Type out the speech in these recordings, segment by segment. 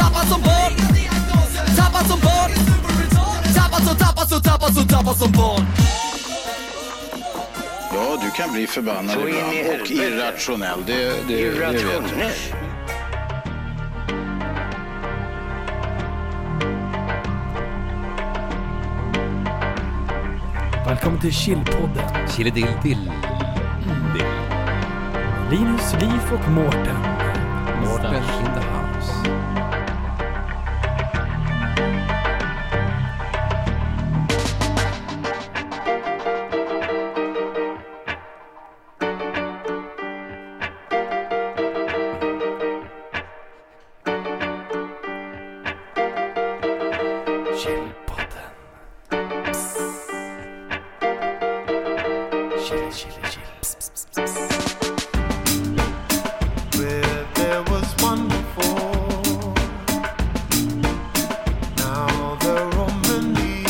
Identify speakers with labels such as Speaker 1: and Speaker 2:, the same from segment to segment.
Speaker 1: Tappad som barn Tappad som barn Tappad som, tappad som, tappad som, tappad som barn
Speaker 2: Ja, du kan bli förbannad
Speaker 3: Så in i
Speaker 2: ibland och
Speaker 3: helvete.
Speaker 2: irrationell. Det, det, det vet jag.
Speaker 3: Irrationell.
Speaker 4: Välkommen till Chillpodden.
Speaker 5: Chillidill-dill.
Speaker 4: Linus, Liv och Mårten.
Speaker 5: Mårten in the house.
Speaker 4: Chillpodden. Chill, chill, chill.
Speaker 6: Where there was one before, now there are many.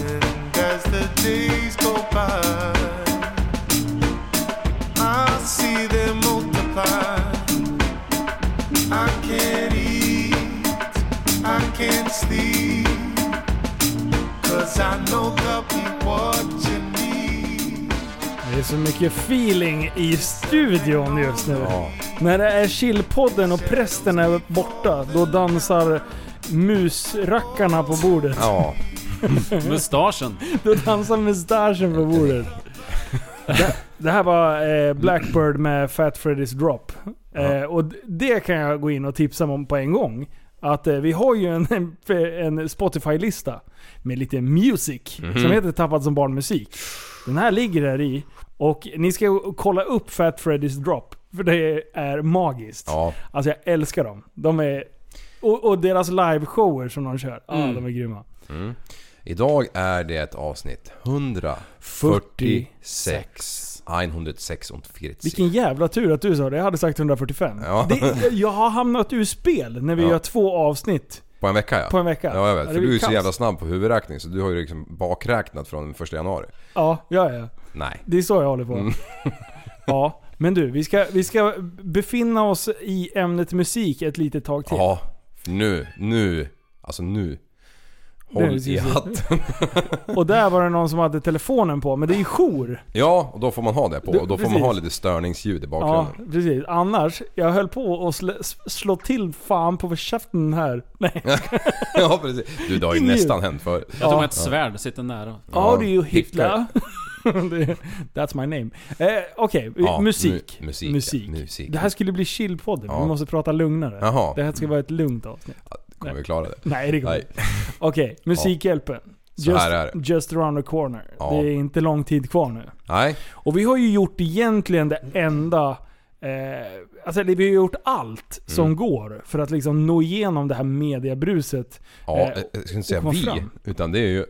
Speaker 6: And as the days go by, I see them multiply. I can't eat, I can't sleep, 'cause I know they'll be watching me.
Speaker 4: Det är så mycket feeling i studion just nu. När det är chillpodden och prästen är borta, då dansar musrackarna på bordet.
Speaker 5: Ja.
Speaker 7: Mustaschen.
Speaker 4: Då dansar mustaschen på bordet. Det, det här var eh, Blackbird med Fat Freddy's Drop. Eh, och d- det kan jag gå in och tipsa om på en gång. Att eh, vi har ju en, en, en Spotify-lista med lite music som heter Tappad som barnmusik. Den här ligger där i. Och ni ska ju kolla upp Fat Freddy's Drop. För det är magiskt.
Speaker 5: ja.
Speaker 4: Alltså jag älskar dem. De är... Och, och deras liveshower som de kör. Ah, de är grymma.
Speaker 5: Idag är det ett avsnitt 146. 106 und 40.
Speaker 4: Vilken jävla tur att du sa det. Jag hade sagt 145.
Speaker 5: Ja.
Speaker 4: Det, jag har hamnat ur spel när vi
Speaker 5: Ja.
Speaker 4: gör två avsnitt.
Speaker 5: På en vecka ja.
Speaker 4: På en vecka.
Speaker 5: Ja, jag
Speaker 4: Ja,
Speaker 5: vet.
Speaker 4: det
Speaker 5: För
Speaker 4: blir
Speaker 5: du är så
Speaker 4: kaos.
Speaker 5: jävla snabb på huvudräkning så du har ju liksom bakräknat från den 1 januari.
Speaker 4: Ja, ja, ja.
Speaker 5: Nej.
Speaker 4: Det är så jag håller på.
Speaker 5: Mm.
Speaker 4: Ja, men du. Vi ska, vi ska befinna oss i ämnet musik ett litet tag till.
Speaker 5: Ja. För nu, nu. Alltså nu. Håll
Speaker 4: Nu,
Speaker 5: i
Speaker 4: precis.
Speaker 5: hatten.
Speaker 4: Och där var det någon som hade telefonen på, men det är ju jour.
Speaker 5: Ja, och då får man ha det på.
Speaker 4: Du-
Speaker 5: Och då får man
Speaker 4: precis.
Speaker 5: ha lite störningsljud i
Speaker 4: Ja,
Speaker 5: bakgrunden.
Speaker 4: precis. Annars, jag höll på att slå, slå till fan på käften här. Nej.
Speaker 5: Ja precis. Du det har ju
Speaker 4: Ingen
Speaker 5: nästan hänt förut.
Speaker 7: Jag tog med ett svärd, sitter nära.
Speaker 4: Ja, det är ju
Speaker 5: Hitler.
Speaker 4: Hitler. Det- That's my name. Eh, Okej,
Speaker 5: Ja,
Speaker 4: musik.
Speaker 5: mu- musik, ja.
Speaker 4: musik.
Speaker 5: Musik.
Speaker 4: Det här skulle bli chillpodden.
Speaker 5: Ja.
Speaker 4: Vi måste prata lugnare.
Speaker 5: Jaha.
Speaker 4: Det här ska vara ett lugnt avsnitt.
Speaker 5: Kommer vi klara det?
Speaker 4: Nej, det går
Speaker 5: Nej.
Speaker 4: inte. Okej, Musikhjälpen.
Speaker 5: Så
Speaker 4: Just,
Speaker 5: här är det.
Speaker 4: just around the corner.
Speaker 5: Ja.
Speaker 4: Det är inte lång tid kvar nu.
Speaker 5: Nej.
Speaker 4: Och vi har ju gjort egentligen det enda... Eh, alltså vi har gjort allt
Speaker 5: Mm.
Speaker 4: som går för att liksom nå igenom det här mediabruset.
Speaker 5: Ja,
Speaker 4: Eh,
Speaker 5: jag ska inte säga
Speaker 4: och komma
Speaker 5: vi.
Speaker 4: fram.
Speaker 5: Utan det är ju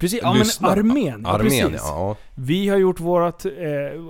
Speaker 4: Precis, ja, men
Speaker 5: lyssnarna.
Speaker 4: armén. ja,
Speaker 5: Armén,
Speaker 4: precis.
Speaker 5: ja.
Speaker 4: Vi har gjort vårat, eh,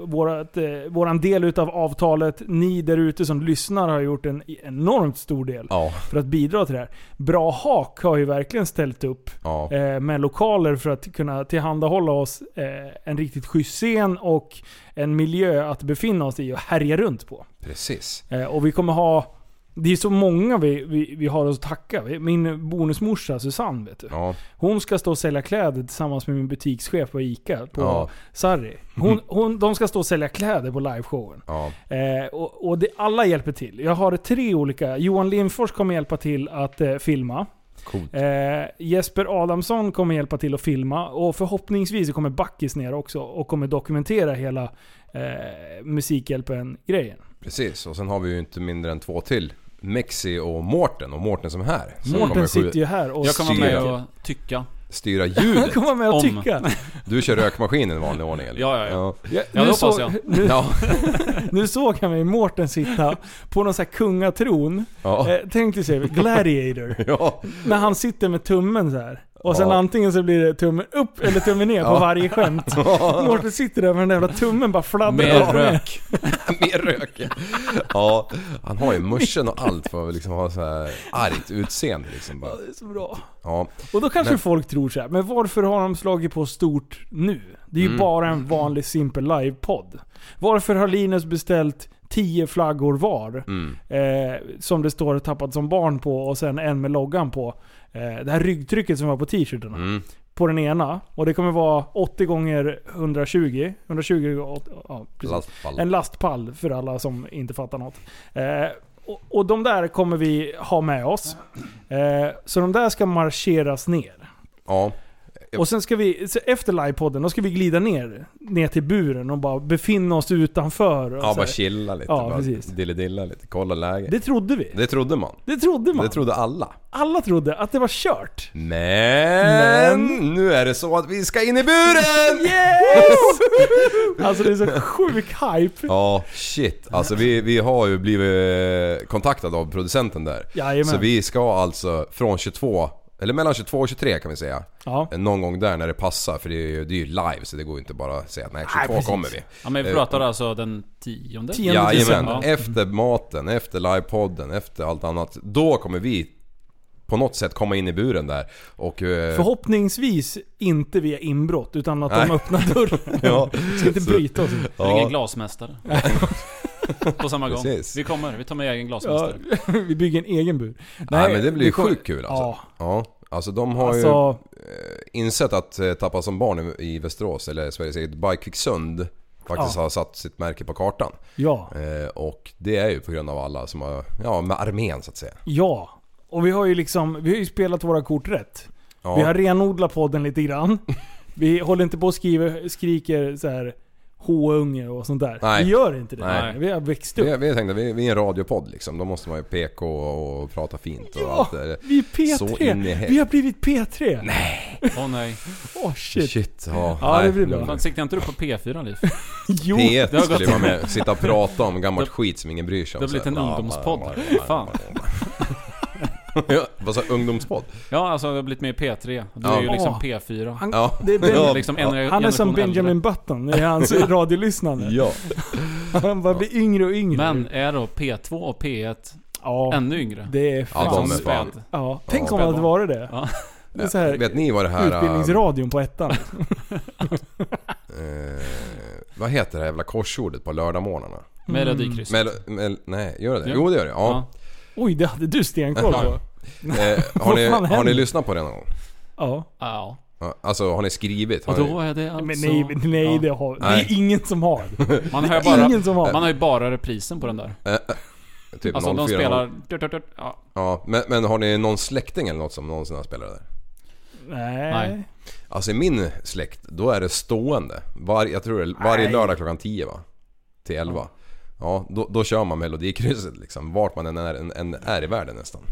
Speaker 4: vårat, eh, våran del utav avtalet. Ni där ute som lyssnar har gjort en enormt stor del
Speaker 5: Ja.
Speaker 4: för att bidra till det här. Bra Hak har ju verkligen ställt upp
Speaker 5: ja.
Speaker 4: eh, med lokaler för att kunna tillhandahålla oss eh, en riktigt schysst scen och en miljö att befinna oss i och härja runt på.
Speaker 5: Precis.
Speaker 4: Eh, och vi kommer ha... Det är så många vi, vi, vi har att tacka. Vi- Min bonusmorsa Susanne vet du.
Speaker 5: Ja.
Speaker 4: Hon ska stå och sälja kläder tillsammans med min butikschef på ICA på
Speaker 5: Ja.
Speaker 4: Sarri. Hon, hon, de ska stå och sälja kläder på liveshowen.
Speaker 5: Ja.
Speaker 4: Eh, och och det, alla hjälper till. Jag har tre olika. Johan Lindfors kommer hjälpa till att eh, filma.
Speaker 5: Coolt.
Speaker 4: Eh, Jesper Adamsson kommer hjälpa till att filma. Och förhoppningsvis så kommer Backis ner också och kommer dokumentera hela eh, Musikhjälpen-grejen.
Speaker 5: Mm. Precis. Och sen har vi ju inte mindre än två till. Mexi och Mårten. Och Mårten som är här. Som kommer
Speaker 4: Mårten
Speaker 5: skjuta-
Speaker 4: sitter ju här och
Speaker 7: Jag kommer vara med
Speaker 5: Ser.
Speaker 7: och tycka.
Speaker 5: styra ljudet.
Speaker 4: Komma med och
Speaker 7: Om.
Speaker 4: tycka.
Speaker 5: Du kör rökmaskinen i vanlig ordning eller?
Speaker 7: Ja, ja, ja.
Speaker 4: Ja,
Speaker 7: Ja, det hoppas
Speaker 4: så-
Speaker 7: jag.
Speaker 4: Nu,
Speaker 5: Ja,
Speaker 4: nu såg jag mig Mårten sitta på någon sån här kungatron.
Speaker 5: ja.
Speaker 4: Eh, tänk dig sig Gladiator.
Speaker 5: ja.
Speaker 4: När han sitter med tummen så här. Och sen
Speaker 5: Ja.
Speaker 4: antingen så blir det tummen upp eller tummen ner på
Speaker 5: Ja.
Speaker 4: varje skämt. Mårten sitter där med den där jävla tummen bara
Speaker 7: Mer
Speaker 4: fladdrar.
Speaker 7: rök.
Speaker 5: Mer rök ja. ja. Han har ju muschen och allt för att liksom ha så här argt utseende liksom bara.
Speaker 4: Det är så bra.
Speaker 5: Ja.
Speaker 4: Och då kanske
Speaker 5: Men-
Speaker 4: folk tror så här, men varför har de slagit på stort nu? Det är ju
Speaker 5: Mm.
Speaker 4: bara en vanlig Simple Live-podd. Varför har Linus beställt 10 flaggor var?
Speaker 5: Mm.
Speaker 4: Eh, som det står tappat som barn på och sen en med loggan på. Eh, det här ryggtrycket som var på t-shirtarna.
Speaker 5: Mm.
Speaker 4: På den ena. Och det kommer vara 80 gånger 120. 120 gånger 80, ja, precis.
Speaker 5: Lastfall.
Speaker 4: En lastpall för alla som inte fattar något. Eh, och, och de där kommer vi ha med oss. Eh, så de där ska marscheras ner.
Speaker 5: Ja.
Speaker 4: Och sen ska vi, så efter livepodden, då ska vi glida ner, ner till buren och bara befinna oss utanför. Och
Speaker 5: Ja,
Speaker 4: så här.
Speaker 5: bara chilla lite.
Speaker 4: Alltså, Ja,
Speaker 5: bara
Speaker 4: precis.
Speaker 5: Dilledilla lite, kolla läget.
Speaker 4: det trodde vi.
Speaker 5: Det trodde man.
Speaker 4: Det trodde man.
Speaker 5: Det trodde alla.
Speaker 4: Alla trodde att det var kört.
Speaker 5: Men, nu är det så att vi ska in i buren!
Speaker 4: Yes! alltså det är så sjuk hype.
Speaker 5: Ja, shit. Alltså vi, vi har ju blivit kontaktade av producenten där.
Speaker 4: Jajamän.
Speaker 5: Så vi ska alltså från 22, eller mellan 22 och 23 kan vi säga.
Speaker 4: Ja.
Speaker 5: Någon gång där när det passar, för det är ju, det är ju live så det går ju inte bara att säga att nej 22
Speaker 4: precis.
Speaker 5: kommer vi.
Speaker 7: Ja, men vi pratar alltså den tionde?
Speaker 4: Tionde.
Speaker 5: Ja,
Speaker 7: december.
Speaker 5: jajamän. Efter maten, efter livepodden, efter allt annat. Då kommer vi på något sätt komma in i buren där och... eh,
Speaker 4: Förhoppningsvis inte via inbrott, utan att de
Speaker 5: Nej.
Speaker 4: öppnar dörren.
Speaker 5: Ja,
Speaker 4: Ska inte
Speaker 5: så-
Speaker 4: bryta oss.
Speaker 7: Ring en
Speaker 5: Ja,
Speaker 7: glasmästare. På samma gång.
Speaker 5: Precis.
Speaker 7: Vi kommer, vi tar med egen
Speaker 4: Ja,
Speaker 7: glasmästare.
Speaker 4: vi bygger en egen bur.
Speaker 5: nej men det blir ju
Speaker 4: vi kommer-
Speaker 5: sjukt kul alltså.
Speaker 4: Ja.
Speaker 5: Ja. Alltså de har ju
Speaker 4: Alltså,
Speaker 5: insett att eh, Tappa som barn i- i Västerås, eller Sveriges eget Bikekvicksund faktiskt
Speaker 4: Ja.
Speaker 5: har satt sitt märke på kartan.
Speaker 4: ja.
Speaker 5: Eh, Och det är ju på grund av alla som har, ja med armén så att säga.
Speaker 4: Ja. Och vi har ju liksom, vi har ju spelat våra kort rätt.
Speaker 5: Ja.
Speaker 4: Vi har renodlat podden lite grann. Vi håller inte på och skriver, skriker så här H-unge och sånt där.
Speaker 5: Nej.
Speaker 4: Vi gör inte det.
Speaker 5: Nej.
Speaker 4: Vi har växt upp.
Speaker 5: Vi, vi tänkte, vi, vi är en radiopodd liksom. Då måste man ju PK och, och prata fint och
Speaker 4: Ja,
Speaker 5: allt det där.
Speaker 4: vi är P3.
Speaker 5: Så in i hel-
Speaker 4: vi har blivit P3. Nej.
Speaker 7: Åh nej.
Speaker 4: Åh shit.
Speaker 5: ja.
Speaker 4: Ja,
Speaker 5: nej,
Speaker 4: det blir bra.
Speaker 5: lugn.
Speaker 7: Fan, siktar inte du på P4 Liv?
Speaker 4: Jo.
Speaker 5: P1
Speaker 7: har
Speaker 5: skulle ju
Speaker 7: gått-
Speaker 5: vara med sitta och prata om gammalt
Speaker 7: Det-
Speaker 5: skit som ingen bryr sig om.
Speaker 7: det har blivit
Speaker 5: Så här,
Speaker 7: en
Speaker 5: bla, bla,
Speaker 7: ungdomspodd.
Speaker 5: bla, bla, bla,
Speaker 7: Fan.
Speaker 5: bla. ja, vad sa ungdomspodd?
Speaker 7: Ja, alltså jag har blivit med i P3. Du är
Speaker 5: Ja.
Speaker 7: ju liksom
Speaker 4: Åh.
Speaker 7: P4.
Speaker 4: Han,
Speaker 5: Ja.
Speaker 4: det är Ben-
Speaker 5: Ja.
Speaker 7: Liksom en
Speaker 4: han är som
Speaker 7: generation äldre.
Speaker 4: Benjamin Button i hans radiolyssnande.
Speaker 5: Ja.
Speaker 4: Han bara blir yngre och yngre.
Speaker 7: Men är då P2 och P1
Speaker 4: ja,
Speaker 7: ännu yngre?
Speaker 4: det är fan.
Speaker 5: Ja, de är
Speaker 4: så-
Speaker 5: fan.
Speaker 7: späd.
Speaker 4: ja. Tänk
Speaker 5: Ja.
Speaker 4: om det hade varit det.
Speaker 7: Ja.
Speaker 4: Det är så här,
Speaker 5: Vet ni vad det här... eh,
Speaker 4: utbildningsradion på ettan.
Speaker 5: eh, vad heter det här jävla korsordet på lördagmorgnarna?
Speaker 4: Mm.
Speaker 7: Melodikryss.
Speaker 5: Mel, mel, nej, gör det det?
Speaker 7: Ja.
Speaker 5: Jo det gör det. Ja.
Speaker 4: Oj, det hade du stenkoll på.
Speaker 5: Eh, har,
Speaker 4: Vad
Speaker 5: ni,
Speaker 4: fan
Speaker 5: har ni
Speaker 4: händer?
Speaker 5: lyssnat på det någon gång?
Speaker 4: Ja.
Speaker 7: Ja.
Speaker 5: Ja, Alltså har ni skrivit? Har
Speaker 7: Och
Speaker 5: ni,
Speaker 7: då är det alltså...
Speaker 4: Men nej, men nej,
Speaker 7: Ja.
Speaker 4: det, har, det
Speaker 5: Nej.
Speaker 4: är ingen som har.
Speaker 7: Man har, ju
Speaker 4: Det är
Speaker 7: bara,
Speaker 4: ingen som har.
Speaker 7: man har ju bara reprisen på den där.
Speaker 5: typ
Speaker 7: Alltså de
Speaker 5: 04?
Speaker 7: spelar... Dört, dört, dört. Ja.
Speaker 5: Ja, men, men har ni någon släkting eller något som någonsin har spelat det där?
Speaker 4: Nej.
Speaker 7: Nej.
Speaker 5: Alltså i min släkt, då är det stående. Var, jag tror det, varje lördag klockan 10 va? Till 11. Ja, då, då kör man Melodikrysset liksom. Vart man än är, än, än är i världen nästan.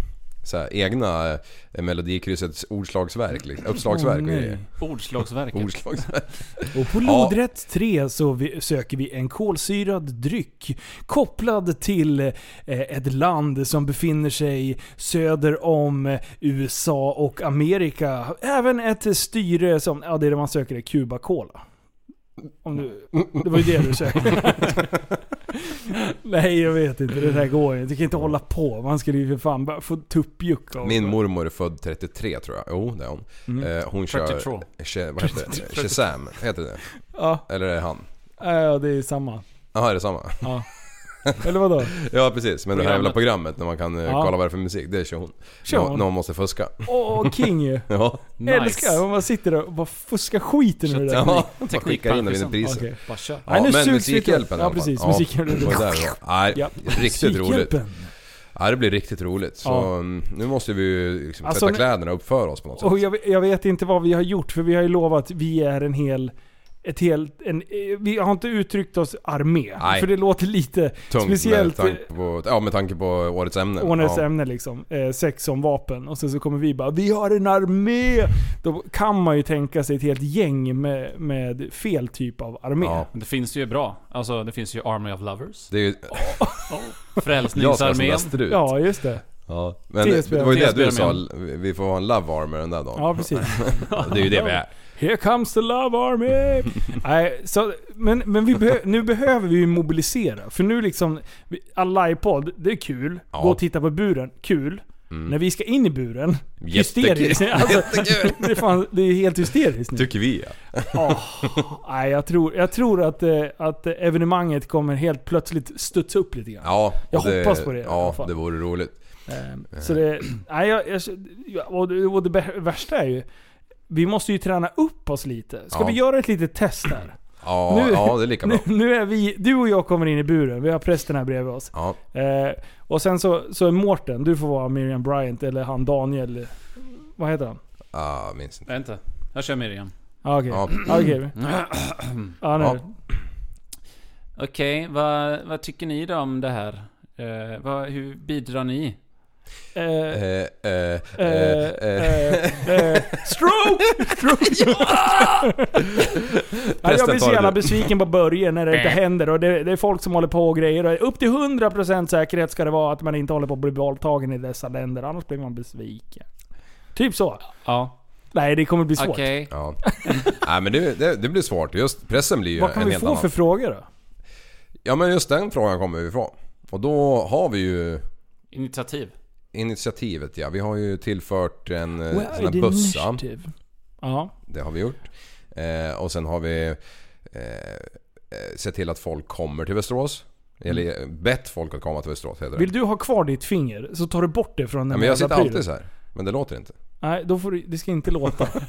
Speaker 5: Så här, egna eh, Melodikryssets ordslagsverk, liksom, uppslagsverk och
Speaker 4: nej.
Speaker 5: grejer.
Speaker 7: Ordslagsverket.
Speaker 5: Ordslagsverk.
Speaker 4: Och på
Speaker 5: Ja.
Speaker 4: lodrätt 3 så vi, söker vi en kolsyrad dryck kopplad till eh, ett land som befinner sig söder om eh, USA och Amerika. Även ett styre som, ja det är det man söker, är Cuba Cola. Om du, det var ju det du sökte. Nej jag vet inte, det där går ju inte. Du kan inte hålla på. Man skulle ju för fan bara få tuppjuck av
Speaker 5: Min mormor är född 33 tror jag. Jo, det är hon.
Speaker 4: Mm.
Speaker 5: Eh, hon kör...
Speaker 7: 32.
Speaker 5: Che, vad heter det? Shazam, heter det
Speaker 4: Ja,
Speaker 5: Eller är det han?
Speaker 4: ja, det är samma.
Speaker 5: Jaha, är det samma?
Speaker 4: Ja. Eller vadå?
Speaker 5: Ja precis, men det här jävla
Speaker 7: Programmet.
Speaker 5: programmet när man kan eh,
Speaker 4: Ja.
Speaker 5: kolla vad det är för musik, det kör hon.
Speaker 4: Kör
Speaker 5: Nå-
Speaker 4: hon?
Speaker 5: Någon måste fuska.
Speaker 4: Åh, king ju.
Speaker 5: Ja.
Speaker 4: Nice. Älskar
Speaker 7: Nice.
Speaker 4: om man sitter där och bara fuskar skiten ur det där.
Speaker 5: Ja, man
Speaker 7: Teknik-
Speaker 5: skickar in och vinner priset.
Speaker 4: liksom. Okej.
Speaker 7: Bara kör.
Speaker 5: Ja,
Speaker 4: Nej, nu
Speaker 5: men
Speaker 4: sugs vi till.
Speaker 5: Musikhjälpen i alla
Speaker 4: Ja,
Speaker 5: fall.
Speaker 4: precis. Musikhjälpen.
Speaker 5: det var där vi var. Nej,
Speaker 4: Ja.
Speaker 5: riktigt roligt.
Speaker 4: Psykhjälpen.
Speaker 5: Ja, det blir riktigt roligt. Så
Speaker 4: Ja.
Speaker 5: mm, nu måste vi ju liksom
Speaker 4: Alltså,
Speaker 5: tvätta
Speaker 4: nu-
Speaker 5: kläderna och uppföra oss på något sätt.
Speaker 4: Och jag, jag vet inte vad vi har gjort för vi har ju lovat vi är en hel ett helt... En, eh, vi har inte uttryckt oss armé.
Speaker 5: Nej.
Speaker 4: För det låter lite
Speaker 5: Tungt
Speaker 4: speciellt
Speaker 5: med tanke på, ja, med tanke på årets ämne.
Speaker 4: årets
Speaker 5: ja.
Speaker 4: ämne liksom. Eh, sex som vapen. Och sen så kommer vi bara Vi har en armé! Då kan man ju tänka sig ett helt gäng med, med fel typ av armé.
Speaker 5: Ja.
Speaker 7: Men det finns ju bra. Alltså det finns ju Army of Lovers.
Speaker 5: Det är ju... Jag som är sån där
Speaker 7: Frälsningsarmén.
Speaker 5: strut.
Speaker 4: Ja, just det.
Speaker 5: Ja. Men det,
Speaker 4: TSB.
Speaker 5: det var ju det du sa,
Speaker 7: TSB-armén.
Speaker 5: vi vi får ha en love armor den där dagen.
Speaker 4: Ja, precis.
Speaker 5: Det är ju det vi är.
Speaker 4: Here comes the love army! Nej, så, men men vi behö- nu behöver vi ju mobilisera. För nu liksom, vi- alla i podd, det är kul.
Speaker 5: Ja. Mm.
Speaker 4: Gå och titta på buren, kul. När vi ska in i buren,
Speaker 5: Jättekul.
Speaker 4: hysteriskt. Alltså,
Speaker 5: Jättekul.
Speaker 4: det, är fan, det är helt hysteriskt nu.
Speaker 5: Tycker vi ja.
Speaker 4: Åh, nej, jag tror, jag tror att, eh, att eh, evenemanget kommer helt plötsligt studsa upp lite grann.
Speaker 5: ja
Speaker 4: Jag
Speaker 5: och
Speaker 4: hoppas på det i alla
Speaker 5: Ja,
Speaker 4: fall.
Speaker 5: det vore roligt.
Speaker 4: Ehm, Så det, nej, jag, jag, jag- och det, och det bä- värsta är ju, vi måste ju träna upp oss lite. Ska
Speaker 5: Ja.
Speaker 4: vi göra ett litet test här?
Speaker 5: Ja,
Speaker 4: Nu-
Speaker 5: ja det är lika bra.
Speaker 4: Nu, nu är vi, du och jag kommer in i buren, vi har prästen här bredvid oss.
Speaker 5: Ja,
Speaker 4: Eh, och sen så, så är Mårten, du får vara Miriam Bryant eller han Daniel, vad heter han?
Speaker 5: ah, minns inte.
Speaker 7: Vänta. Jag kör Miriam.
Speaker 4: Ah, Okej.
Speaker 5: Ja. Mm.
Speaker 4: Ah, okej. Ah, nu.
Speaker 5: Ja.
Speaker 7: Okej, vad, vad tycker ni då om det här? Eh, vad, hur bidrar ni?
Speaker 4: Eh,
Speaker 5: Eh, eh,
Speaker 4: eh,
Speaker 5: eh, eh.
Speaker 4: eh, eh, Stroke! Stroke! ja! jag blir
Speaker 5: Prästen
Speaker 4: så
Speaker 5: tar
Speaker 4: jävla
Speaker 5: det. Äh.
Speaker 4: besviken på början när det inte händer och det, det är folk som håller på och grejer. Och upp till 100% säkerhet ska det vara att man inte håller på att bli våldtagen i dessa länder, annars blir man besviken. Typ så.
Speaker 7: Ja,
Speaker 4: Nej, det kommer bli svårt.
Speaker 7: okej.
Speaker 5: Ja. Nej men det, det, det blir svårt. Just pressen blir ju
Speaker 4: Vad kan
Speaker 5: en
Speaker 4: vi
Speaker 5: helt
Speaker 4: få
Speaker 5: annan.
Speaker 4: för frågor då?
Speaker 5: Ja men just den frågan kommer vi ifrån. Och då har vi ju
Speaker 7: Initiativ.
Speaker 5: initiativet ja. Vi har ju tillfört en eh,
Speaker 4: Where
Speaker 5: sån
Speaker 4: the
Speaker 5: här bössa.
Speaker 4: initiative? Ja.
Speaker 5: Det har vi gjort. Eh, och sen har vi eh, eh, sett till att folk kommer till Västerås. Eller eh, bett folk att komma till Västerås heter det.
Speaker 4: Mm. Vill du ha kvar ditt finger så tar du bort det från den
Speaker 5: ja, men jag
Speaker 4: jävla
Speaker 5: sitter
Speaker 4: prylen.
Speaker 5: alltid så här. Men det låter inte.
Speaker 4: Nej, då får du, det ska inte låta.
Speaker 5: Ja.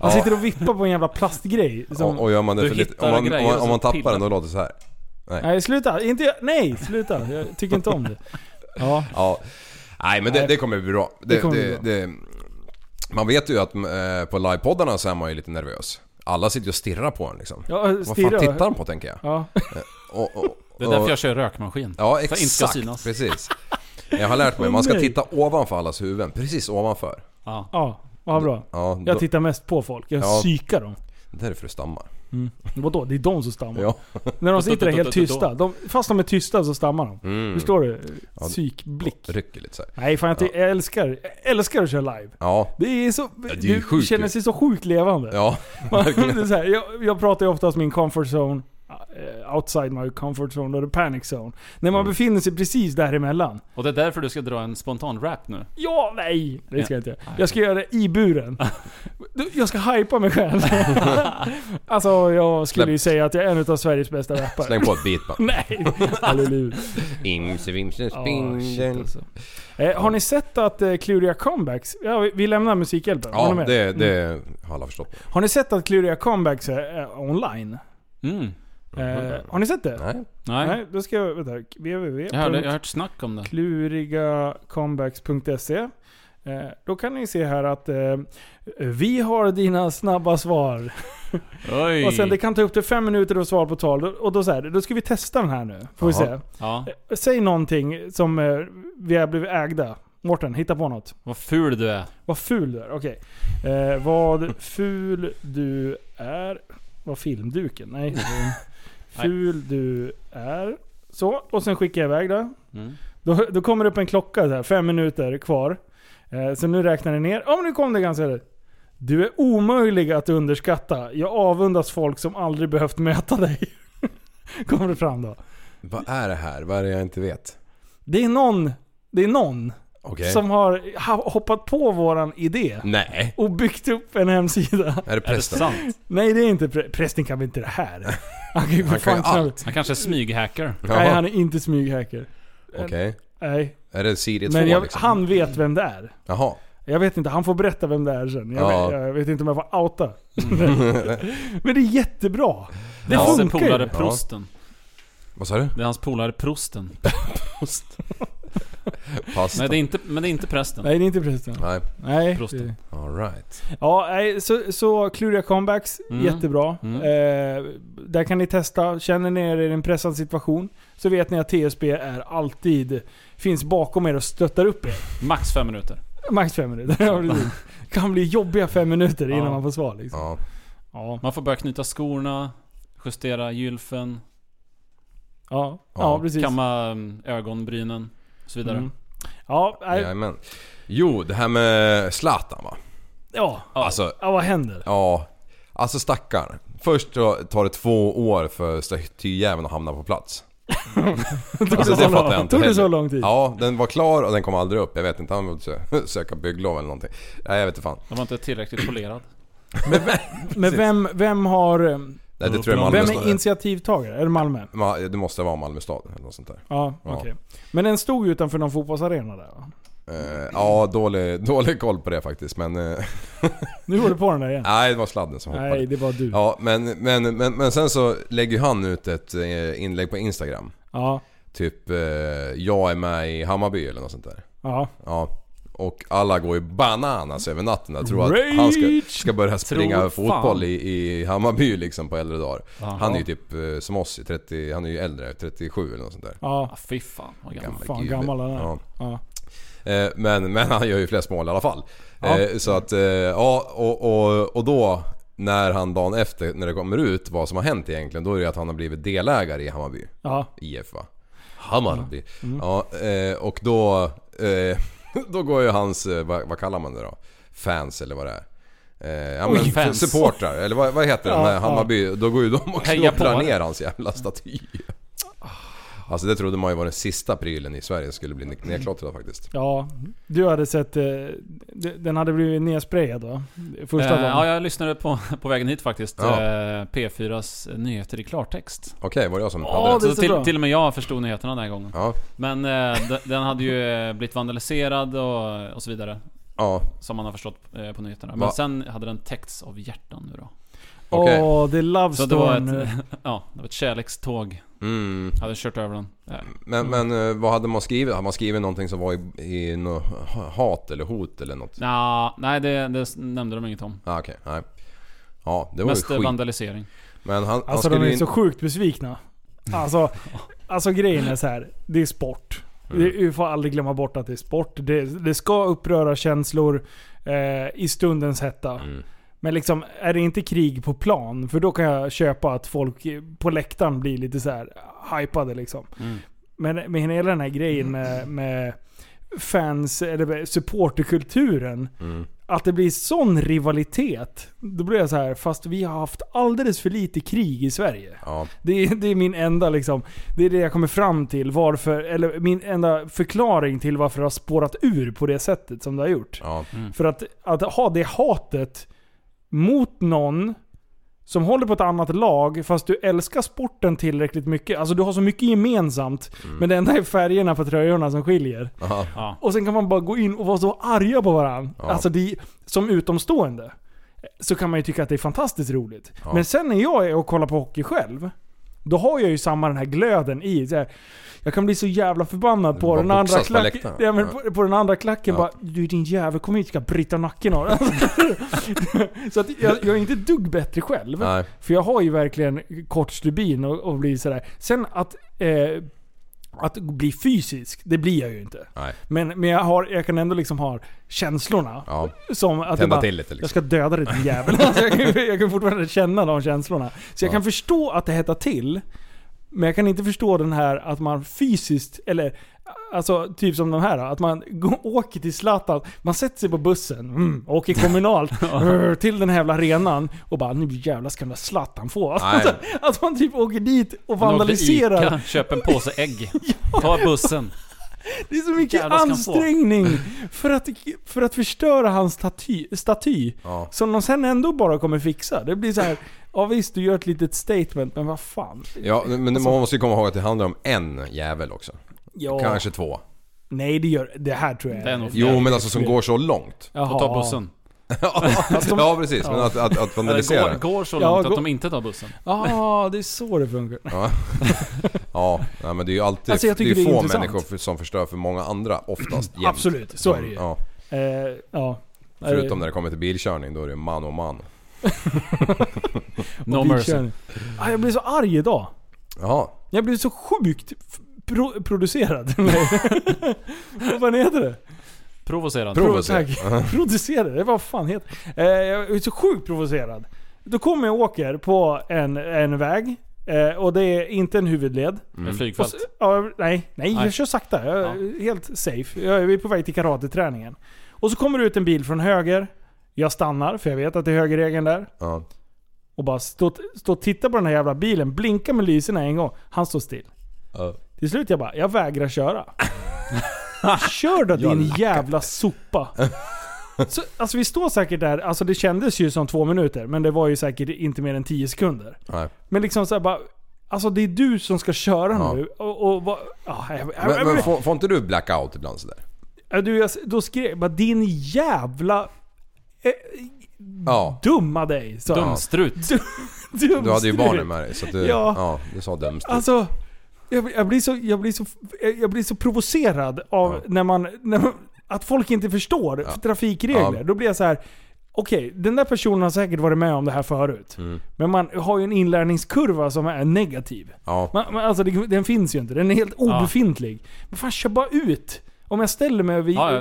Speaker 4: Han sitter och vippar på en jävla plastgrej. Som,
Speaker 5: och, och gör man det
Speaker 7: Du
Speaker 5: för lite,
Speaker 7: hittar
Speaker 5: om man, om
Speaker 7: grejer
Speaker 5: man,
Speaker 7: och
Speaker 5: om man
Speaker 7: så
Speaker 5: tappar
Speaker 7: pillar.
Speaker 5: den då låter det så här.
Speaker 4: Nej, sluta. Inte, jag- nej, sluta. Jag tycker inte om det. Ja.
Speaker 5: Ja. Nej men det,
Speaker 4: Nej.
Speaker 5: det kommer bli bra. Det,
Speaker 4: Det kommer bli
Speaker 5: det, det, man vet ju att eh, på livepoddarna så är man ju lite nervös. Alla sitter ju och stirrar på en liksom.
Speaker 4: Ja,
Speaker 5: Vad
Speaker 4: stirra.
Speaker 5: fan tittar de på tänker jag?
Speaker 4: Ja.
Speaker 5: Och, och,
Speaker 7: Det är därför
Speaker 5: och-
Speaker 7: jag kör rökmaskin.
Speaker 5: Ja
Speaker 7: För att inte ska
Speaker 5: exakt,
Speaker 7: synas.
Speaker 5: precis. Jag har lärt mig, man ska
Speaker 4: Nej.
Speaker 5: titta ovanför allas huvuden. Precis ovanför.
Speaker 7: Ja.
Speaker 4: ja, vad bra.
Speaker 5: Ja,
Speaker 4: Jag
Speaker 5: då-
Speaker 4: tittar mest på folk. Jag
Speaker 5: Ja.
Speaker 4: psykar dem.
Speaker 5: Därför du stammar.
Speaker 4: Vadå? Det är de som stammar.
Speaker 5: Ja.
Speaker 4: När de sitter där helt tysta. De, fast de är tysta så stammar de.
Speaker 5: Mm.
Speaker 4: Förstår du? Psykblick.
Speaker 5: Rycker lite så här.
Speaker 4: Nej, fan jag, ty- jag älskar, jag älskar att köra live.
Speaker 5: Ja.
Speaker 4: Det är så...
Speaker 5: är ju
Speaker 4: det
Speaker 5: sjukt
Speaker 4: känner
Speaker 5: ju.
Speaker 4: sig så sjukt levande.
Speaker 5: Ja.
Speaker 4: Man- det är så här, jag, jag pratar ju oftast min comfort zone, eh, outside my comfort zone och the panic zone. När
Speaker 5: Mm.
Speaker 4: man befinner sig precis däremellan.
Speaker 7: Och det är därför du ska dra en spontan rap nu.
Speaker 4: Ja, nej! Det ska jag inte göra.
Speaker 7: Nej.
Speaker 4: Jag ska göra det i buren. Du, Jag ska hypa mig själv. Alltså jag skulle ju
Speaker 5: Släpp.
Speaker 4: säga att jag är en av Sveriges bästa rappare.
Speaker 5: Släng på ett beat bara.
Speaker 4: Nej! Halleluja.
Speaker 5: Imse vimse
Speaker 4: Ja, shit
Speaker 5: spindel.
Speaker 4: alltså. eh, har ni sett att eh, kluriga comebacks... Ja, vi, vi lämnar Musikhjälpen. Har ni
Speaker 5: Ja,
Speaker 4: med? Mm.
Speaker 5: det, det har alla förstått.
Speaker 4: Har ni sett att kluriga comebacks är eh, online?
Speaker 7: Mm.
Speaker 4: Eh, har ni sett det?
Speaker 5: Nej.
Speaker 7: Nej.
Speaker 4: Nej, då ska jag... Vänta. www.
Speaker 7: Jag, hörde, jag har hört snack om det.
Speaker 4: klurigacombacks.se. Eh, Då kan ni se här att eh, vi har dina snabba svar.
Speaker 7: Oj.
Speaker 4: Och sen det kan ta upp till fem minuter att svara på tal. Och då så här, då ska vi testa den här nu. Får vi
Speaker 5: Jaha.
Speaker 4: se.
Speaker 7: Ja.
Speaker 4: Eh, Säg någonting som eh, vi har blivit ägda. Mårten, hitta på något.
Speaker 7: Vad ful du är.
Speaker 4: Vad ful du är. Okej. Eh, vad ful du är. Vad filmduken? Nej. ful du är. Så, och sen skickar jag iväg det.
Speaker 7: Mm.
Speaker 4: Då, då kommer det upp en klocka där, fem minuter kvar. Eh, så nu räknar den ner. Ja, men nu kom det ganska rätt. Du är omöjlig att underskatta. Jag avundas folk som aldrig behövt möta dig. kommer det fram då.
Speaker 5: Vad är det här? Vad är det jag inte vet?
Speaker 4: Det är någon, det är någon
Speaker 5: Okej. Mm.
Speaker 4: som har ha- hoppat på våran idé.
Speaker 5: Nej.
Speaker 4: Och byggt upp en hemsida.
Speaker 5: Är det
Speaker 7: Är det
Speaker 5: prästen?
Speaker 7: sant?
Speaker 4: Nej det är inte pre- prästen kan väl inte det här? Han kan ju för
Speaker 5: Han kan ju
Speaker 4: fan knappt.
Speaker 5: allt.
Speaker 7: Han kanske är smyghacker.
Speaker 4: Nej han
Speaker 5: Jaha.
Speaker 4: är inte smyghacker.
Speaker 5: Okej.
Speaker 4: Nej.
Speaker 5: Ehm, Är det Siri 2
Speaker 4: Men jag,
Speaker 5: liksom?
Speaker 4: han vet vem det är.
Speaker 5: Jaha.
Speaker 4: Jag vet inte, han får berätta vem det är sen. Jag,
Speaker 5: Ja. Mm.
Speaker 4: vet, jag vet inte om jag får outa. Men det är jättebra. Det
Speaker 7: Det är hans
Speaker 4: funkar
Speaker 7: polare
Speaker 4: ju.
Speaker 5: Ja.
Speaker 7: prosten.
Speaker 5: Vad sa du?
Speaker 7: Det är hans polare prosten.
Speaker 5: Pasta.
Speaker 7: Men det är inte, men det är inte prästen.
Speaker 4: Nej, det är inte prästen.
Speaker 5: Nej,
Speaker 4: Nej.
Speaker 7: Prosten.
Speaker 5: alright.
Speaker 4: Ja, nej, så, så kluriga comebacks,
Speaker 7: Mm.
Speaker 4: jättebra.
Speaker 7: Mm.
Speaker 4: Eh, där kan ni testa. Känner ni er i en pressad situation så vet ni att TSB är alltid finns bakom er och stöttar upp er.
Speaker 7: Max fem minuter.
Speaker 4: Max fem minuter. Ja, precis. kan bli jobbiga fem minuter innan
Speaker 7: Ja.
Speaker 4: man får svar. Liksom.
Speaker 5: Ja.
Speaker 4: Ja.
Speaker 7: Man får börja knyta skorna, justera gylfen,
Speaker 4: Ja. Ja,
Speaker 5: Ja.
Speaker 4: precis.
Speaker 7: kamma mm, ögonbrynen och så vidare.
Speaker 4: Mm. Ja, nej, ja.
Speaker 5: Jajamän. Jo, det här med Zlatan va?
Speaker 4: ja.
Speaker 5: Alltså,
Speaker 4: vad händer?
Speaker 5: ja. Alltså stackarn. Först så tar det två år för statyjäveln att hamna på plats. alltså, det fattar jag inte
Speaker 4: Tog det så
Speaker 5: heller.
Speaker 4: lång tid?
Speaker 5: Ja, den var klar och den kom aldrig upp. Jag vet inte, han ville sö- söka bygglov eller någonting. Nej, jag vet inte fan.
Speaker 7: Den var inte tillräckligt polerad.
Speaker 4: Men vem, vem har... eh,
Speaker 5: Nej, det tror jag Malmö
Speaker 4: Vem är
Speaker 5: stad.
Speaker 4: initiativtagare? Är det Malmö?
Speaker 5: Ma- Det måste vara Malmö stad eller något sånt där.
Speaker 4: Ja,
Speaker 5: Ja.
Speaker 4: okej. Men den stod ju utanför någon fotbollsarena där va?
Speaker 5: Eh, ja, dålig, dålig koll på det faktiskt men... eh,
Speaker 4: Nu var du på den där igen.
Speaker 5: nej, det var sladden som hoppade.
Speaker 4: Nej, det var du. Ja.
Speaker 5: Ja, men, men, men, men sen så lägger ju han ut ett eh, inlägg på Instagram.
Speaker 4: Ja.
Speaker 5: Typ eh, “Jag är med i Hammarby” eller något sånt där. Ja. Och alla går ju bananas över natten och tror att han ska, ska börja springa
Speaker 7: Tror
Speaker 5: fotboll
Speaker 7: fan.
Speaker 5: i, i Hammarby liksom på äldre dagar.
Speaker 7: Jaha.
Speaker 5: Han är ju typ eh, som oss, i 30, han är ju äldre, 37 eller något sånt där.
Speaker 4: Ja.
Speaker 7: Ah, fy fan vad gammal.
Speaker 5: Gammal
Speaker 4: fan,
Speaker 5: gubbe.
Speaker 4: gammal han är.
Speaker 5: Alltså, Ja.
Speaker 4: Ja.
Speaker 5: Eh, Men, men han gör ju flest mål i alla fall.
Speaker 4: Ja.
Speaker 5: Eh, Så att, eh, ja och, och, och då när han dagen efter, när det kommer ut vad som har hänt egentligen, då är det att han har blivit delägare i Hammarby
Speaker 4: Ja.
Speaker 5: IF va? Hammarby.
Speaker 7: Mm.
Speaker 5: Ja, eh, och då, eh, då går ju hans, eh, vad, vad kallar man det då? Fans eller vad det är. Eh, ja, men
Speaker 7: Oj, fans.
Speaker 5: supportrar, eller vad, vad heter det?
Speaker 4: Ja,
Speaker 5: När
Speaker 4: ja.
Speaker 5: Hammarby, då går ju de och
Speaker 7: Heja
Speaker 5: knopprar
Speaker 7: på.
Speaker 5: ner hans jävla staty. Alltså det trodde man ju var den sista prylen i Sverige som skulle bli ne- nedklottrad faktiskt.
Speaker 4: Ja. Du hade sett... eh, d- Den hade blivit nedsprayad va? Första
Speaker 7: Eh,
Speaker 4: dagen.
Speaker 7: ja, jag lyssnade på, på vägen hit faktiskt.
Speaker 5: Ja.
Speaker 7: Eh, P4s nyheter i klartext.
Speaker 5: Okej, var det jag som
Speaker 4: Ja, det
Speaker 5: hade
Speaker 4: är
Speaker 5: rätt?
Speaker 4: så
Speaker 7: Så till,
Speaker 4: bra.
Speaker 7: till och med jag förstod nyheterna den här gången.
Speaker 5: Ja,
Speaker 7: Men eh, d- den hade ju eh, blivit vandaliserad och, och så vidare.
Speaker 5: ja.
Speaker 7: Som man har förstått eh, på nyheterna. Men
Speaker 5: Va?
Speaker 7: sen hade den täckts av hjärtan nu då.
Speaker 4: Åh,
Speaker 5: okej.
Speaker 4: det är love
Speaker 7: Så det var
Speaker 4: storm nu.
Speaker 7: ett, ja, det var ett kärlekståg.
Speaker 5: Mm.
Speaker 7: Hade kört över den. Eh,
Speaker 5: Men, men eh, vad hade man skrivit? Hade man skrivit någonting som var i, i nå- hat eller hot eller något?
Speaker 7: nja, nej, det, det nämnde de inget om.
Speaker 5: Ah, Okej, nej. Ja, det var
Speaker 7: Mest
Speaker 5: ju
Speaker 7: eh,
Speaker 5: skit.
Speaker 7: vandalisering.
Speaker 5: Men han, han
Speaker 4: Alltså de
Speaker 5: skulle
Speaker 4: är
Speaker 5: ju
Speaker 4: så
Speaker 5: in...
Speaker 4: sjukt besvikna. Alltså, alltså grejen är så här. det är sport. Det,
Speaker 5: Mm.
Speaker 4: vi får aldrig glömma bort att det är sport. Det, det ska uppröra känslor eh, i stundens hetta.
Speaker 5: Mm.
Speaker 4: Men liksom, är det inte krig på plan, för då kan jag köpa att folk på läktaren blir lite så här hypade liksom.
Speaker 5: Mm.
Speaker 4: Men med hela den här grejen med, med fans, eller med supporterkulturen.
Speaker 5: mm.
Speaker 4: Att det blir sån rivalitet. Då blir jag så här, fast vi har haft alldeles för lite krig i Sverige.
Speaker 5: Ja,
Speaker 4: Det är, det är min enda liksom, det är det jag kommer fram till varför, eller min enda förklaring till varför det har spårat ur på det sättet som det har gjort.
Speaker 5: ja.
Speaker 4: För att, att ha det hatet mot någon som håller på ett annat lag fast du älskar sporten tillräckligt mycket. Alltså du har så mycket gemensamt. Men det enda är färgerna på tröjorna som skiljer.
Speaker 5: Aha.
Speaker 4: Och sen kan man bara gå in och vara så arga på varandra.
Speaker 5: Ja.
Speaker 4: Alltså det, som utomstående. Så kan man ju tycka att det är fantastiskt roligt.
Speaker 5: Ja.
Speaker 4: Men sen när jag är och kollar på hockey själv. Då har jag ju samma den här glöden i. Så här, jag kan bli så jävla förbannad
Speaker 5: Du
Speaker 4: på
Speaker 5: bara
Speaker 4: den, andra
Speaker 5: boxas på
Speaker 4: klack,
Speaker 5: läktaren.
Speaker 4: ja, men på, på den andra klacken.
Speaker 5: Ja.
Speaker 4: Bara, du din jävel, kom hit ska jag bryta nacken av dig. så att jag, jag är inte ett dugg bättre själv.
Speaker 5: Nej.
Speaker 4: För jag har ju verkligen kort stubin och, och blir sådär. Sen att, eh, att bli fysisk, det blir jag ju inte.
Speaker 5: Nej.
Speaker 4: Men, men jag, har, jag kan ändå liksom ha känslorna.
Speaker 5: Ja.
Speaker 4: Som att jag
Speaker 5: Tända
Speaker 4: bara,
Speaker 5: till lite
Speaker 4: jag
Speaker 5: liksom.
Speaker 4: ska döda dig din jävel. Alltså, jag, kan, jag kan fortfarande känna de känslorna. Så jag
Speaker 5: Ja.
Speaker 4: kan förstå att det hettar till. Men jag kan inte förstå den här att man fysiskt, eller alltså typ som de här, att man gå- åker till Zlatan, man sätter sig på bussen, mm, åker kommunalt rr, till den här jävla arenan och bara nu jävlar ska den där Zlatan få. Alltså, att man typ åker dit och
Speaker 7: Man åkte
Speaker 4: vandaliserar.
Speaker 7: Ica, köp en påse ägg. Ta bussen.
Speaker 4: Det är så mycket
Speaker 7: Jävlar ska han få.
Speaker 4: ansträngning för att, för att förstöra hans staty, staty
Speaker 5: Ja.
Speaker 4: som de sen ändå bara kommer fixa. Det blir så här. ja visst du gör ett litet statement, men vad fan.
Speaker 5: Ja, men man måste ju komma ihåg att det handlar om en jävel också.
Speaker 4: Ja,
Speaker 5: Kanske två.
Speaker 4: Nej det gör, det här tror jag
Speaker 7: Det är nog
Speaker 5: Jo, men alltså som går så långt.
Speaker 4: Jaha.
Speaker 7: Och ta bussen.
Speaker 4: Alltså,
Speaker 5: ja precis, men att, att, att vandalisera.
Speaker 7: går, går så
Speaker 4: Ja,
Speaker 7: långt
Speaker 4: gå-
Speaker 7: att de inte tar bussen.
Speaker 4: Ja, ah, det är så det funkar.
Speaker 5: Ja. ja, nej, men det är ju alltid
Speaker 4: Alltså, jag
Speaker 5: det är
Speaker 4: tycker
Speaker 5: ju
Speaker 4: det är
Speaker 5: få
Speaker 4: intressant.
Speaker 5: människor för, som förstör för många andra oftast jämt.
Speaker 4: Absolut, så är det ju.
Speaker 5: Ja,
Speaker 4: Eh, ja.
Speaker 5: förutom när det kommer till bilkörning, då är det man och man.
Speaker 7: No mercy.
Speaker 4: Eh, Bilkörning. Ah, jag blir så arg idag.
Speaker 5: Jaha,
Speaker 4: Jag blir så sjukt f- pro- producerad. Nej. vad fan heter det?
Speaker 7: Provocerande.
Speaker 5: prova se.
Speaker 4: tack. Producerad? Det är vad fan heter det? Eh, jag är så sjukt provocerad. Då kommer jag och åker på en, en väg. Eh, och det är inte en huvudled.
Speaker 7: Med
Speaker 4: Och så,
Speaker 7: flygfält.
Speaker 4: ja, nej, nej,
Speaker 7: Nej.
Speaker 4: jag kör sakta. Jag är helt safe. Jag är vi är på väg till karateträningen. Och så kommer det ut en bil från höger. Jag stannar, för jag vet att det är högerregeln där.
Speaker 5: Ja.
Speaker 4: Och bara stå, stå och titta på den här jävla bilen. Blinka med lyserna en gång. Han står still.
Speaker 5: Ja.
Speaker 4: Till slut jag bara, jag vägrar köra. Kör då din jävla sopa. Så, alltså vi står säkert där, alltså det kändes ju som två minuter, men det var ju säkert inte mer än tio sekunder.
Speaker 5: Nej.
Speaker 4: Men liksom såhär bara, alltså det är du som ska köra
Speaker 5: Ja.
Speaker 4: nu. Och, och vad- ja, jag- jag-
Speaker 5: Men, men
Speaker 4: jag-
Speaker 5: får, får inte du blackout ibland sådär?
Speaker 4: jag- du, jag, då skrek jag bara, din jävla eh,
Speaker 5: Ja.
Speaker 4: dumma dig. Så.
Speaker 7: Dumstrut.
Speaker 4: Dumstrut.
Speaker 5: Du hade ju barnen med dig så att du, ja.
Speaker 4: Ja.
Speaker 5: du sa dömst ut.
Speaker 4: Alltså, jag, jag, blir så, jag, blir så, eh, jag blir så provocerad av
Speaker 5: Ja.
Speaker 4: när, man, när man... Att folk inte förstår
Speaker 5: Ja.
Speaker 4: trafikregler.
Speaker 5: Ja.
Speaker 4: Då blir jag så här. Okej, den där personen har säkert varit med om det här förut.
Speaker 5: Mm.
Speaker 4: Men man har ju en inlärningskurva som är negativ.
Speaker 5: Ja.
Speaker 4: Man, man, alltså det, den finns ju inte. Den är helt
Speaker 7: Ja.
Speaker 4: obefintlig. Men fan, kör bara ut! Om jag ställer mig vid...
Speaker 7: Ja, ja.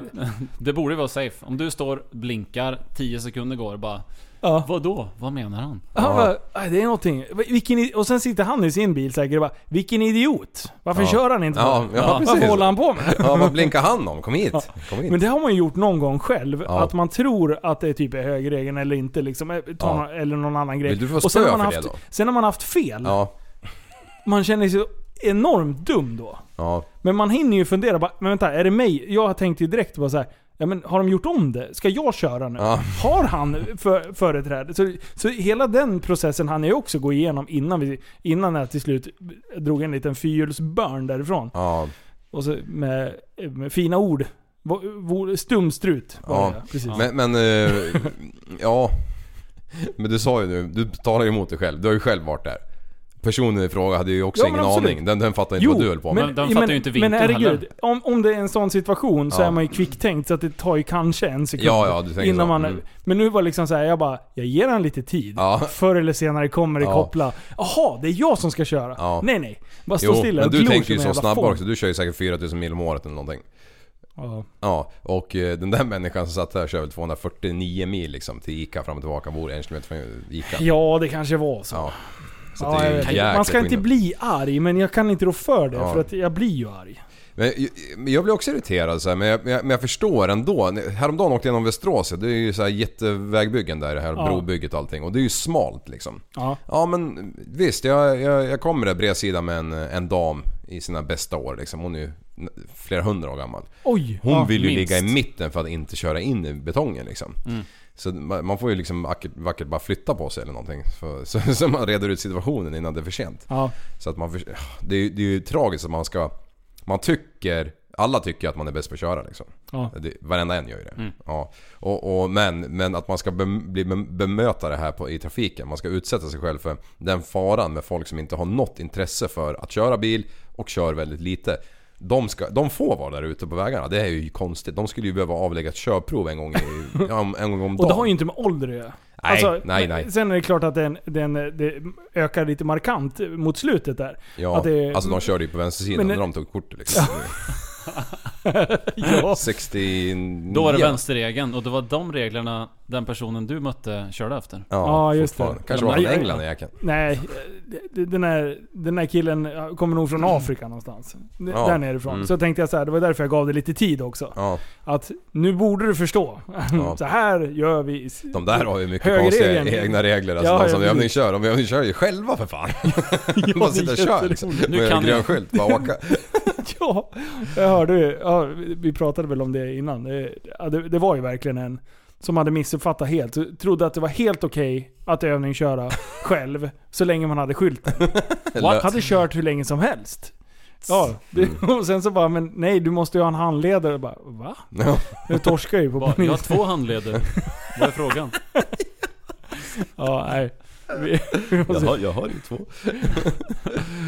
Speaker 7: det borde vara safe. Om du står, blinkar, 10 sekunder går bara.
Speaker 4: Ja.
Speaker 7: Vad då? Vad menar han?
Speaker 4: Han bara, "Aj, det är någonting. Vilken, i- och sen sitter han i sin bil säkert och bara, vilken idiot. Varför
Speaker 5: Ja.
Speaker 4: kör han inte?
Speaker 5: Ja, ja,
Speaker 4: Varför
Speaker 5: precis.
Speaker 4: håller han på med?
Speaker 5: ja, vad blinkar han om? Kom hit! Kom hit.
Speaker 4: Men det har man ju gjort någon gång själv.
Speaker 5: Ja.
Speaker 4: Att man tror att det är typ är högerregeln eller inte. Liksom, eh, ta
Speaker 5: Ja.
Speaker 4: någon, eller någon annan grej.
Speaker 5: Vill du få
Speaker 4: sen
Speaker 5: spö
Speaker 4: har man
Speaker 5: för
Speaker 4: haft,
Speaker 5: det då?
Speaker 4: Sen har man haft fel.
Speaker 5: Ja,
Speaker 4: Man känner sig enormt dum då.
Speaker 5: ja,
Speaker 4: Men man hinner ju fundera. Bara, men vänta, är det mig? Jag tänkte ju direkt bara så här. Ja, men har de gjort om det? Ska jag köra nu?
Speaker 5: Ja.
Speaker 4: Har han för, företräde? Så, så hela den processen hann jag ju också gå igenom innan, vi, innan jag till slut drog en liten fyrhjulsburn därifrån.
Speaker 5: ja.
Speaker 4: Och så med, med fina ord. Vo- vo- Stumstrut var
Speaker 5: Ja.
Speaker 4: det, precis.
Speaker 5: Men, men eh, ja. Men du sa ju nu, du talar ju emot dig själv. Du har ju själv varit där. Personen i fråga hade ju också
Speaker 4: Ja, men
Speaker 5: ingen
Speaker 4: absolut.
Speaker 5: aning. Den, den fattar inte vad du höll på med.
Speaker 7: men- den fattar ju inte vinkeln
Speaker 4: Men herregud,
Speaker 7: heller.
Speaker 4: om, om det är en sån situation så
Speaker 5: Ja.
Speaker 4: är man ju kvicktänkt så att det tar ju kanske en sekund.
Speaker 5: Ja, ja, du tänker
Speaker 4: innan
Speaker 5: så.
Speaker 4: man,
Speaker 5: Mm.
Speaker 4: Men nu var det liksom så här, jag bara, jag ger han lite tid.
Speaker 5: Ja.
Speaker 4: Förr eller senare kommer det
Speaker 5: Ja.
Speaker 4: koppla. Jaha, det är jag som ska köra.
Speaker 5: Ja.
Speaker 4: Nej, nej. Bara stå
Speaker 5: Jo,
Speaker 4: stilla
Speaker 5: men
Speaker 4: och
Speaker 5: du
Speaker 4: glor
Speaker 5: tänker
Speaker 4: som
Speaker 5: ju
Speaker 4: en
Speaker 5: så
Speaker 4: jävla
Speaker 5: snabbare
Speaker 4: fån.
Speaker 5: också. Du kör ju säkert 4000 mil om året eller någonting.
Speaker 4: Ja.
Speaker 5: Ja, och eh, den där människan som satt där kör väl 249 mil liksom till ICA fram och tillbaka. Bor en kilometer från ICA.
Speaker 4: ja, det kanske var så.
Speaker 5: Ja. Så
Speaker 4: Ja,
Speaker 5: att det
Speaker 4: jag
Speaker 5: är
Speaker 4: vet
Speaker 5: ju
Speaker 4: inte. man ska
Speaker 5: jäkla
Speaker 4: inte
Speaker 5: skillnad.
Speaker 4: bli arg, men jag kan inte rå för det.
Speaker 5: Ja.
Speaker 4: För att jag blir ju arg.
Speaker 5: Men jag, men jag blir också irriterad så här, men, jag, men jag- men jag förstår ändå. Häromdagen åkte jag genom Västerås. Det är ju så här jättevägbyggen där, det här
Speaker 4: Ja.
Speaker 5: brobygget och allting. Och det är ju smalt liksom.
Speaker 4: Ja.
Speaker 5: Ja men visst, jag, jag, jag kommer där bredsida med en, en dam i sina bästa år liksom. Hon är ju n- flera hundra år gammal.
Speaker 4: Oj.
Speaker 5: Hon
Speaker 4: ja.
Speaker 5: vill ju
Speaker 7: minst.
Speaker 5: ligga i mitten för att inte köra in i betongen liksom.
Speaker 4: Mm.
Speaker 5: Så man man får ju liksom vackert, vackert bara flytta på sig eller någonting. För, så, så man reder ut situationen innan det är för sent.
Speaker 4: Ja.
Speaker 5: Så att man, för- det, är, ju- det är ju tragiskt att man ska... Man tycker... Alla tycker att man är bäst på att köra liksom.
Speaker 4: Ja. Mm.
Speaker 5: Det, varenda en gör ju det. Ja. Och, och, men, men att man ska bem, bli, bem- bemöta det här på, i trafiken. Man ska utsätta sig själv för den faran med folk som inte har något intresse för att köra bil och kör väldigt lite. De, ska, de får vara där ute på vägarna. Det är ju konstigt. De skulle ju behöva avlägga ett körprov en gång, i, ja, om- en gång om dagen.
Speaker 4: Och det har ju inte med ålder att göra. Alltså,
Speaker 5: Nej, nej, nej.
Speaker 4: Sen är det klart att den, den, det ökar lite markant mot slutet där.
Speaker 5: Ja,
Speaker 4: att det-
Speaker 5: alltså de körde ju på
Speaker 4: Men-
Speaker 5: vänstersidan när de tog kortet liksom.
Speaker 4: Ja.
Speaker 5: 69...
Speaker 7: Då var det vänsterregeln och det var de reglerna den personen du mötte körde efter.
Speaker 5: Ja,
Speaker 4: Ja, just
Speaker 5: fortfarande.
Speaker 4: det.
Speaker 5: Kanske var han
Speaker 4: Ja,
Speaker 5: i
Speaker 4: ja,
Speaker 5: England
Speaker 4: ja.
Speaker 5: i jäkeln.
Speaker 4: Nej, det- det- den här, den här killen kommer nog från Afrika någonstans. D-
Speaker 5: Ja.
Speaker 4: Där nerifrån.
Speaker 5: Mm.
Speaker 4: Så tänkte jag så här, det var därför jag gav det lite tid också.
Speaker 5: Ja,
Speaker 4: Att nu borde du förstå.
Speaker 5: Ja.
Speaker 4: så här gör vi.
Speaker 5: de där har ju mycket konstiga
Speaker 4: Högerregeln.
Speaker 5: egna regler. Alltså
Speaker 4: Ja,
Speaker 5: de
Speaker 4: ja,
Speaker 5: som
Speaker 4: precis.
Speaker 5: övningskör, de övningskör ju själva för fan. de sitter och kör liksom.
Speaker 7: Nu
Speaker 5: Med
Speaker 7: kan
Speaker 5: en grön
Speaker 7: jag-
Speaker 5: skylt, bara åka.
Speaker 4: Ja, jag hörde ju- ja, Vi pratade väl om det innan. Det, ja, det, det var ju verkligen en som hade missuppfattat helt. Trodde att det var helt okej att övningsköra själv så länge man hade skylten.
Speaker 5: Eller-
Speaker 4: Hade kört hur länge som helst. Ja, det,
Speaker 5: Mm.
Speaker 4: och sen så bara, men nej du måste ju ha en handledare. Och bara, va?
Speaker 5: Ja.
Speaker 4: Nu torskar jag ju på
Speaker 7: Va, Jag har
Speaker 4: banan.
Speaker 7: två handleder. Vad är frågan?
Speaker 4: Ja, nej. Vi, vi,
Speaker 5: Jag,
Speaker 4: måste,
Speaker 5: har, jag har ju två.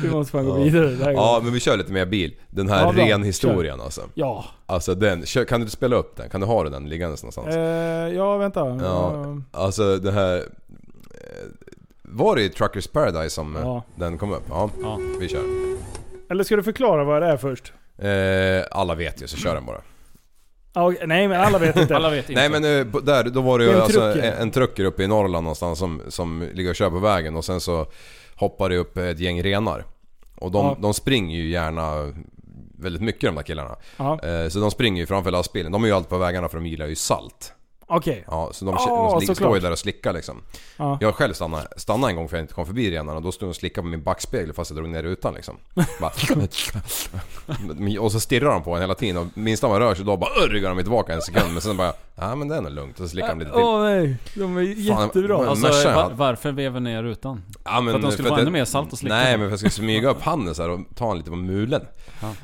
Speaker 4: vi måste fan gå
Speaker 5: Ja.
Speaker 4: vidare. Den här
Speaker 5: Ja
Speaker 4: gången.
Speaker 5: men vi kör lite mer bil. Den
Speaker 4: Ja,
Speaker 5: här
Speaker 4: bra.
Speaker 5: ren historien alltså.
Speaker 4: ja.
Speaker 5: Alltså den, kör, kan du spela upp den? Kan du ha den liggandes någonstans?
Speaker 4: Eh, ja, vänta.
Speaker 5: Ja.
Speaker 4: Eh,
Speaker 5: Alltså det här... eh, Var det i Truckers Paradise som eh,
Speaker 4: Ja.
Speaker 5: den kom upp? Ja,
Speaker 7: Ja.
Speaker 5: vi kör.
Speaker 4: Eller ska du förklara vad det är först?
Speaker 5: Eh, alla vet ju, så kör den bara.
Speaker 4: Ja, okej, nej, men alla vet inte.
Speaker 7: Alla vet inte.
Speaker 5: Nej men eh, på- där, då var det ju
Speaker 4: Det är en
Speaker 5: en, alltså,
Speaker 4: trucker.
Speaker 5: en, en trucker uppe i Norrland någonstans som, som ligger och kör på vägen och sen så hoppar det upp ett gäng renar. Och de,
Speaker 4: Ja.
Speaker 5: de springer ju gärna väldigt mycket de där killarna.
Speaker 4: Ja.
Speaker 5: Eh, Så de springer ju framför lastbilen. De är ju alltid på vägarna för de gillar ju salt.
Speaker 4: Okej.
Speaker 5: Ja, så de,
Speaker 4: Ah,
Speaker 5: de står ju
Speaker 4: såklart.
Speaker 5: där och slickar liksom.
Speaker 4: Ja.
Speaker 5: Jag själv stannade, stannade en gång för jag inte kom förbi renarna och då stod de och slickade på min backspegel fast jag drog ner rutan liksom. Bara, och så stirrar de på en hela tiden och minst man rör sig då bara "Åh", ryggar de tillbaka en sekund men sen bara ja men det är nog lugnt och så slickar de lite
Speaker 4: Åh
Speaker 5: till.
Speaker 4: nej, de är jättebra.
Speaker 5: vad-
Speaker 7: Alltså,
Speaker 5: Merca jag
Speaker 7: var,
Speaker 5: hade.
Speaker 7: varför vevar ni ner rutan?
Speaker 5: Ja, men,
Speaker 7: för att de skulle få
Speaker 5: jag-
Speaker 7: ännu mer salt att slicka
Speaker 5: Nej
Speaker 7: på.
Speaker 5: men för jag skulle smyga upp handen så här och ta en lite på mulen.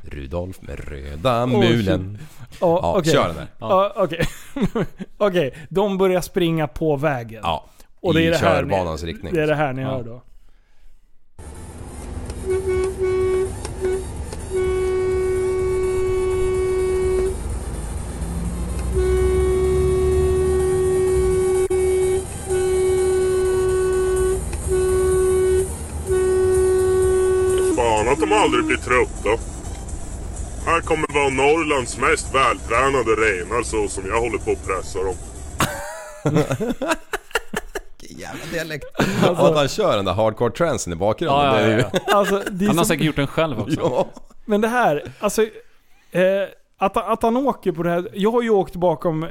Speaker 5: Rudolf med röda
Speaker 4: Åh,
Speaker 5: mulen.
Speaker 4: Ja,
Speaker 5: Ja,
Speaker 4: okej.
Speaker 5: kör den där.
Speaker 4: Ja, Okej, Okej, de börjar springa på vägen.
Speaker 5: Ja.
Speaker 4: Och det
Speaker 5: I
Speaker 4: är det här
Speaker 5: körbanans
Speaker 4: ni,
Speaker 5: riktning.
Speaker 4: Det är det här ni
Speaker 7: Ja.
Speaker 4: hör då.
Speaker 8: Fan att de aldrig blir trötta. Här kommer vara Norrlands mest vältränade renar så som jag håller på att pressa dem.
Speaker 5: Jävla dialekt. och att han kör den där hardcore transen i bakgrunden.
Speaker 7: Ja,
Speaker 5: det
Speaker 7: ja,
Speaker 5: är ju-
Speaker 7: ja, ja.
Speaker 4: Alltså, det är
Speaker 7: Han har
Speaker 4: så,
Speaker 7: säkert gjort den själv också.
Speaker 5: Ja.
Speaker 4: men det här, alltså... Eh, att, att han åker på det här. Jag har ju åkt bakom eh,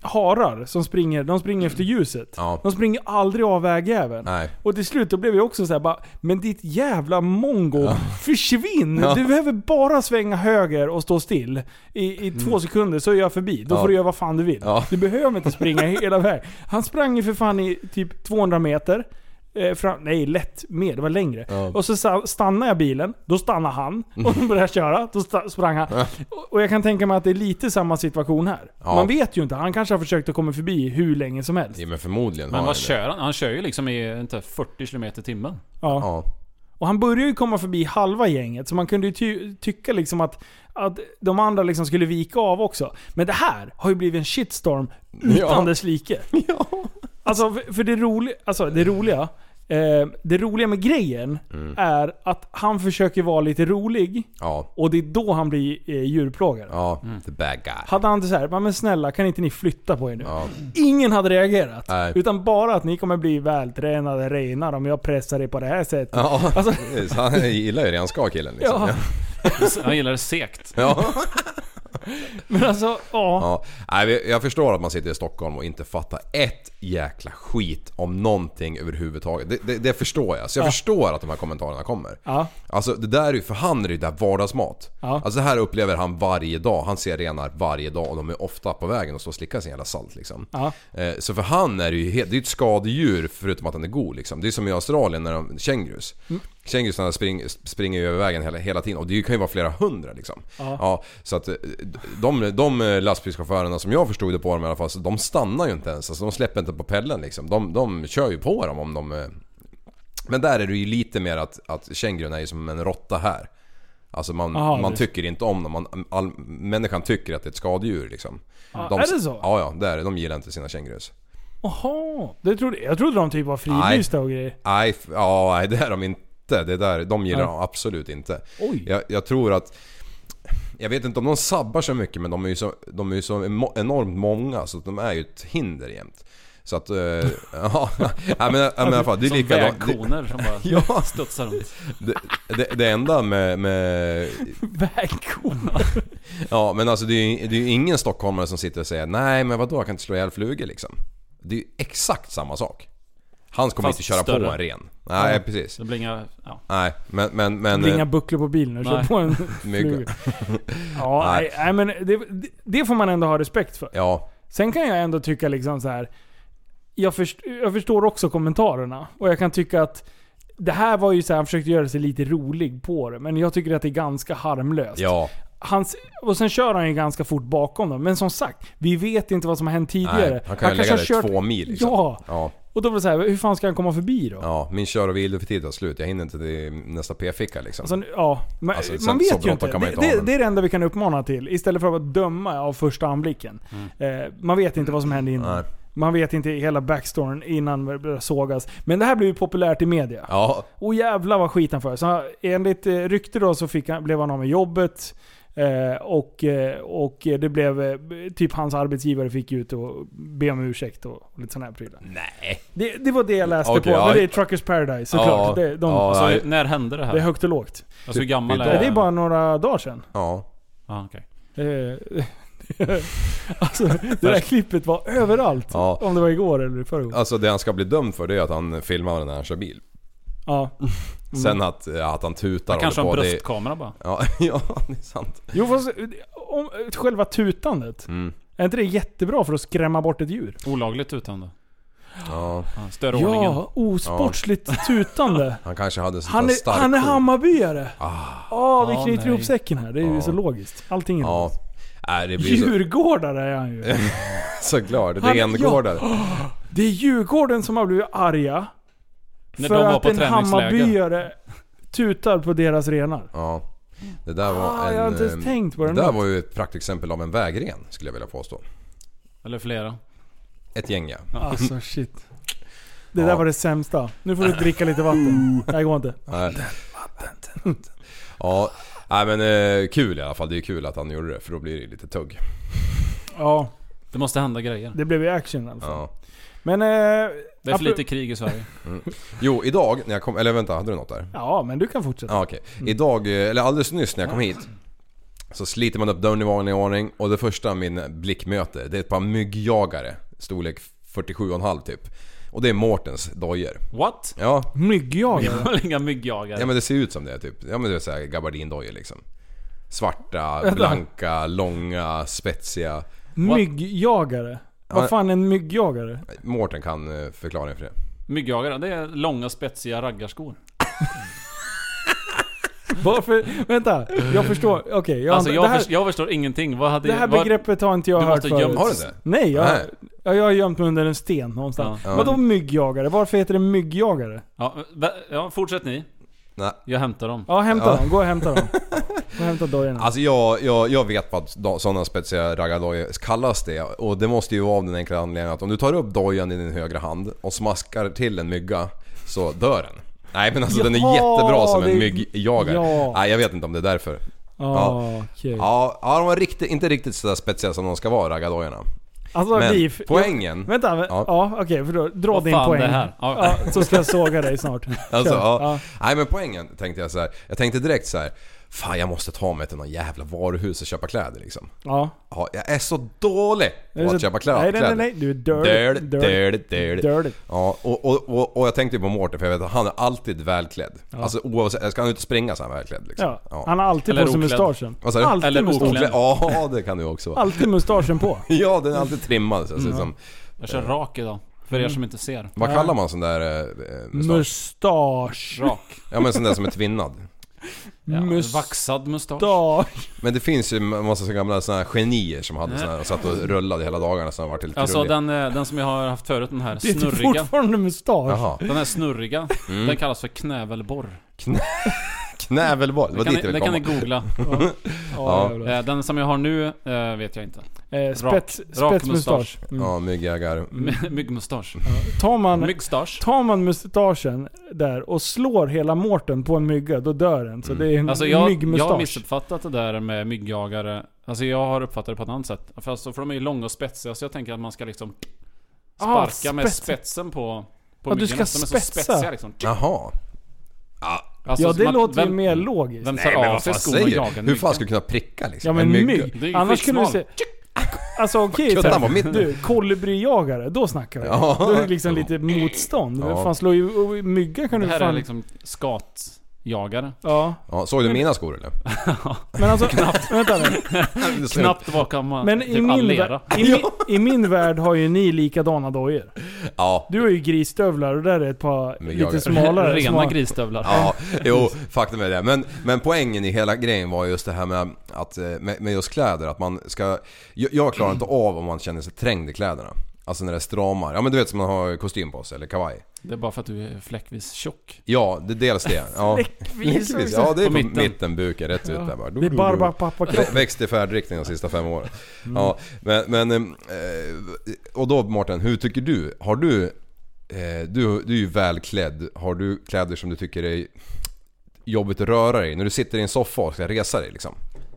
Speaker 4: harar som springer, de springer efter ljuset.
Speaker 5: Ja.
Speaker 4: De springer aldrig av vägjäveln.
Speaker 5: Nej.
Speaker 4: Och till slut då blev jag också så här, bara, men ditt jävla mongo, försvinn!
Speaker 5: Ja.
Speaker 4: Du behöver bara svänga höger och stå still. I, i två sekunder så är jag förbi. Då
Speaker 5: Mm. Ja.
Speaker 4: får du göra vad fan du vill.
Speaker 5: Ja.
Speaker 4: Du behöver inte springa hela vägen. Han sprang ju för fan i typ 200 meter. Eh, fram, nej, lätt mer. Det var längre.
Speaker 5: Ja. Mm.
Speaker 4: Och så sa- stannade jag bilen. Då stannade han. Och då började jag köra. Då sta- sprang han. Och, och jag kan tänka mig att det är lite samma situation här.
Speaker 5: Ja.
Speaker 4: Man vet ju inte. Han kanske har försökt att komma förbi hur länge som helst.
Speaker 5: Ja, men förmodligen har
Speaker 7: Men
Speaker 5: han
Speaker 7: vad
Speaker 5: det.
Speaker 7: kör han? Han kör ju liksom i inte, 40 km i timmen.
Speaker 4: Ja.
Speaker 5: Ja.
Speaker 4: Och han började ju komma förbi halva gänget, så man kunde ju ty- tycka liksom att, att de andra liksom skulle vika av också. Men det här har ju blivit en shitstorm utan
Speaker 5: Ja.
Speaker 4: dess like. Alltså, för, för det, roli- alltså, det roliga eh, det roliga med grejen
Speaker 5: Mm.
Speaker 4: är att han försöker vara lite rolig
Speaker 5: Ja.
Speaker 4: och det är då han blir eh, djurplågare.
Speaker 5: Ja. The bad guy.
Speaker 4: Hade han inte såhär, men snälla kan inte ni flytta på er nu?
Speaker 5: Ja.
Speaker 4: Ingen hade reagerat.
Speaker 5: Nej.
Speaker 4: Utan bara att ni kommer bli vältränade renar om jag pressar er på det här sättet.
Speaker 5: Ja,
Speaker 4: Alltså-
Speaker 5: precis. han gillar ju redan ska killen liksom.
Speaker 4: Ja.
Speaker 5: Ja.
Speaker 7: Han gillar det segt.
Speaker 5: Ja.
Speaker 4: Men alltså, ja.
Speaker 5: Ja. Nej, vi- jag förstår att man sitter i Stockholm och inte fattar ett jäkla skit om någonting överhuvudtaget. Det, det, det förstår jag. Så jag förstår att de här kommentarerna kommer.
Speaker 4: Ja.
Speaker 5: Alltså det där är ju, för han är ju där vardagsmat.
Speaker 4: Ja.
Speaker 5: Alltså det här upplever han varje dag. Han ser renar varje dag och de är ofta på vägen och står och slickar sin jävla salt liksom.
Speaker 4: Ja.
Speaker 5: Eh, Så för han är det ju helt, det är ju ett skadedjur förutom att han är god liksom. Det är som i Australien när de, kängurus.
Speaker 4: Mm.
Speaker 5: Kängurusarna spring, springer ju över vägen hela, hela tiden och det kan ju vara flera hundra liksom. Ja. så att eh, de, de eh, lastbilschaufförerna som jag förstod det på dem i alla fall, så de stannar ju inte ens. Alltså de släpper inte på pellen liksom. De, de kör ju på dem om de... eh, Men där är det ju lite mer att, att kängurun är ju som en råtta här. Alltså man,
Speaker 4: Aha,
Speaker 5: man
Speaker 4: det-
Speaker 5: tycker inte om dem. Man, all, människan tycker att det är ett skadedjur liksom.
Speaker 4: är det så?
Speaker 5: Ja, ja, det är det. De gillar inte sina kängurus.
Speaker 4: Jaha, det trodde, jag trodde de typ var fridlysta och grejer.
Speaker 5: Nej, f- ja, nej, det är de inte. Det där, de gillar
Speaker 4: Nej.
Speaker 5: de absolut inte.
Speaker 4: Oj.
Speaker 5: Jag, jag tror att... Jag vet inte om de sabbar så mycket men de är ju så, de är ju så emo- enormt många så att de är ju ett hinder jämt. Så att... eh, ja, nej, men, nej, men i alla fall, det är
Speaker 7: Som
Speaker 5: likadant. Det,
Speaker 7: vägkoner som bara
Speaker 5: Ja.
Speaker 7: studsar runt.
Speaker 5: det, det, det enda med, med
Speaker 4: Vägkona.
Speaker 5: Ja men alltså det är ju, det är ju ingen stockholmare som sitter och säger nej men vadå jag kan inte slå ihjäl flugor liksom. Det är ju exakt samma sak. Han kommer
Speaker 7: Fast
Speaker 5: inte köra
Speaker 7: större.
Speaker 5: på en ren. Nej precis.
Speaker 7: Det blir inga... Ja.
Speaker 5: Nej men... men, men eh,
Speaker 4: Det är inga bucklor på bilen och kör
Speaker 7: Nej.
Speaker 4: på en
Speaker 5: mygg-
Speaker 4: fluga. Ja,
Speaker 5: Nej.
Speaker 4: nej, nej men det, det- det får man ändå ha respekt för.
Speaker 5: Ja.
Speaker 4: Sen kan jag ändå tycka liksom så här. Jag, först, jag förstår också kommentarerna och jag kan tycka att det här var ju så här, han försökte göra sig lite rolig på det, men jag tycker att det är ganska harmlöst.
Speaker 5: Ja,
Speaker 4: Hans, och sen kör han ju ganska fort bakom dem. Men som sagt, vi vet inte vad som har hänt tidigare.
Speaker 5: nej, han kan ju lägga
Speaker 4: kanske
Speaker 5: dig
Speaker 4: har
Speaker 5: två mil liksom.
Speaker 4: Ja.
Speaker 5: ja.
Speaker 4: Och då blir det så här, hur fan ska han komma förbi då?
Speaker 5: Ja, min kör och vilotid tar slut. Jag hinner inte till nästa p-ficka liksom.
Speaker 4: Alltså, ja, men,
Speaker 5: Alltså, sen
Speaker 4: man
Speaker 5: så
Speaker 4: vet ju
Speaker 5: bråttom
Speaker 4: inte.
Speaker 5: kan man
Speaker 4: Det,
Speaker 5: inte ha,
Speaker 4: det,
Speaker 5: men-
Speaker 4: det är det enda vi kan uppmana till. Istället för att döma av första anblicken. Eh, man vet inte vad som hände innan.
Speaker 5: Nej.
Speaker 4: Man vet inte hela backstoryn innan det börjar sågas. Men det här blev ju populärt i media.
Speaker 5: Ja,
Speaker 4: Och jävlar vad skit han för. Så enligt eh, rykte då så fick han, blev han av med jobbet. Eh, och, eh, och det blev, eh, typ hans arbetsgivare fick ju ut och be om ursäkt och, och lite sådana här prylar. Nej. Det, det var det jag läste
Speaker 5: Okej,
Speaker 4: på.
Speaker 5: ja.
Speaker 4: Men det är Truckers Paradise
Speaker 5: Ja,
Speaker 4: såklart. det, de,
Speaker 5: ja,
Speaker 7: Alltså,
Speaker 5: Nej.
Speaker 7: när hände det här?
Speaker 4: det är högt och lågt.
Speaker 7: alltså hur gammal
Speaker 5: idag.
Speaker 7: är
Speaker 4: Det är bara några dagar sedan.
Speaker 5: ja.
Speaker 7: Ja, okej.
Speaker 4: Eh, alltså det där klippet var överallt.
Speaker 5: Ja.
Speaker 4: Om det var igår eller i förrgår.
Speaker 5: Alltså det han ska bli dömd för det är att han filmar när han kör bil.
Speaker 4: Ja. Mm.
Speaker 5: Sen att, ja, att han tutar
Speaker 7: Han kanske
Speaker 5: håller
Speaker 7: har en
Speaker 5: på, det-
Speaker 7: bröstkamera bara.
Speaker 5: Ja, ja, det är sant.
Speaker 4: Jo fast, eh, om, själva tutandet.
Speaker 5: Mm.
Speaker 4: Är inte det jättebra för att skrämma bort ett djur?
Speaker 7: Olagligt utan då.
Speaker 5: Ja,
Speaker 7: Ja, stör ordningen.
Speaker 4: Ja, osportsligt tutande.
Speaker 5: han kanske hade sånt
Speaker 4: Han
Speaker 5: där
Speaker 4: är,
Speaker 5: starkt
Speaker 4: han är
Speaker 5: ord.
Speaker 4: Hammarbyare! Åh, vi
Speaker 7: Ah,
Speaker 4: knyter
Speaker 7: nej.
Speaker 4: ihop säcken här. Det är ju
Speaker 5: Ja.
Speaker 4: så logiskt. Allting är
Speaker 5: Ja.
Speaker 4: logiskt.
Speaker 5: Nej, det blir så,
Speaker 4: Djurgårdare är han ju.
Speaker 5: såklart.
Speaker 4: Han-
Speaker 5: Rengårdare.
Speaker 4: Det är Djurgården som har blivit arga.
Speaker 7: När
Speaker 4: för
Speaker 7: de var
Speaker 4: att
Speaker 7: på
Speaker 4: en
Speaker 7: träningsläger.
Speaker 4: Hammarbyare tutar på deras renar.
Speaker 5: Ja. Det där var
Speaker 4: Ah,
Speaker 5: en...
Speaker 4: jag har inte ens
Speaker 5: eh,
Speaker 4: tänkt på det
Speaker 5: där
Speaker 4: nu.
Speaker 5: var ju ett praktexempel av en vägren, skulle jag vilja påstå.
Speaker 7: Eller flera.
Speaker 5: Ett gäng ja.
Speaker 4: Alltså shit. Det
Speaker 5: Ja. Uh.
Speaker 4: där var det sämsta. Nu får du dricka lite vatten. Det här går inte.
Speaker 5: Nej. Ja, nej men eh, kul i alla fall. Det är kul att han gjorde det för då blir det ju lite tugg.
Speaker 4: Ja,
Speaker 7: Det måste hända grejer.
Speaker 4: det blev ju action i alla fall.
Speaker 5: Ja.
Speaker 4: Men... Eh,
Speaker 7: Det är
Speaker 4: apro-
Speaker 7: för lite krig i Sverige.
Speaker 5: Jo, idag när jag kom... Eller vänta, hade du något där?
Speaker 4: Ja, men du kan fortsätta.
Speaker 5: Ja, okej. Idag, eh, eller alldeles nyss när jag kom hit. Så sliter man upp dörren i vanlig ordning och det första min blick möter det är ett par myggjagare. Storlek 47,5 typ. Och det är Mårtens dojor.
Speaker 7: What?
Speaker 5: Ja,
Speaker 4: Myggjagare.
Speaker 7: Jag har inga myggjagare.
Speaker 5: ja men det ser ut som det typ. Ja men det är såhär gabardindojor liksom. Svarta,
Speaker 4: Vänta.
Speaker 5: blanka, långa, spetsiga.
Speaker 4: Myggjagare? Vad fan är en myggjagare?
Speaker 5: Mårten kan eh, förklaringen för det.
Speaker 7: Myggjagare, det är långa spetsiga raggarskor.
Speaker 4: Varför? Vänta, jag förstår. Okej, jag,
Speaker 7: Alltså
Speaker 4: det
Speaker 7: jag,
Speaker 4: här,
Speaker 7: förstår, jag förstår ingenting. Vad hade...
Speaker 4: det här
Speaker 7: vad-
Speaker 4: begreppet har inte jag
Speaker 7: Du
Speaker 4: hört
Speaker 7: måste
Speaker 4: förut.
Speaker 7: gömma-
Speaker 5: Har du det?
Speaker 4: Nej, jag,
Speaker 5: Nej.
Speaker 4: jag, jag har gömt mig under en sten någonstans.
Speaker 5: Ja.
Speaker 4: Vadå myggjagare? Varför heter det myggjagare?
Speaker 7: Ja, vä- ja, fortsätt ni.
Speaker 5: Nej.
Speaker 7: Jag hämtar dem.
Speaker 4: Ja, hämta
Speaker 5: Ja.
Speaker 4: dem. Gå och hämta dem. Gå och hämta dojorna.
Speaker 5: Alltså jag, jag, jag vet vad do- sådana spetsiga raggardojor kallas det och det måste ju vara av den enkla anledningen att om du tar upp dojan i din högra hand och smaskar till en mygga så dör den. Nej men alltså den är
Speaker 4: Jaha,
Speaker 5: jättebra som
Speaker 4: det
Speaker 5: en
Speaker 4: är-
Speaker 5: myggjagare.
Speaker 4: Ja.
Speaker 5: Nej jag vet inte om det är därför.
Speaker 4: ah, okej.
Speaker 5: Ja, ja de var riktigt, inte riktigt sådär spetsiga som de ska vara raggardojorna.
Speaker 4: Alltså
Speaker 5: Men
Speaker 4: Liv,
Speaker 5: poängen-
Speaker 4: Jag, vänta, vä-
Speaker 5: Ja.
Speaker 4: ja, okej. för då, dra
Speaker 7: Vad
Speaker 4: din
Speaker 7: fan
Speaker 4: poäng.
Speaker 7: det här? Ja.
Speaker 4: Ja, så ska jag såga dig snart.
Speaker 5: Alltså,
Speaker 4: Kör.
Speaker 5: ja. Nej men poängen tänkte jag så här. jag tänkte direkt så här. Fan jag måste ta mig till någon jävla varuhus och köpa kläder liksom.
Speaker 4: ja.
Speaker 5: Ja, jag är så dålig
Speaker 4: Är det
Speaker 5: på
Speaker 4: så-
Speaker 5: att köpa
Speaker 4: Nej,
Speaker 5: kläder.
Speaker 4: nej, nej, nej. Du är dirty.
Speaker 5: Dirty, dirty, dirty.
Speaker 4: Dirty.
Speaker 5: Ja, och, och, och, och jag tänkte ju på Mårten för jag vet att han är alltid välklädd. Alltså oavsett, ska han ut och springa så är han välklädd liksom.
Speaker 4: Ja. Han har alltid
Speaker 7: Eller
Speaker 4: på sig
Speaker 7: oklädd.
Speaker 4: mustaschen.
Speaker 5: Vad sa du?
Speaker 4: Alltid
Speaker 7: Eller
Speaker 4: mustaschen.
Speaker 7: oklädd.
Speaker 5: Ja, det kan du också vara.
Speaker 4: Alltid mustaschen på.
Speaker 5: Ja, den är alltid trimmad så det ser ut som...
Speaker 7: Jag
Speaker 4: Eh.
Speaker 7: kör rak idag. För
Speaker 4: Mm.
Speaker 7: er som inte ser.
Speaker 5: Vad kallar man sån där eh, eh, mustasch?
Speaker 4: Mustasch.
Speaker 7: Rak.
Speaker 5: Ja men sån där som är tvinnad.
Speaker 7: Ja,
Speaker 4: Must-
Speaker 7: Vaxad mustasch.
Speaker 4: Mustasch.
Speaker 5: Men det finns ju en massa så gamla såna här genier som hade såna här och satt och rullade hela dagarna så de varit lite
Speaker 7: Alltså
Speaker 5: rullig.
Speaker 7: den, eh, den som jag har haft förut, den här
Speaker 4: Det är inte Mm.
Speaker 7: snurriga.
Speaker 4: fortfarande mustasch.
Speaker 5: Jaha.
Speaker 7: Den här snurriga, den kallas för knävelborr.
Speaker 5: Knävelboll, det var
Speaker 7: Kan
Speaker 5: dit
Speaker 7: ni,
Speaker 5: jag ville
Speaker 7: det kan ni
Speaker 5: komma.
Speaker 7: googla.
Speaker 4: Ja,
Speaker 5: Ja.
Speaker 4: jävlar.
Speaker 7: Eh, Den som jag har nu eh, vet jag inte.
Speaker 4: Eh, spets,
Speaker 7: rak
Speaker 4: spetsmustasch. Mm.
Speaker 5: Ja, myggjägare.
Speaker 7: My- Myggmustasch.
Speaker 4: Tar, man,
Speaker 7: Myggstasch.
Speaker 4: tar man mustaschen där och slår hela Mårten på en mygga, då dör den.
Speaker 5: Mm.
Speaker 4: Så det är en
Speaker 7: Alltså jag, jag har
Speaker 4: Mm, myggmustasch.
Speaker 7: missuppfattat det där med myggjagare. Alltså jag har uppfattat det på ett annat sätt. För, alltså, för de är ju långa och spetsiga så jag tänker att man ska liksom
Speaker 4: Ah,
Speaker 7: sparka med
Speaker 4: spets-
Speaker 7: spetsen på, på
Speaker 4: Ja, du
Speaker 7: myggorna.
Speaker 4: ska
Speaker 7: de är
Speaker 4: spetsa.
Speaker 7: så spetsiga liksom.
Speaker 5: Jaha.
Speaker 7: Alltså,
Speaker 4: Ja,
Speaker 7: så
Speaker 4: det
Speaker 7: man-
Speaker 4: låter ju
Speaker 7: vem-
Speaker 4: mer logiskt.
Speaker 7: Vem tar av sig
Speaker 5: Vad
Speaker 7: skon och
Speaker 5: säger
Speaker 7: jagar
Speaker 5: du?
Speaker 7: en
Speaker 5: Hur fan
Speaker 7: mygga?
Speaker 5: ska du kunna pricka liksom?
Speaker 4: Ja men
Speaker 5: En mygga?
Speaker 7: Det är
Speaker 4: mygg.
Speaker 7: ju
Speaker 4: Annars skulle du se...
Speaker 7: skitsmal.
Speaker 4: Alltså okej
Speaker 5: Kunde han vara
Speaker 4: okay,
Speaker 5: mitt?
Speaker 4: Du, kolibrijagare. Då snackar vi.
Speaker 5: Ja.
Speaker 4: Då är det liksom lite motstånd.
Speaker 5: Ja.
Speaker 4: Fan slår ju... och Mygga kan
Speaker 7: Det
Speaker 4: du
Speaker 7: här är
Speaker 4: fan...
Speaker 7: liksom skat... jagare.
Speaker 4: Ja.
Speaker 5: Ja, såg du mina skor eller?
Speaker 4: Men alltså, vänta nu.
Speaker 7: Knappt vakar man
Speaker 4: Men
Speaker 7: typ
Speaker 4: i, min
Speaker 7: allera.
Speaker 4: vär- i, min, i min värld har ju ni likadana dojor.
Speaker 5: Ja.
Speaker 4: Du har ju grisstövlar och där är ett par
Speaker 5: Men jag-
Speaker 4: lite smalare.
Speaker 7: Rena
Speaker 4: smal-
Speaker 7: grisstövlar.
Speaker 5: Ja, jo, faktum är det. Men, men poängen i hela grejen var just det här med, att, eh, med, med just kläder. Att man ska, jag jag klarar inte av om man känner sig trängd i kläderna. Alltså när det är stramar. Ja men du vet som man har kostym på sig eller kavaj.
Speaker 7: Det är bara för att du är fläckvis tjock.
Speaker 5: Ja, det, dels det. Ja. Läckvis, Ja, det är
Speaker 7: På
Speaker 5: på
Speaker 7: mitten.
Speaker 5: mitten. buken rätt ut där bara.
Speaker 4: Det är barba pappa
Speaker 5: Vä- Växt i färdriktning de sista fem åren.
Speaker 4: Mm.
Speaker 5: Ja, men, men... ehm, eh, Och då Mårten, hur tycker du? Har du... eh, Du, du är ju välklädd. Har du kläder som du tycker är jobbigt att röra dig i? När du sitter i en soffa och ska resa dig liksom.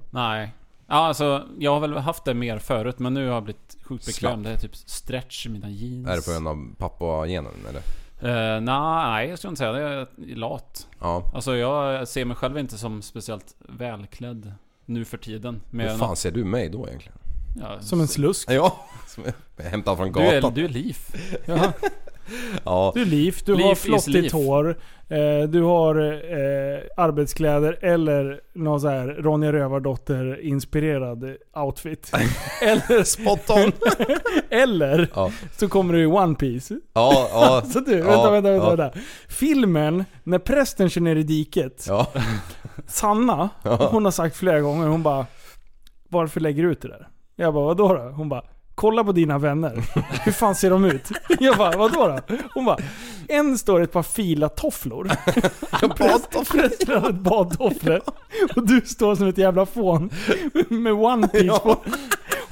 Speaker 7: Nej. Ja, alltså, jag har väl haft det mer förut, men nu har jag blivit sjukt bekväm.
Speaker 5: Slapp.
Speaker 7: Det är typ stretch i mina jeans.
Speaker 5: Är det på grund av pappa-genen eller?
Speaker 7: Eh, nej, jag skulle inte säga det. Jag är lat.
Speaker 5: Ja.
Speaker 7: Alltså, jag ser mig själv inte som speciellt välklädd nu för tiden. Mer
Speaker 5: Hur
Speaker 7: än
Speaker 5: fan
Speaker 7: att-
Speaker 5: ser du mig då egentligen?
Speaker 7: ja,
Speaker 4: Som en slusk.
Speaker 5: Ja, som jag hämtad från
Speaker 7: du är,
Speaker 5: gatan.
Speaker 7: du är liv.
Speaker 5: Ja.
Speaker 4: Du är liv, du
Speaker 7: Liv
Speaker 4: har
Speaker 7: is liv.
Speaker 4: flottigt hår. Eh, du har eh, arbetskläder eller någon så här Ronja Rövardotter inspirerad outfit. eller,
Speaker 5: Spot on!
Speaker 4: eller
Speaker 5: Ja.
Speaker 4: så kommer du i One Piece.
Speaker 5: Ja, ja.
Speaker 4: Så du,
Speaker 5: ja,
Speaker 4: vänta, vänta, vänta,
Speaker 5: ja.
Speaker 4: vänta. Filmen, när prästen kör ner i diket.
Speaker 5: Ja,
Speaker 4: Sanna, hon har sagt flera gånger, hon bara Varför lägger du ut det där? Jag bara vadå då? Hon bara Kolla på dina vänner. Hur fan ser de ut? Jag bara vadå då? Hon bara En står i ett par filatofflor. Badtofflor? ett badtofflor. Och du står som ett jävla fån. Med one piece på.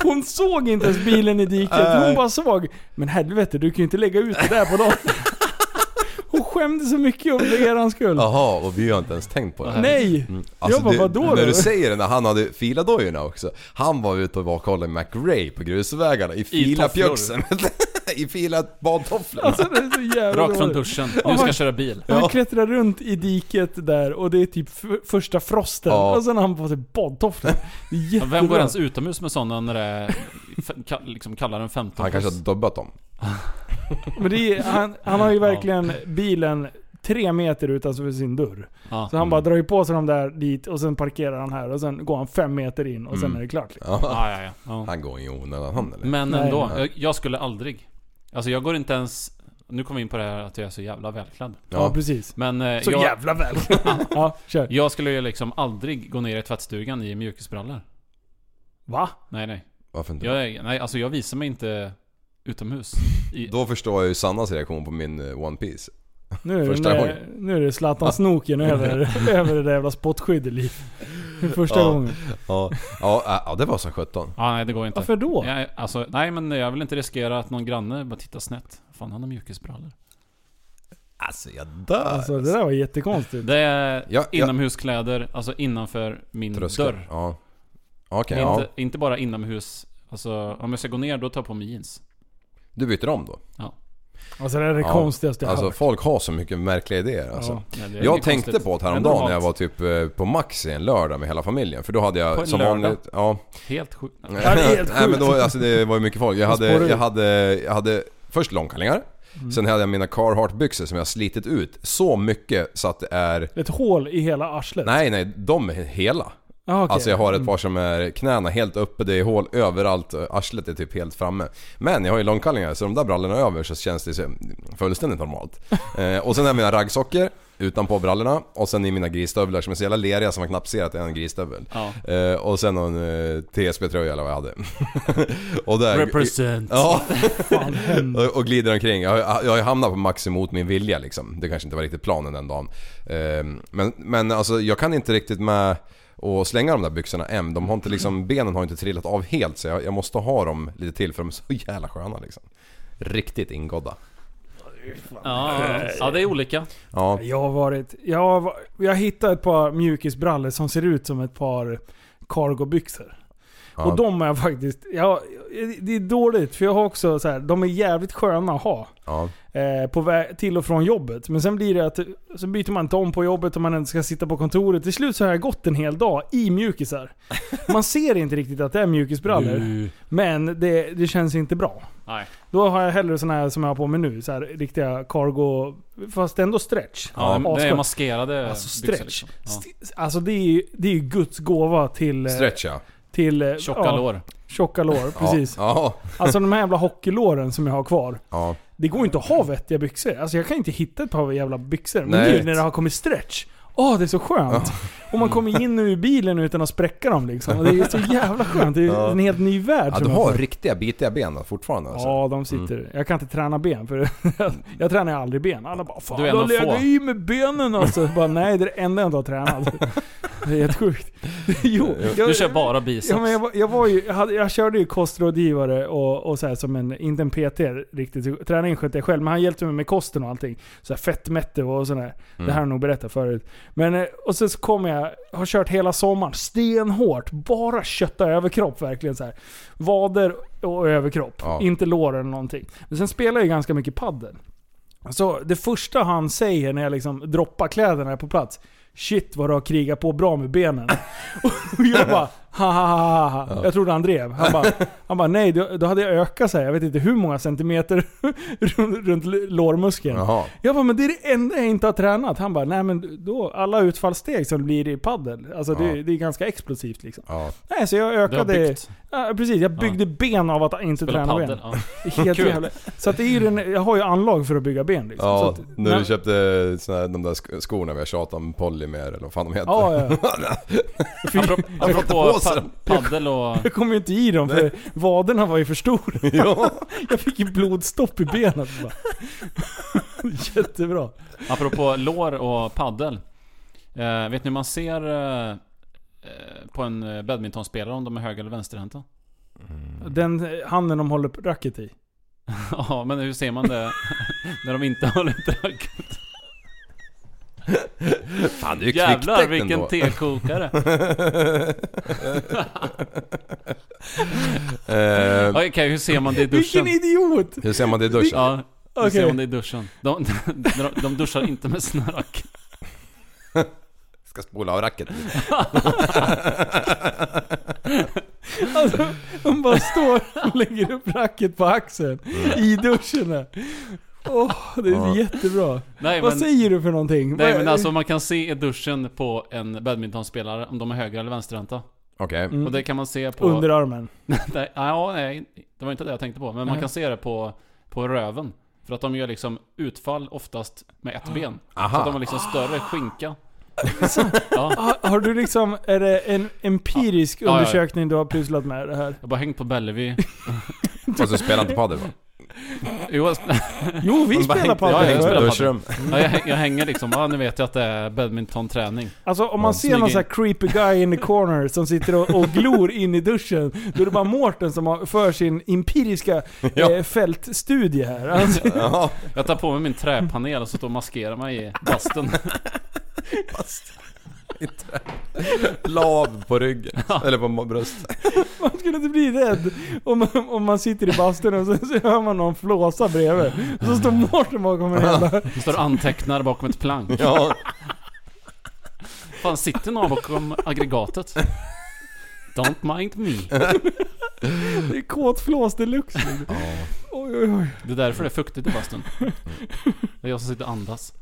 Speaker 4: Hon såg inte ens bilen i diket. Hon bara såg. Men helvete, du kan ju inte lägga ut det där på dem. Hon skämde så mycket om det eran skull.
Speaker 5: Jaha, och vi har inte ens tänkt på det. Alltså,
Speaker 4: Nej! jag bara,
Speaker 5: Mm. det-
Speaker 4: vadå då?
Speaker 5: När du säger det, när han hade filadojorna också. Han var ute och var och kollade McRae på grusvägarna i filapjöxen. I filat badtofflor.
Speaker 4: Alltså det är så jävla
Speaker 7: Rakt från
Speaker 4: dåligt.
Speaker 7: duschen. Nu ska jag köra bil.
Speaker 4: Han klättrar runt i diket där och det är typ f- första frosten.
Speaker 5: Ja.
Speaker 4: Och sen har han på sig badtofflor. Det är
Speaker 7: Ja,
Speaker 4: jättebra.
Speaker 7: Vem går ens utomhus med sådana när det är f- ka- liksom kallare än 15
Speaker 5: Han kanske har
Speaker 7: plus?
Speaker 5: dubbat dem.
Speaker 4: Men det är, han, han har ju verkligen bilen tre meter utanför sin dörr.
Speaker 7: Ja.
Speaker 4: Så han bara drar ju på sig de där dit och sen parkerar han här och sen går han fem meter in och sen
Speaker 5: Mm.
Speaker 4: är det klart. liksom.
Speaker 7: Ja, ja, ja. ja.
Speaker 5: Han går ju i onödan han eller?
Speaker 7: Men
Speaker 4: Nej.
Speaker 7: ändå. Jag, jag skulle aldrig. Alltså jag går inte ens... Nu kommer vi in på det här att jag är så jävla välklädd.
Speaker 4: Ja,
Speaker 5: Ja.
Speaker 4: precis.
Speaker 7: Men eh,
Speaker 4: Så
Speaker 7: jag,
Speaker 4: jävla väl. ja, kör.
Speaker 7: jag skulle ju liksom aldrig gå ner i tvättstugan i mjukisbrallor.
Speaker 4: Va?
Speaker 7: Nej, nej.
Speaker 5: Varför inte?
Speaker 7: Jag, är- nej, alltså jag visar mig inte utomhus. I,
Speaker 5: Då förstår jag ju Sannas reaktion på min eh, One Piece.
Speaker 4: Nu är,
Speaker 5: Första
Speaker 4: det,
Speaker 5: gången.
Speaker 4: nu är det Zlatan-snoken över, över det där jävla spottskyddet Liv. Det är Första
Speaker 5: Ja.
Speaker 4: gången.
Speaker 5: Ja, ja, äh, ja det var som sjutton.
Speaker 7: ja, nej, det går inte.
Speaker 4: Varför då?
Speaker 7: Jag, alltså, nej, men jag vill inte riskera att någon granne bara tittar snett. Fan, han har mjukisbrallor.
Speaker 5: Alltså jag dör.
Speaker 4: Alltså det där var jättekonstigt.
Speaker 7: Det är
Speaker 5: Ja, ja.
Speaker 7: inomhuskläder, alltså innanför min
Speaker 5: Tröskel.
Speaker 7: dörr.
Speaker 5: Ja. Okej,
Speaker 7: Men
Speaker 5: ja.
Speaker 7: Inte, inte bara inomhus. Alltså, om jag ska gå ner, då tar jag på mig jeans.
Speaker 5: Du byter om då?
Speaker 4: Alltså det är det
Speaker 5: Ja.
Speaker 4: konstigaste jag
Speaker 5: Alltså
Speaker 4: hört.
Speaker 5: folk har så mycket märkliga idéer alltså.
Speaker 4: Ja.
Speaker 7: Nej, det är
Speaker 5: Jag
Speaker 7: inget
Speaker 5: tänkte
Speaker 7: konstigt.
Speaker 5: på det
Speaker 7: Det
Speaker 5: häromdagen
Speaker 7: är
Speaker 5: när jag var
Speaker 7: normalt.
Speaker 5: typ eh, på Maxi en lördag med hela familjen. För då hade jag
Speaker 7: På en
Speaker 5: som
Speaker 7: lördag?
Speaker 5: vanligt... Ja.
Speaker 7: Helt sjukt.
Speaker 4: Ja, det är helt
Speaker 5: Nej men då,
Speaker 4: sjukt.
Speaker 5: alltså det var ju mycket folk. Jag hade,
Speaker 4: spårar
Speaker 5: jag
Speaker 4: ut.
Speaker 5: hade, jag hade först långkallingar.
Speaker 7: Mm.
Speaker 5: Sen hade jag mina Carhartt byxor som jag har slitit ut så mycket så att det är...
Speaker 4: Ett hål i hela arslet?
Speaker 5: Nej nej, de är hela.
Speaker 4: Ah, okej.
Speaker 5: Alltså jag
Speaker 7: Mm.
Speaker 5: har ett par som är knäna helt uppe, det är hål överallt och arslet är typ helt framme. Men jag har ju långkallingar så de där brallorna över så känns det så fullständigt normalt. eh, och sen har jag mina raggsockor utanpå brallorna och sen i mina grisstövlar som är så jävla leriga som man knappt ser att det är en grisstövel.
Speaker 7: Ja.
Speaker 5: Eh, och sen någon eh, TSB-tröja eller vad jag hade. och där,
Speaker 7: Represent.
Speaker 5: Ja,
Speaker 4: Fan, hem.
Speaker 5: och, och glider omkring. Jag, har- jag har ju hamnat på Maxi mot min vilja liksom. Det kanske inte var riktigt planen den dagen. Ehm, men, men alltså jag kan inte riktigt med att slänga de där byxorna än. De har inte liksom, benen har inte trillat av helt så jag, jag måste ha dem lite till för de är så jävla sköna liksom. Riktigt ingodda.
Speaker 7: Ja, ja. ja, det är olika.
Speaker 5: Ja,
Speaker 4: Jag har varit... Jag, har, va- jag hittade ett par mjukisbrallor som ser ut som ett par cargobyxor.
Speaker 5: ja.
Speaker 4: Och de har jag faktiskt... Jag, det är dåligt, för jag har också så här, De är jävligt sköna att ha.
Speaker 5: ja.
Speaker 4: eh, på väg till och från jobbet. Men sen blir det att så byter man inte om på jobbet och man inte ska sitta på kontoret. Till slut så har jag gått en hel dag i
Speaker 5: Mm.
Speaker 4: Mm. mjukisar. Man ser inte riktigt att det är mjukisbrallor. Men det, det känns inte bra.
Speaker 7: Nej.
Speaker 4: Då har jag hellre såna här som jag har på mig nu. Så här, riktiga cargo... Fast ändå stretch.
Speaker 7: Ja,
Speaker 4: Asgott.
Speaker 7: det är maskerade
Speaker 4: Alltså
Speaker 7: byxor
Speaker 4: stretch.
Speaker 7: liksom. Ja.
Speaker 4: St- Alltså det är ju, det är ju Guds gåva till... eh,
Speaker 5: Stretch ja.
Speaker 4: Till, eh,
Speaker 7: Tjocka
Speaker 4: ja,
Speaker 7: lår.
Speaker 4: Tjocka lår, precis.
Speaker 5: Ja.
Speaker 4: Alltså de här jävla hockeylåren som jag har kvar.
Speaker 5: ja.
Speaker 4: Det går inte att ha vettiga byxor. Alltså jag kan inte hitta ett par jävla byxor. Men
Speaker 5: Nej.
Speaker 4: nu när det har kommit stretch. Åh, det är så skönt. Och man kommer in ur bilen utan att spräcka dem liksom. Och det är så jävla skönt. Det är en helt ny värld.
Speaker 5: ja.
Speaker 4: som
Speaker 5: Du
Speaker 4: jag
Speaker 5: har
Speaker 4: får.
Speaker 5: riktiga bitiga ben då, fortfarande alltså.
Speaker 4: Ja, de sitter.
Speaker 7: Mm.
Speaker 4: Jag kan inte träna ben för jag tränar ju aldrig ben. Alla bara 'Fan,
Speaker 7: Du är
Speaker 4: du,
Speaker 7: en
Speaker 4: har
Speaker 7: av
Speaker 4: legat
Speaker 7: få.
Speaker 4: i med benen' alltså. Jag bara, Nej, det är det enda jag inte har tränat. Det är helt sjukt. Jo, jag,
Speaker 7: Du kör bara biceps.
Speaker 4: Ja, men jag, var, jag, var ju, jag, hade, jag körde ju kostrådgivare och, och så här som en, inte en PT riktigt, träningen skötte jag själv, men han hjälpte mig med kosten och allting. Så här fettmätte och sådär. Det här har jag nog berättat förut. Men, eh, och sen så kommer jag, har kört hela sommaren stenhårt, bara kötta överkropp verkligen så här. Vader och överkropp,
Speaker 5: Ja.
Speaker 4: inte lår eller någonting. Men sen spelar jag ju ganska mycket padel. Så det första han säger när jag liksom droppar kläderna här på plats. Shit vad du har krigat på bra med benen. Och jag bara ha, ha, ha, ha, ha. Jag trodde han drev. Han bara, han bara nej, då, då hade jag ökat så här. jag vet inte hur många centimeter runt, runt lårmuskeln.
Speaker 5: Jaha.
Speaker 4: Jag bara, men det är det enda jag inte har tränat. Han bara, nej men då, alla utfallssteg som det blir i paddel. Alltså det,
Speaker 5: Ja.
Speaker 4: det är ganska explosivt liksom.
Speaker 5: Ja.
Speaker 4: Nej, så jag
Speaker 7: Du har
Speaker 4: ökade...
Speaker 7: byggt.
Speaker 4: Ja, precis, jag byggde ben av att inte
Speaker 7: Spela
Speaker 4: träna ben.
Speaker 7: padel. Ja.
Speaker 4: Det är Helt
Speaker 7: Kul.
Speaker 4: jävla. Så att det är ju den, jag har ju anlag för att bygga ben liksom. så
Speaker 5: Ja,
Speaker 4: att,
Speaker 5: nu
Speaker 4: men-
Speaker 5: du köpte såna här, de där sk- skorna vi har tjatat om, polymer eller vad fan de heter.
Speaker 4: Ja, ja. Fy-
Speaker 7: Apropå
Speaker 5: på sig
Speaker 7: pa-
Speaker 5: dem.
Speaker 7: paddel och...
Speaker 4: Jag kom ju inte i dem för vaderna var ju för stora.
Speaker 5: ja.
Speaker 4: Jag fick ju blodstopp i benet. Bara. Jättebra.
Speaker 7: Apropå lår och paddel. Eh, vet ni hur man ser eh, eh, på en eh, badmintonspelare om de är höger eller vänsterhänta? Mm.
Speaker 4: Den eh, handen de håller racket i.
Speaker 7: ja, men hur ser man det när de inte håller drag?
Speaker 5: Fan det är ju
Speaker 7: Jävlar
Speaker 5: kvicktäckt
Speaker 7: vilken
Speaker 5: ändå.
Speaker 7: tekokare.
Speaker 5: Eh,
Speaker 7: Okej, hur ser man det i duschen?
Speaker 4: Vilken idiot!
Speaker 5: hur ser man det i duschen?
Speaker 7: Ja, hur ser
Speaker 4: Okej.
Speaker 7: man det i duschen? De, de, de duschar inte med snörök.
Speaker 5: Ska spola av racket.
Speaker 4: Alltså, de bara står och lägger upp racket på axeln.
Speaker 7: Mm.
Speaker 4: I duschen där. Åh, det är
Speaker 5: Ja.
Speaker 4: jättebra.
Speaker 7: Nej,
Speaker 4: Vad
Speaker 7: men,
Speaker 4: säger du för någonting?
Speaker 7: nej
Speaker 4: Vad-
Speaker 7: men alltså man kan se i duschen på en badmintonspelare om de är höger eller vänsterhänta.
Speaker 5: Okej.
Speaker 4: Mm.
Speaker 7: Och det kan man se på...
Speaker 4: Underarmen.
Speaker 7: Nej, ja, nej, det var inte det jag tänkte på. Men man
Speaker 4: Nej.
Speaker 7: kan se det på, på röven. För att de gör liksom utfall oftast med ett ben. Så att de har
Speaker 5: Ah. Aha.
Speaker 7: liksom större skinka. ja,
Speaker 4: Har, har du liksom, är det en empirisk
Speaker 7: Ja, ja, ja.
Speaker 4: undersökning du har pysslat med det här?
Speaker 7: jag har bara hängt på Bellevue.
Speaker 5: Fast du spelar inte padel va?
Speaker 7: Jo, jag,
Speaker 4: Jo, vi spelar på
Speaker 7: Ja, jag spelar padel.
Speaker 5: Duschrum.
Speaker 7: ja, jag, häng- jag hänger liksom. Ja, nu vet jag att det är badmintonträning.
Speaker 4: Alltså om man
Speaker 7: Ja,
Speaker 4: ser någon
Speaker 7: snygg
Speaker 4: sån här creepy guy in the corner som sitter och, och glor in i duschen. Då är det bara Mårten som har för sin empiriska
Speaker 5: Ja.
Speaker 4: eh, fältstudie här. Alltså,
Speaker 5: Jaha.
Speaker 7: Jag tar på mig min träpanel och så står och maskerar mig i bastun.
Speaker 5: Lav på ryggen. Eller på ma- bröstet.
Speaker 4: man skulle inte bli rädd om, man- om man sitter i bastun och så, så hör man någon flåsa bredvid. Och så står Mårten bakom en jävla...
Speaker 7: Jag Står och antecknar bakom ett plank.
Speaker 5: Ja.
Speaker 7: Fan, sitter någon bakom aggregatet? Don't mind me.
Speaker 4: Det är kåtflås deluxe. liksom. Oj, oj, oj.
Speaker 7: Det är därför det är fuktigt i bastun. Det är jag som sitter och andas.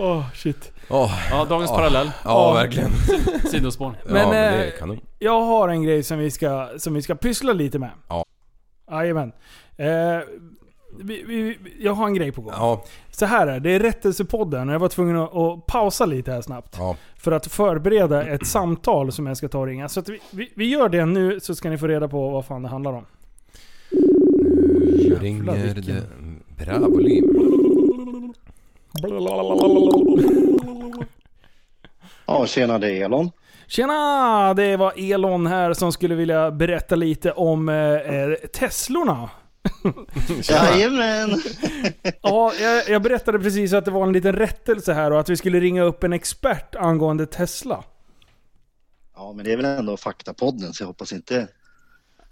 Speaker 4: Åh, shit.
Speaker 5: Åh,
Speaker 7: Ja, dagens parallell.
Speaker 5: ja verkligen.
Speaker 7: Sidospår.
Speaker 5: Men, ja, men det
Speaker 4: eh,
Speaker 5: är kanon.
Speaker 4: Jag har en grej som vi ska, som vi ska pyssla lite med.
Speaker 5: Ja.
Speaker 4: Jajamän. Eh, vi, vi, jag har en grej på gång.
Speaker 5: Ja,
Speaker 4: Så här är det, det är Rättelsepodden och jag var tvungen att, att pausa lite här snabbt.
Speaker 5: ja.
Speaker 4: För att förbereda ett samtal som jag ska ta och ringa. Så att vi, vi, vi gör det nu så ska ni få reda på vad fan det handlar om.
Speaker 5: Nu ringer
Speaker 4: vilken-
Speaker 5: det... Bra volym.
Speaker 9: Ja, tjena det är Elon.
Speaker 4: Tjena! Det var Elon här som skulle vilja berätta lite om eh, eh, Teslorna.
Speaker 9: Jajamän!
Speaker 4: Ja, jag, jag berättade precis att det var en liten rättelse här och att vi skulle ringa upp en expert angående Tesla.
Speaker 9: Ja, men det är väl ändå faktapodden så jag hoppas inte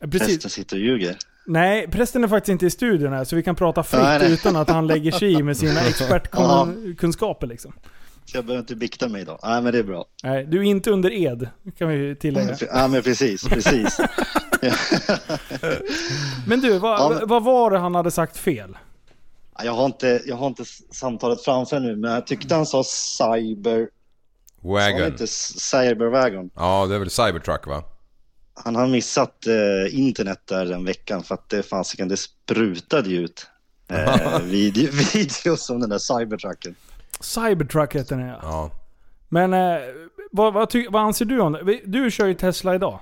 Speaker 4: Eh, Precis.
Speaker 9: hästen sitter och ljuger.
Speaker 4: Nej, prästen är faktiskt inte i studion här så vi kan prata fritt
Speaker 9: Nej, nej.
Speaker 4: utan att han lägger sig i med sina
Speaker 9: Ja.
Speaker 4: expertkunskaper liksom.
Speaker 9: Så jag behöver inte bikta mig idag. Nej, men det är bra.
Speaker 4: Nej, du är inte under ed, kan vi ju tillägga.
Speaker 9: Ja, men precis, precis.
Speaker 4: Men du, vad,
Speaker 9: Ja, men-
Speaker 4: vad var det han hade sagt fel?
Speaker 9: Ja, Jag har, inte, jag har inte samtalet framför nu, men jag tyckte han sa cyber... Han
Speaker 5: Wagon.
Speaker 9: inte s- cyberwagon.
Speaker 5: Ja, det är väl Cybertruck va?
Speaker 9: Han har missat eh, internet där den veckan för att det fasiken, det sprutade ju ut eh, video, videos om den där cybertrucken.
Speaker 4: Cybertruck heter den ja.
Speaker 5: Ja.
Speaker 4: Men eh, vad, vad, ty, vad anser du om det? Vi- Du kör ju Tesla idag.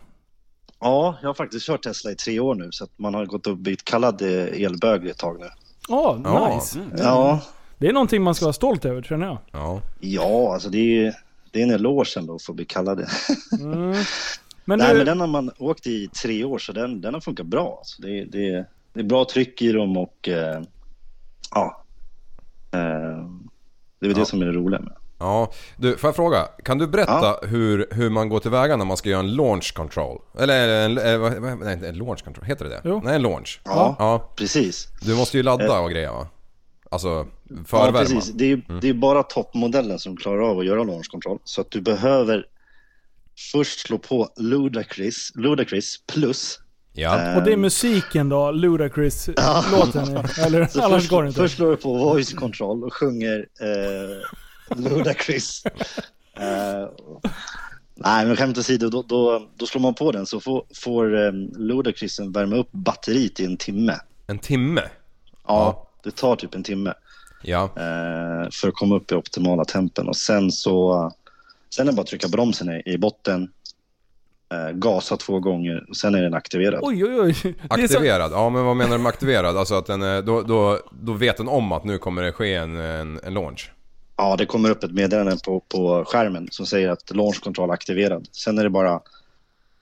Speaker 9: Ja, jag har faktiskt kört Tesla i tre år nu så att man har gått och blivit kallad eh, elbög ett tag nu.
Speaker 4: Åh,
Speaker 5: Ja.
Speaker 4: nice.
Speaker 9: Ja,
Speaker 4: Det är någonting man ska vara stolt över känner jag.
Speaker 5: Ja.
Speaker 9: ja alltså det är ju det är en eloge ändå att få bli kallad det.
Speaker 4: Men
Speaker 9: Nej,
Speaker 4: du,
Speaker 9: men den har man åkt i tre år så den, den har funkat bra. Så det, det, det är bra tryck i dem och eh, ja. Eh, det är väl det som är det roliga med
Speaker 5: Ja, du får jag fråga? Kan du berätta hur, hur man går tillväga när man ska göra en launch control? Eller en, eh, vad- vad- nej, inte en launch control, heter det det?
Speaker 4: Jo.
Speaker 5: Nej, en launch.
Speaker 9: Ja.
Speaker 5: ja.
Speaker 9: Precis.
Speaker 5: Du måste ju ladda och grejer va? Alltså
Speaker 9: Ja,
Speaker 5: förvärma.
Speaker 9: precis. Det är, ju- det är bara toppmodellen som klarar av att göra launch control. Så att du behöver först slå på Ludacris, Ludacris plus.
Speaker 5: ja.
Speaker 9: Eh.
Speaker 4: och det är musiken då, Ludacris-låten.
Speaker 9: Så
Speaker 4: Eller annars
Speaker 9: först,
Speaker 4: går det inte.
Speaker 9: först slår du på voice control och sjunger eh, Ludacris. Eh, nej, men skämt åsido, då, då, då slår man på den så får, får eh, Ludacrisen värma upp batteriet i en timme.
Speaker 5: En timme?
Speaker 9: Ja, det tar typ en timme.
Speaker 5: Ja.
Speaker 9: eh, för att komma upp i optimala tempen. Och sen så sen är det bara att trycka bromsen i, i botten, eh, gasa två gånger och sen är den aktiverad.
Speaker 4: Oj, oj, oj. Det är så,
Speaker 5: Aktiverad? Ja, men vad menar du med aktiverad? Alltså att den, eh, då, då, då vet den om att nu kommer det ske en, en, en launch?
Speaker 9: Ja, det kommer upp ett meddelande på, på skärmen som säger att launch control aktiverad. Sen är det bara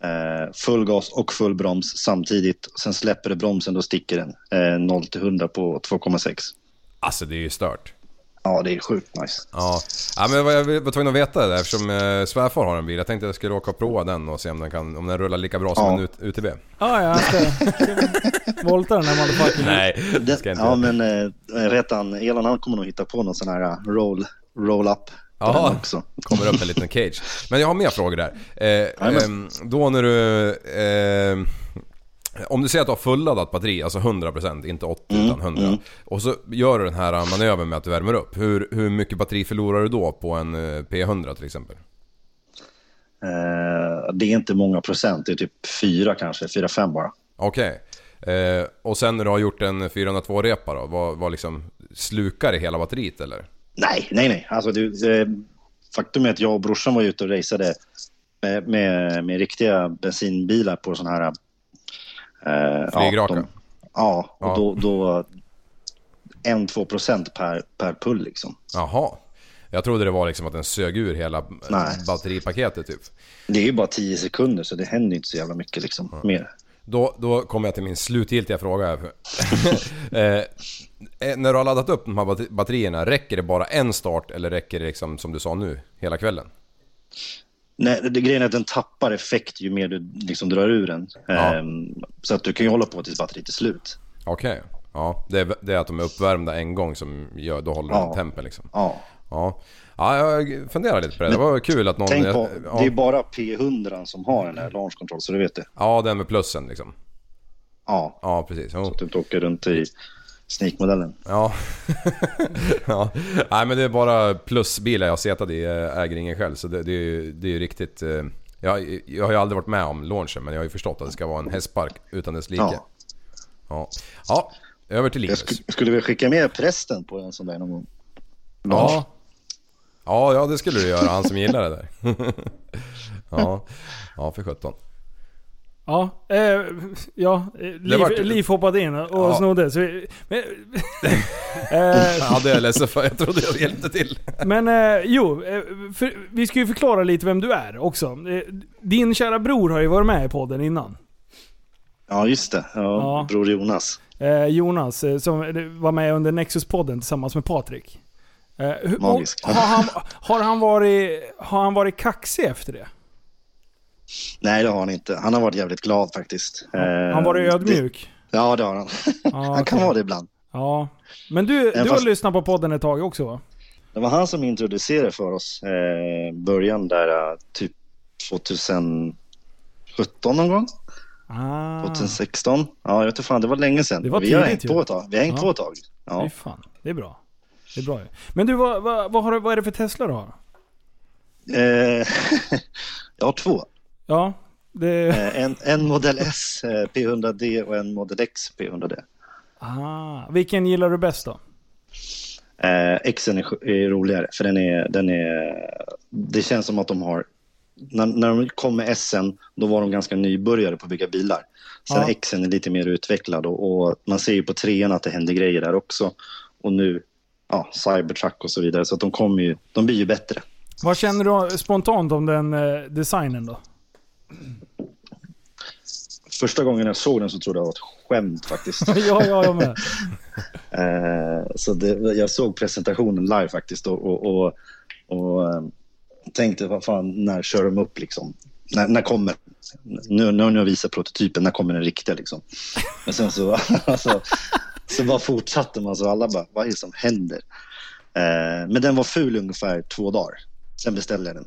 Speaker 9: eh, full gas och full broms samtidigt. Sen släpper det bromsen, då sticker den eh, 0 till 100 på 2,6.
Speaker 5: Alltså det är ju stört.
Speaker 9: Ja, det är sjukt nice.
Speaker 5: Ja, ja men vad jag var tvungen att veta det eftersom eh, svärfar har en bil. Jag tänkte jag skulle åka och prova den och se om den, kan, om den rullar lika bra som
Speaker 9: Ja.
Speaker 5: en ut- UTB.
Speaker 4: ja, ja, ska, ska volta den här motherfuckern.
Speaker 5: Nej, det ska jag inte
Speaker 9: ja,
Speaker 5: göra.
Speaker 9: men eh, Retan, Elan han kommer nog hitta på någon sån här eh, roll, roll up. på
Speaker 5: Jaha.
Speaker 9: den också.
Speaker 5: kommer upp en liten cage. Men jag har mer frågor där. Eh, ehm, då när du... ehm, om du säger att du har fulladdat batteri, alltså 100% inte 80
Speaker 9: Mm,
Speaker 5: utan 100. Och så gör du den här manövern med att du värmer upp. Hur, hur mycket batteri förlorar du då på en eh, P100 till exempel?
Speaker 9: Eh, det är inte många procent, det är typ fyra kanske, fyra, fem bara.
Speaker 5: Okej. Eh, och sen när du har gjort en 402-repa då? Vad, vad liksom, slukar det hela batteriet eller?
Speaker 9: Nej, nej, nej. Alltså, det, eh, faktum är att jag och brorsan var ute och raceade med, med, med riktiga bensinbilar på sådana här... Eh, Ja,
Speaker 5: Flygraka.
Speaker 9: de, ja och
Speaker 5: Ja.
Speaker 9: då... då 1-2 procent per, per pull liksom.
Speaker 5: Jaha. Jag trodde det var liksom att den sög ur hela eh,
Speaker 9: Nej.
Speaker 5: batteripaketet typ.
Speaker 9: Det är ju bara 10 sekunder så det händer inte så jävla mycket liksom. Mer.
Speaker 5: Då, då kommer jag till min slutgiltiga fråga. här. eh, när du har laddat upp de här batter- batterierna, räcker det bara en start eller räcker det liksom, som du sa nu, hela kvällen?
Speaker 9: Nej, det, grejen är att den tappar effekt ju mer du liksom drar ur den.
Speaker 5: Ja.
Speaker 9: Ehm, så att du kan ju hålla på tills batteriet är slut.
Speaker 5: Okej. Ja, det är, det är att de är uppvärmda en gång som gör, då håller de
Speaker 9: Ja.
Speaker 5: tempen liksom.
Speaker 9: Ja.
Speaker 5: Ja. ja, jag funderar lite på det. Det var kul att någon...
Speaker 9: Tänk på,
Speaker 5: ja,
Speaker 9: det är bara P100 som har den här launch control, så du vet det.
Speaker 5: ja, den med plussen liksom.
Speaker 9: Ja,
Speaker 5: Ja, precis. Jo.
Speaker 9: att du inte åker runt i sneakmodellen.
Speaker 5: Ja. ja. Nej men det är bara plusbilar jag har setat i, eh, äger ingen själv. Så det, det är ju det är ju riktigt... eh, Jag, jag har ju aldrig varit med om launchen men jag har ju förstått att det ska vara en hästpark utan dess like. Ja.
Speaker 9: Ja.
Speaker 5: Ja. över till
Speaker 9: Jag
Speaker 5: Linus.
Speaker 9: sk- skulle vilja skicka med prästen på en sån där någon gång.
Speaker 5: Ja. ja, ja det skulle du göra. Han som gillar det där. ja. ja, för sjutton.
Speaker 4: Ja, eh, ja eh, liv,
Speaker 5: vart-
Speaker 4: liv hoppade in och
Speaker 5: Ja.
Speaker 4: snodde. Så vi, men, eh,
Speaker 5: Ja, det är jag ledsen för. Jag trodde jag hjälpte till.
Speaker 4: men eh, jo, eh, för, vi ska ju förklara lite vem du är också. Eh, Din kära bror har ju varit med i podden innan.
Speaker 9: Ja, just det. Ja,
Speaker 4: Ja.
Speaker 9: Bror Jonas.
Speaker 4: Eh, Jonas, eh, som eh, var med under Nexus-podden tillsammans med Patrik. Eh, hur,
Speaker 9: Magisk.
Speaker 4: och- Har han, har, han varit, har han varit kaxig efter det?
Speaker 9: Nej, det har han inte. Han har varit jävligt glad faktiskt.
Speaker 4: Har han varit ödmjuk?
Speaker 9: Eh, Det, ja, det har han.
Speaker 4: Ja,
Speaker 9: han kan
Speaker 4: okej.
Speaker 9: vara det ibland.
Speaker 4: Ja. Men du, du har
Speaker 9: fast-
Speaker 4: lyssnat på podden ett tag också va?
Speaker 9: Det var han som introducerade för oss eh, början där eh, typ 2017 någon gång.
Speaker 4: Ah,
Speaker 9: 2016. Ja, jag vet inte fan, det var länge sedan.
Speaker 4: Det var
Speaker 9: vi har
Speaker 4: tidigt
Speaker 9: hängt
Speaker 4: ju.
Speaker 9: på ett tag. Vi har hängt
Speaker 4: Ja.
Speaker 9: på ett tag. Ja.
Speaker 4: fy fan. Det är bra. Det är bra ju. Men du, vad, vad, vad, har, du- vad är det för Tesla du har?
Speaker 9: Eh, jag har två.
Speaker 4: Ja, det...
Speaker 9: Eh, En, en Model S eh, P100D och en Model X P100D.
Speaker 4: Ah, vilken gillar du bäst då?
Speaker 9: Eh, Xen är, sj- är roligare för den är, den är... Det känns som att de har... När, när de kom med S'en, då var de ganska nybörjare på att bygga bilar. Sen
Speaker 4: Ja.
Speaker 9: Xen är lite mer utvecklad och, och man ser ju på trean att det händer grejer där också. Och nu, ja, Cybertruck och så vidare. Så att de kommer ju... De blir ju bättre.
Speaker 4: Vad känner du spontant om den eh, designen då?
Speaker 9: Första gången jag såg den så trodde jag det var ett skämt faktiskt.
Speaker 4: ja, ja, jag med.
Speaker 9: Eh, så det, jag såg presentationen live faktiskt och, och, och, och eh, tänkte vad fan, när kör de upp liksom? När, när kommer nu, nu har jag visat prototypen, när kommer den riktiga liksom? Men sen så, alltså, så bara fortsatte man så alla bara, vad är det som händer? Eh, men den var ful ungefär två dagar. Sen beställde jag den.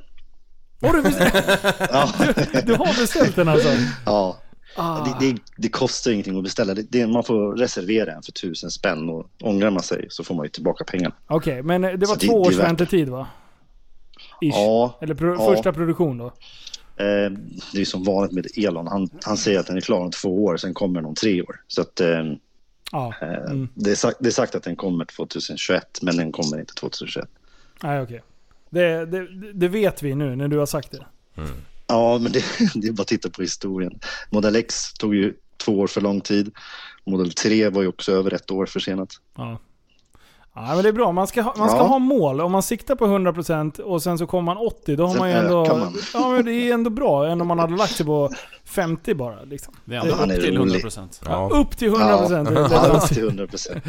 Speaker 4: Har du, beställt,
Speaker 9: Ja,
Speaker 4: du har beställt den alltså?
Speaker 9: ja.
Speaker 4: Ah,
Speaker 9: Det, det, det kostar ingenting att beställa. Det, det, man får reservera den för tusen spänn och ångrar man sig så får man ju tillbaka pengarna.
Speaker 4: Okej, men eh, det var
Speaker 9: Så det-
Speaker 4: två
Speaker 9: det är
Speaker 4: års
Speaker 9: värt det.
Speaker 4: väntetid va? Ish.
Speaker 9: Ja,
Speaker 4: Eller pro-
Speaker 9: ja.
Speaker 4: första produktion då?
Speaker 9: Eh, det är som vanligt med Elon. Han, han säger att den är klar om två år, sen kommer den om tre år. Så att, eh,
Speaker 4: Ja.
Speaker 9: eh,
Speaker 4: Mm.
Speaker 9: det, är sagt, det är sagt att den kommer 2021, men den kommer inte 2021.
Speaker 4: Nej, okej. Det, det, det vet vi nu när du har sagt det.
Speaker 9: Ja, men det, det är bara att titta på historien. Model X tog ju två år för lång tid. Model 3 var ju också över ett år försenat.
Speaker 4: Ja. Ja, men det är bra. Man ska, ha, man ska
Speaker 9: Ja.
Speaker 4: ha mål. Om man siktar på 100% och sen så kommer man 80, då har
Speaker 9: Sen
Speaker 4: man ju ändå...
Speaker 9: ökar man.
Speaker 4: Ja, men det är ändå bra. Än om man hade lagt sig på 50 bara. Liksom.
Speaker 7: Det är ändå
Speaker 9: Han
Speaker 7: upp
Speaker 9: är
Speaker 7: till
Speaker 9: rolig.
Speaker 7: 100%.
Speaker 5: Ja.
Speaker 4: Upp till 100%.
Speaker 9: Ja,
Speaker 4: Det är
Speaker 9: ja,
Speaker 4: bra.
Speaker 9: till 100 procent.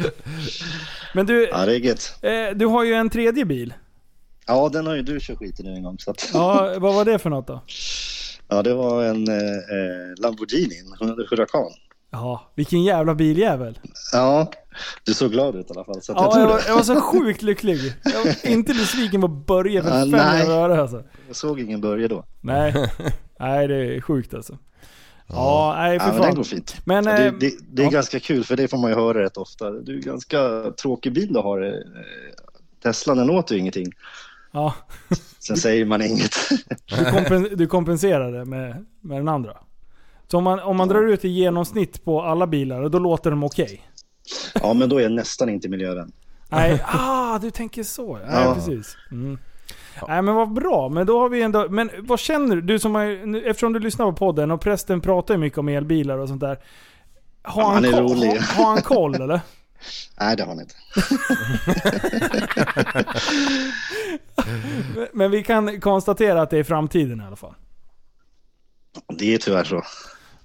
Speaker 4: Men du,
Speaker 9: Ja, det är gött.
Speaker 4: eh, du har ju en tredje bil.
Speaker 9: Ja, den har ju du kört skiten nu en gång. Så att,
Speaker 4: Ja, vad var det för något då?
Speaker 9: ja, det var en eh, eh, Lamborghini, en Huracan.
Speaker 4: Ja, vilken jävla biljävel.
Speaker 9: Ja, du såg glad ut i alla fall. Så att jag
Speaker 4: Ja,
Speaker 9: tror
Speaker 4: jag,
Speaker 9: det.
Speaker 4: var, jag var så sjukt lycklig. Jag var inte besviken på Börje för
Speaker 9: Ja,
Speaker 4: fem
Speaker 9: nej.
Speaker 4: öre alltså.
Speaker 9: Jag såg ingen börja då.
Speaker 4: Nej. nej, det är sjukt alltså. Ja, nej för
Speaker 9: Ja, men den
Speaker 4: fan.
Speaker 9: går fint.
Speaker 4: Men,
Speaker 9: Ja, det,
Speaker 4: eh,
Speaker 9: det, det är
Speaker 4: ja.
Speaker 9: ganska kul, för det får man ju höra rätt ofta. Du är ganska tråkig bil du har. eh, Teslan, den åt ju ingenting.
Speaker 4: Ja,
Speaker 9: Sen säger man inget.
Speaker 4: du, kompen, du kompenserade med, med den andra. Så om man, om man drar ut i genomsnitt på alla bilar, då låter de okej.
Speaker 9: Ja, men då är jag nästan inte miljövän.
Speaker 4: Nej, ah du tänker så. Ja,
Speaker 9: Ja.
Speaker 4: precis. Mm. Nej men vad bra, men då har vi ändå... Men vad känner du? du som har, nu- eftersom du lyssnar på podden och prästen pratar ju mycket om elbilar och sånt där. Har
Speaker 9: Ja,
Speaker 4: han,
Speaker 9: han är
Speaker 4: koll,
Speaker 9: rolig.
Speaker 4: har, har han koll eller?
Speaker 9: Nej, det har han inte.
Speaker 4: Men vi kan konstatera att det är framtiden i alla fall.
Speaker 9: Det är tyvärr så.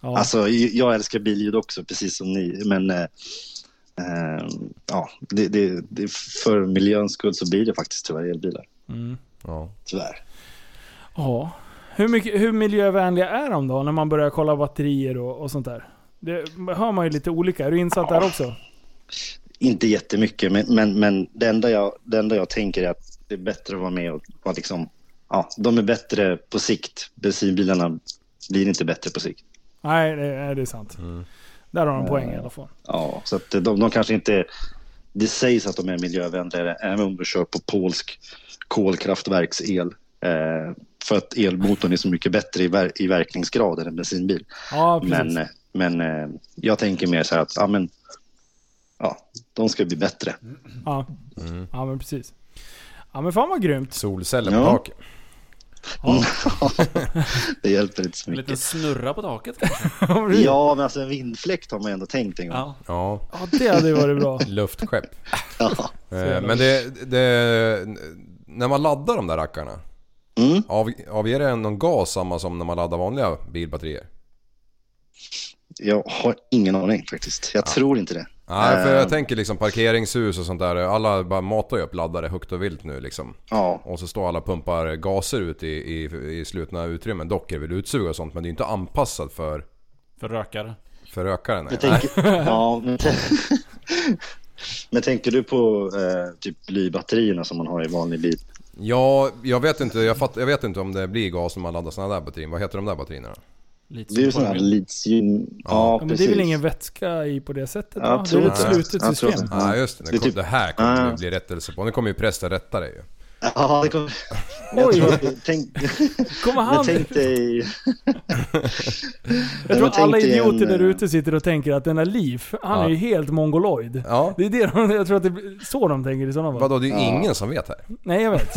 Speaker 4: Ja.
Speaker 9: Alltså, jag älskar billjud också, precis som ni. Men eh, eh, ja, det, det, det, för miljöns skull så blir det faktiskt tyvärr elbilar.
Speaker 5: Ja.
Speaker 9: Tyvärr.
Speaker 4: ja. Hur, mycket, hur miljövänliga är de då när man börjar kolla batterier och, och sånt där? Det hör man ju lite olika. Är du insatt där också?
Speaker 9: Inte jättemycket, men, men, men det, enda jag, det enda jag tänker är att det är bättre att vara med och vara liksom... Ja, de är bättre på sikt. Bensinbilarna blir inte bättre på sikt.
Speaker 4: Nej, det, nej, det är sant.
Speaker 5: Mm.
Speaker 4: Där har de poäng i alla fall.
Speaker 9: Ja, så att de, de kanske inte... Det sägs att de är miljövänligare även om du kör på polsk kolkraftverksel. Eh, för att elmotorn är så mycket bättre i, ver- i verkningsgrad än en bensinbil.
Speaker 4: Ja, precis.
Speaker 9: Men, eh, men eh, jag tänker mer så här att ja, men, ja, de ska bli bättre.
Speaker 4: Ja.
Speaker 5: Mm.
Speaker 4: ja, men precis. Ja men fan vad grymt.
Speaker 5: Solceller på
Speaker 9: Ja.
Speaker 5: taket.
Speaker 9: Mm. det hjälper inte så
Speaker 7: En
Speaker 9: mycket.
Speaker 7: liten snurra på taket kanske?
Speaker 9: Ja, men alltså en vindfläkt har man ändå tänkt en gång.
Speaker 7: Ja.
Speaker 5: Ja.
Speaker 4: Ja, det hade ju varit bra.
Speaker 5: Luftskepp.
Speaker 9: Ja.
Speaker 5: Eh, Men det, det... När man laddar de där rackarna.
Speaker 9: Mm.
Speaker 5: Av, avger det någon gas samma som när man laddar vanliga bilbatterier?
Speaker 9: Jag har ingen aning faktiskt. Jag tror inte det.
Speaker 5: Nej, för jag
Speaker 9: Eh.
Speaker 5: tänker liksom parkeringshus och sånt där. Alla bara matar ju upp laddare högt och vilt nu liksom.
Speaker 9: Ja,
Speaker 5: Och så står alla och pumpar gaser ut i, i, i slutna utrymmen. Dock är det väl utsug och sånt men det är ju inte anpassat för,
Speaker 7: För rökare.
Speaker 5: för rökaren. nej.
Speaker 9: jag tänker... Ja, men... Men tänker du på eh, typ blybatterierna som man har i vanlig bil?
Speaker 5: Ja, jag vet inte, jag, fatt, jag vet inte om det blir gas om man laddar såna där batterier. Vad heter de där batterierna då?
Speaker 7: Lite
Speaker 9: Det är ju
Speaker 7: som
Speaker 9: sådana här
Speaker 7: Formel.
Speaker 9: litium... Ja,
Speaker 4: Ja, men det
Speaker 9: precis.
Speaker 4: är väl ingen vätska i på det sättet?
Speaker 9: Ja,
Speaker 4: va? det är väl ett
Speaker 5: absolut.
Speaker 4: slutet
Speaker 9: Ja,
Speaker 4: system?
Speaker 9: absolut.
Speaker 5: Nej just det, det,
Speaker 9: Det är
Speaker 5: kom,
Speaker 9: typ-
Speaker 5: det här kommer det
Speaker 9: Ah.
Speaker 5: bli rättelse på. Nu kommer ju prästen rätta dig ju.
Speaker 9: Ja, det kommer... Jag
Speaker 4: Oj.
Speaker 9: tror att... Tänk...
Speaker 4: Kommer han?
Speaker 9: Jag tänkte i...
Speaker 4: Jag
Speaker 9: Jag
Speaker 4: tror alla
Speaker 9: tänkte i en,
Speaker 4: idioter där
Speaker 9: eh,
Speaker 4: ute sitter och tänker att den här Liv, han
Speaker 5: Ja.
Speaker 4: är ju helt mongoloid.
Speaker 5: Ja.
Speaker 4: Det är det de, jag tror att det blir så de tänker i sådana fall.
Speaker 5: Vadå, det är ju ingen som vet här.
Speaker 4: Nej jag vet.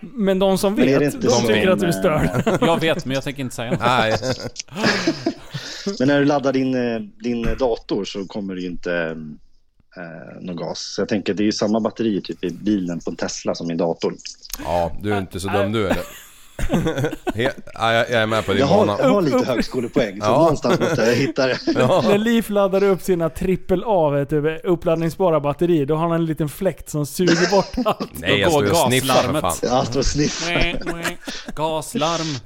Speaker 4: Men de som
Speaker 9: Men är det
Speaker 4: vet,
Speaker 9: inte
Speaker 4: de
Speaker 9: som
Speaker 4: tycker
Speaker 9: en,
Speaker 4: att du är
Speaker 9: eh,
Speaker 4: störd.
Speaker 7: Jag vet, men jag tänker inte säga något.
Speaker 5: Nej.
Speaker 9: Men när du laddar din, eh, din dator så kommer det ju inte eh, någon gas. Så jag tänker det är ju samma batteri typ i bilen på en Tesla som i datorn.
Speaker 5: Ja, du är inte så dum du eller? He- ja, jag, jag är med på din
Speaker 9: Jag har, jag
Speaker 5: bana.
Speaker 9: har lite högskolepoäng så
Speaker 5: Ja.
Speaker 9: någonstans måste jag hitta det.
Speaker 5: Ja.
Speaker 4: När Liv laddar upp sina trippel A, vet du, uppladdningsbara batterier, då har han en liten fläkt som suger bort allt.
Speaker 5: Nej jag står ju och
Speaker 7: Då går
Speaker 5: sniffar för fan.
Speaker 7: gaslarmet.
Speaker 9: Jag står och sniffar.
Speaker 7: Gaslarm.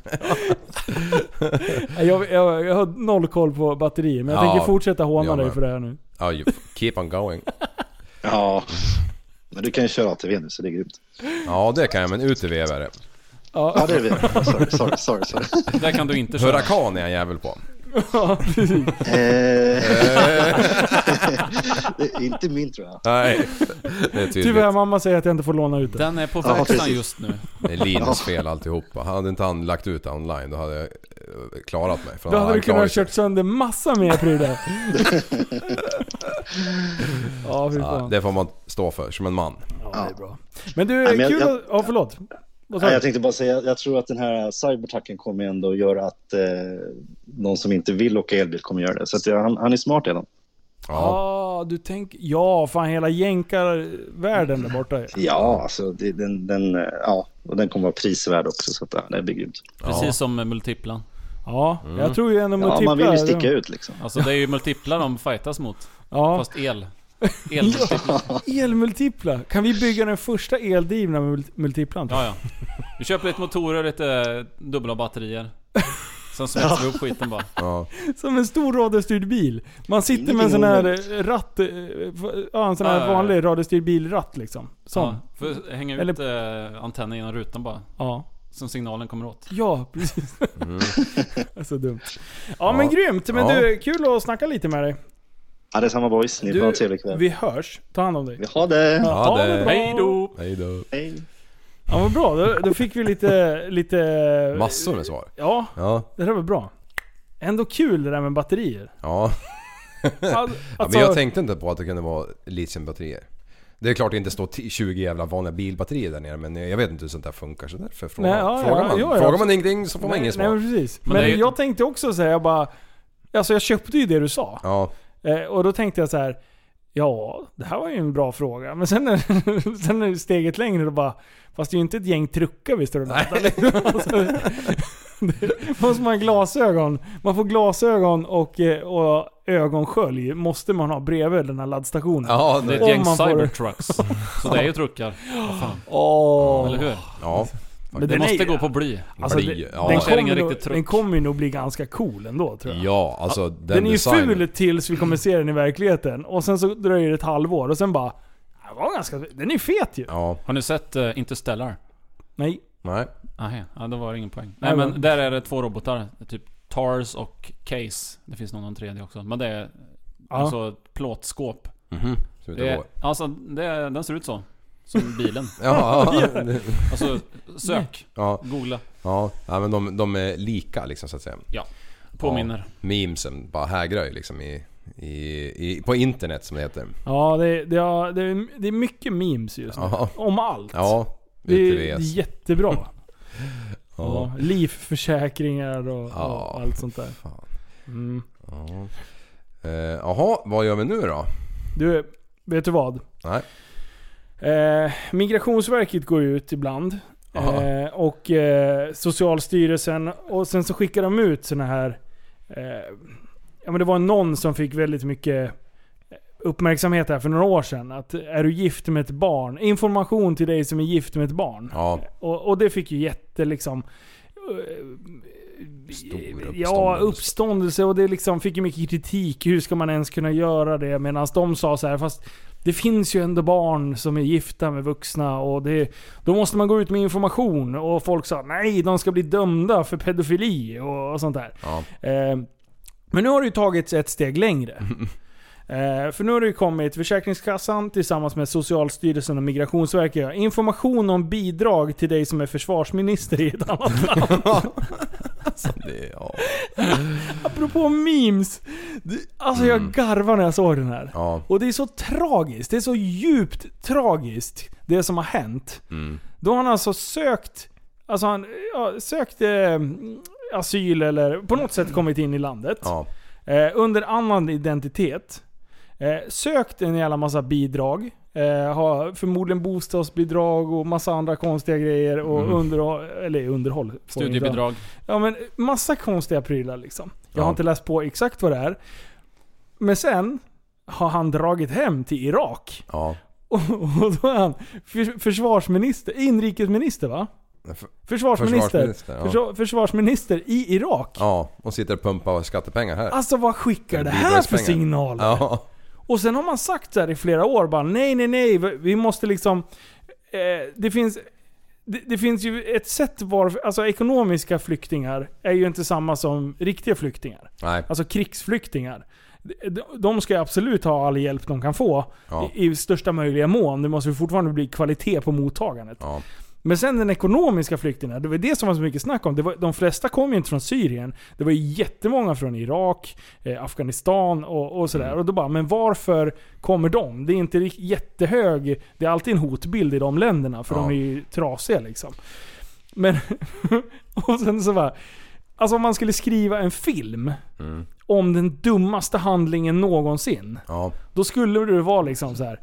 Speaker 4: Jag, jag, jag har noll koll på batterier, men jag
Speaker 5: Ja,
Speaker 4: tänker fortsätta håna
Speaker 5: jag
Speaker 4: dig
Speaker 5: med.
Speaker 4: för det här nu.
Speaker 5: Ja, you keep on going.
Speaker 9: Ja. Men du kan ju köra ATV nu så det är grymt.
Speaker 5: Ja det kan jag, men ut i vevare.
Speaker 9: Ja, det är vi. Sorry, sorry, sorry. sorry.
Speaker 7: Där kan du inte köra.
Speaker 5: Huracan är jag en jävel på.
Speaker 9: Eh, det är inte min tror jag.
Speaker 5: Nej, det är
Speaker 4: Tyvärr
Speaker 5: tydligt.
Speaker 4: mamma säger att jag inte får låna ut den.
Speaker 7: Den är på
Speaker 9: Ja,
Speaker 7: verkstaden
Speaker 9: precis.
Speaker 7: just nu.
Speaker 5: Det är Linus fel alltihopa. Hade inte han lagt ut det online då hade jag eh, klarat mig. För
Speaker 4: Då hade
Speaker 5: han- han
Speaker 4: du kunnat ha
Speaker 5: klarar sig.
Speaker 4: kört sönder massa mer prylar. ja, fy
Speaker 5: Ja,
Speaker 4: fan.
Speaker 5: det får man stå för, som en man.
Speaker 4: Men du,
Speaker 9: men jag-
Speaker 4: kul
Speaker 9: jag-
Speaker 4: att... Ja, förlåt. Vad sa
Speaker 9: Nej,
Speaker 4: du?
Speaker 9: jag tänkte bara säga, jag tror att den här cybertacken kommer ändå göra att eh, någon som inte vill åka elbil kommer göra det. Så att jag, han, han är smart redan.
Speaker 5: Ja.
Speaker 4: Ja, du tänker... Ja, fan hela jänkarvärlden där borta. ju.
Speaker 9: Ja, alltså det, den, den, eh, ja, och den kommer vara prisvärd också så att ja, det blir grymt.
Speaker 7: Precis som multiplan.
Speaker 4: Ja, jag tror ju ändå
Speaker 9: Ja,
Speaker 4: multipla-
Speaker 9: man vill ju sticka ut liksom.
Speaker 7: Alltså det är ju multipla de fightas mot.
Speaker 4: Ja,
Speaker 7: Fast el. Elmultipla.
Speaker 4: elmultipla. Kan vi bygga den första eldrivna mul- multiplan?
Speaker 7: Ja, ja. Vi köper lite motorer, lite eh, dubbla batterier. Sen svetsar vi upp skiten bara.
Speaker 5: ja.
Speaker 4: Som en stor radiostyrd bil. Man sitter med en sån här eh, ratt... eh, f- Ja, en sån
Speaker 7: Ja,
Speaker 4: här
Speaker 7: ja, ja.
Speaker 4: vanlig radiostyrd bilratt liksom. Sån.
Speaker 7: Ja, för hänga ut eh, antennen genom rutan bara.
Speaker 4: Ja.
Speaker 7: Som signalen kommer åt.
Speaker 4: Ja, precis.
Speaker 7: Mm.
Speaker 4: Det är så dumt. Ja, men grymt. Men
Speaker 5: Ja.
Speaker 4: du, kul att snacka lite med dig.
Speaker 9: Ja, det är samma boys. Ni får ha en trevlig kväll.
Speaker 4: vi hörs. Ta hand om dig.
Speaker 9: Vi har det.
Speaker 5: Ja,
Speaker 4: Ha det
Speaker 5: det-
Speaker 4: bra.
Speaker 7: Hej då!
Speaker 5: Hej då.
Speaker 9: Hej.
Speaker 4: Ja, vad bra. Då, då fick vi lite... lite
Speaker 5: Massor med svar.
Speaker 4: Ja,
Speaker 5: Ja,
Speaker 4: det där var bra. Ändå kul det där med batterier.
Speaker 5: ja.
Speaker 4: All,
Speaker 5: ja
Speaker 4: alltså,
Speaker 5: men jag tänkte inte på att det kunde vara litiumbatterier. Det är klart det inte står t- 20 jävla vanliga bilbatterier där nere men jag vet inte hur sånt där funkar så därför frågar,
Speaker 4: Nej, ja,
Speaker 5: frågar
Speaker 4: ja,
Speaker 5: man.
Speaker 4: ja, ja.
Speaker 5: Frågar man ingenting så får man ingen
Speaker 4: nej, men
Speaker 5: svar.
Speaker 4: precis.
Speaker 7: Men
Speaker 4: Men,
Speaker 7: det är ju-
Speaker 4: jag tänkte också säga jag bara... Alltså jag köpte ju det du sa.
Speaker 5: Ja,
Speaker 4: Eh, och då tänkte jag så här. Ja, det här var ju en bra fråga. Men sen är, sen är steget längre och bara... Fast det är ju inte ett gäng truckar vi står och laddar. liksom. Alltså, det- Måste man ha glasögon? Man får glasögon och, eh, och ögonskölj måste man ha bredvid den här laddstationen.
Speaker 5: ja,
Speaker 7: Det är
Speaker 5: det,
Speaker 7: ett
Speaker 4: Om
Speaker 7: gäng
Speaker 4: man får-
Speaker 7: cybertrucks. Så det är ju truckar. Vad fan.
Speaker 4: Åh.
Speaker 7: Eller hur?
Speaker 5: ja.
Speaker 4: Men
Speaker 7: Det
Speaker 4: den är
Speaker 7: måste
Speaker 4: ju-
Speaker 7: gå på bly.
Speaker 4: Alltså,
Speaker 5: bli-
Speaker 4: det-
Speaker 5: ja.
Speaker 4: den,
Speaker 5: Annars är det
Speaker 4: kommer
Speaker 7: ingen
Speaker 4: nog,
Speaker 7: riktig truck.
Speaker 4: den kommer ju nog bli ganska cool ändå tror jag.
Speaker 5: Ja, alltså den,
Speaker 4: den är ju
Speaker 5: designen.
Speaker 4: ful tills vi kommer se den i verkligheten. Och sen så dröjer det ett halvår och sen bara... "Den Var ganska, den är ju fet ju.
Speaker 5: Ja,
Speaker 7: Har ni sett eh, Interstellar?
Speaker 4: Nej.
Speaker 5: nej.
Speaker 7: Nej, Ah, ja, då var det ingen poäng. Nej,
Speaker 4: Nej,
Speaker 7: men
Speaker 4: men-
Speaker 7: där är det två robotar. Typ TARS och CASE. Det finns någon annan tredje också. Men det är
Speaker 4: Ja.
Speaker 7: alltså ett plåtskåp.
Speaker 5: Mhm. Så vi tar
Speaker 7: Det är,
Speaker 5: på.
Speaker 7: alltså, det är, den ser ut så. Som bilen.
Speaker 5: Ja, ja,
Speaker 7: Alltså, sök.
Speaker 5: ja,
Speaker 7: Googla.
Speaker 5: ja. ja, men de, de är lika liksom så att säga.
Speaker 7: Påminner.
Speaker 5: Memesen bara hägrar ju liksom i, i, i, på internet som det heter.
Speaker 4: Ja, det, det, ja, det, är- det är mycket memes just nu.
Speaker 5: Ja.
Speaker 4: Om allt.
Speaker 5: Ja,
Speaker 4: det,
Speaker 5: ute
Speaker 4: är,
Speaker 5: i
Speaker 4: det är
Speaker 5: VS.
Speaker 4: jättebra.
Speaker 5: Ja.
Speaker 4: ja. Livförsäkringar och,
Speaker 5: Ja.
Speaker 4: och allt sånt där. Mm.
Speaker 5: Ja. Eh, Jaha, vad gör vi nu då?
Speaker 4: Du, vet du vad?
Speaker 5: Nej.
Speaker 4: Eh, Migrationsverket går ju ut ibland.
Speaker 5: Aha.
Speaker 4: Eh, och eh, Socialstyrelsen. Och sen så skickar de ut såna här... Eh, ja men det var någon som fick väldigt mycket eh, uppmärksamhet här för några år sedan. Att är du gift med ett barn? Information till dig som är gift med ett barn.
Speaker 5: Ja,
Speaker 4: Och, och det fick ju jätte liksom... eh,
Speaker 5: Stor
Speaker 4: Ja,
Speaker 5: uppståndelse.
Speaker 4: uppståndelse och det liksom fick ju mycket kritik. Hur ska man ens kunna göra det? Medan de sa så här, fast det finns ju ändå barn som är gifta med vuxna och det, då måste man gå ut med information. Och folk sa nej, de ska bli dömda för pedofili och, och sånt där.
Speaker 5: Ja.
Speaker 4: Eh, men nu har det ju tagits ett steg längre. Eh, för nu har det ju kommit Försäkringskassan tillsammans med Socialstyrelsen och Migrationsverket. gör Information om bidrag till dig som är försvarsminister i ett annat land.
Speaker 5: Så det, ja.
Speaker 4: Apropå memes. Det- Alltså jag garvar när jag såg den här.
Speaker 5: Mm. ja.
Speaker 4: Och det är så tragiskt. Det är så djupt tragiskt, det som har hänt.
Speaker 5: Mm.
Speaker 4: Då har han alltså sökt, alltså han, ja, sökt eh, asyl eller på något sätt kommit in i landet.
Speaker 5: Ja.
Speaker 4: Eh, under annan identitet. Eh, sökt en jävla massa bidrag. Eh, har förmodligen bostadsbidrag och massa andra konstiga grejer. Och
Speaker 5: Mm.
Speaker 4: underhåll, eller underhåll. får jag inte ha.
Speaker 7: Studiebidrag.
Speaker 4: Ja men massa konstiga prylar liksom. Jag har
Speaker 5: Ja.
Speaker 4: inte läst på exakt vad det är. Men sen har han dragit hem till Irak.
Speaker 5: Ja.
Speaker 4: Och, och då är han för, försvarsminister, inrikesminister va?
Speaker 5: För-
Speaker 4: Försvarsminister.
Speaker 5: Försvarsminister, ja.
Speaker 4: Försva- försvarsminister i Irak.
Speaker 5: ja. Och sitter och pumpar skattepengar här.
Speaker 4: Alltså vad skickar det här för
Speaker 5: Bidragspengar.
Speaker 4: signaler?
Speaker 5: Ja.
Speaker 4: Och sen har man sagt så här i flera år bara nej, nej, nej. Vi måste liksom... Eh, det finns... Det, det finns ju ett sätt varför... Alltså ekonomiska flyktingar är ju inte samma som riktiga flyktingar.
Speaker 5: Nej.
Speaker 4: Alltså krigsflyktingar. De- De ska ju absolut ha all hjälp de kan få.
Speaker 5: Ja.
Speaker 4: I, I största möjliga mån. Det måste ju fortfarande bli kvalitet på mottagandet.
Speaker 5: Ja.
Speaker 4: Men sen den ekonomiska flyktingen, det var det som var så mycket snack om. Det var, de flesta kom ju inte från Syrien. Det var ju jättemånga från Irak, eh, Afghanistan och, och
Speaker 5: Mm.
Speaker 4: sådär. Och då bara, men varför kommer de? Det är inte rik- jättehög... Det är alltid en hotbild i de länderna, för
Speaker 5: Ja.
Speaker 4: de är ju trasiga liksom. Men... och sen så bara... Alltså om man skulle skriva en film
Speaker 5: Mm.
Speaker 4: om den dummaste handlingen någonsin.
Speaker 5: Ja.
Speaker 4: Då skulle det vara liksom så här.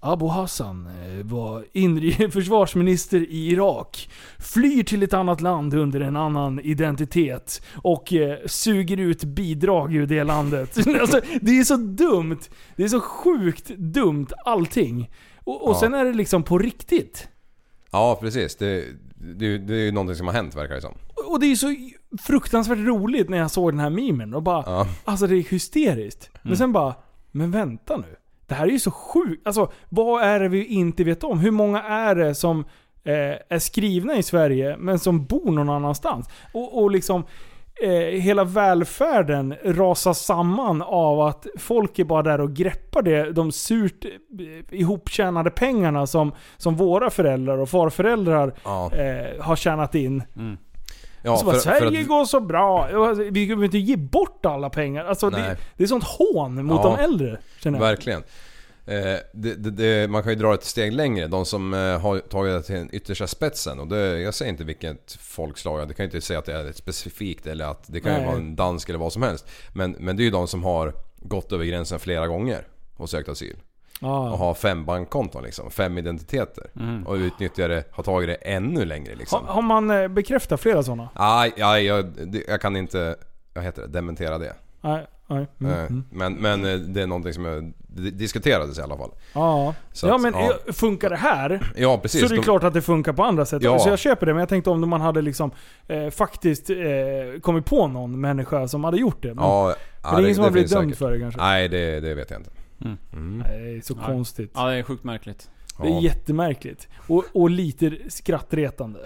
Speaker 4: Abu Hassan eh, var inri- försvarsminister i Irak. Flyr till ett annat land under en annan identitet. Och eh, suger ut bidrag ur det landet. alltså, det är så dumt. Det är så sjukt dumt allting. Och, och
Speaker 5: Ja.
Speaker 4: sen är det liksom på riktigt.
Speaker 5: Ja, precis. Det, det, det är ju någonting som har hänt verkar det som.
Speaker 4: Och- Och det är så fruktansvärt roligt när jag såg den här memen. Och bara,
Speaker 5: Ja. Mm.
Speaker 4: Alltså det är hysteriskt. Men sen bara, men vänta nu. Det här är ju så sjukt. Alltså vad är det vi inte vet om? Hur många är det som eh, är skrivna i Sverige men som bor någon annanstans? Och, och liksom eh, hela välfärden rasar samman av att folk är bara där och greppar det, de surt eh, ihoptjänade pengarna som, som våra föräldrar och farföräldrar
Speaker 5: Ja.
Speaker 4: eh, har tjänat in.
Speaker 5: ja
Speaker 4: Så Alltså, bara, Sverige
Speaker 5: att-
Speaker 4: går så bra. Och alltså, Vi behöver inte ge bort alla pengar. Alltså, det,
Speaker 5: Nej.
Speaker 4: det är sånt hån mot
Speaker 5: Ja.
Speaker 4: de äldre. Känner jag.
Speaker 5: Verkligen. Eh, det, det, det, man kan ju dra ett steg längre. De som eh, har tagit det till den yttersta spetsen. Och det, jag säger inte vilket folkslag. Det kan ju inte säga att det är ett specifikt eller att det kan
Speaker 4: Nej.
Speaker 5: ju vara en dansk eller vad som helst. Men, men det är ju de som har gått över gränsen flera gånger och sökt asyl. Och
Speaker 4: Ja. Mm.
Speaker 5: har fem bankkonton liksom. Fem identiteter. Och utnyttjar det, har tagit det ännu längre
Speaker 4: Har,
Speaker 5: liksom.
Speaker 4: har man eh, bekräftat flera sådana?
Speaker 5: Aj, aj, jag, det- jag kan inte... Vad heter det? Dementera det.
Speaker 4: Nej. nej. Mm.
Speaker 5: Eh, Men, men eh, det är någonting som jag, det diskuterades i alla fall.
Speaker 4: Ja.
Speaker 5: Så
Speaker 4: ja
Speaker 5: att,
Speaker 4: men
Speaker 5: ja.
Speaker 4: eh, funkar det här
Speaker 5: Ja precis.
Speaker 4: så det är
Speaker 5: De-
Speaker 4: klart att det funkar på andra sätt.
Speaker 5: Ja.
Speaker 4: Så jag köper det. Men jag tänkte om man hade liksom eh, faktiskt eh, kommit på någon människa som hade gjort det. Men,
Speaker 5: Ja,
Speaker 4: men det är ingen som har blivit
Speaker 5: finns
Speaker 4: dömd
Speaker 5: säkert. Mm.
Speaker 4: för det kanske.
Speaker 5: Nej, det, det vet jag inte.
Speaker 4: Nej, det är så
Speaker 7: Nej.
Speaker 4: konstigt.
Speaker 7: Ja, det är sjukt märkligt.
Speaker 4: Det är jättemärkligt. Och, och lite skrattretande.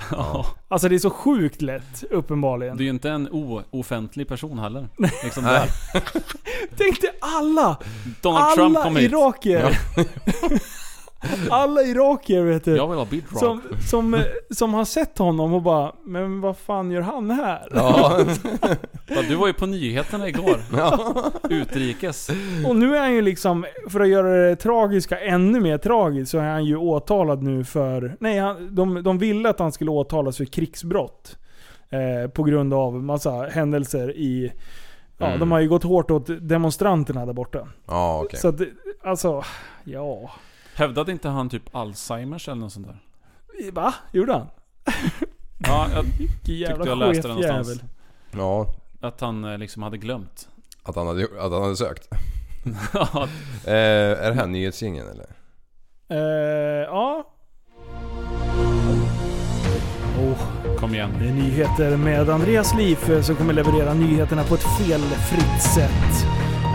Speaker 4: Alltså det är så sjukt lätt, uppenbarligen.
Speaker 7: Du är ju inte en o-offentlig person heller. Liksom där.
Speaker 4: Tänk dig alla!
Speaker 7: Donald Trump kom
Speaker 4: Alla
Speaker 7: hit.
Speaker 4: irakier! alla irakier vet du.
Speaker 7: Jag vill ha Big Rock.
Speaker 4: Som, som, eh, som har sett honom och bara Men vad fan gör han här?
Speaker 5: Ja,
Speaker 7: Ja, du var ju på nyheterna igår. Utrikes.
Speaker 4: Och nu är han ju liksom, för att göra det tragiska ännu mer tragiskt, så är han ju åtalad nu för... Nej, han, de, de ville att han skulle åtalas för krigsbrott. Eh, på grund av massa händelser i... Ja,
Speaker 5: Mm.
Speaker 4: de har ju gått hårt åt demonstranterna där borta.
Speaker 5: ja okej.
Speaker 4: Så att, alltså... Ja...
Speaker 7: Hävdade inte han typ Alzheimers eller något sånt där?
Speaker 4: Va? Gjorde han?
Speaker 7: Ja, jag
Speaker 4: Vilken jävla
Speaker 7: tyckte jag läste det någonstans.
Speaker 4: chefjävel.
Speaker 5: Ja,
Speaker 7: Att han eh, liksom hade glömt.
Speaker 5: att han hade, att han hade sökt.
Speaker 7: Ja,
Speaker 5: Eh, är det här nyhetsgingen eller?
Speaker 4: Eh, ja.
Speaker 7: kom igen.
Speaker 4: Det är nyheter med Andreas Liv eh, som kommer leverera nyheterna på ett felfritt sätt.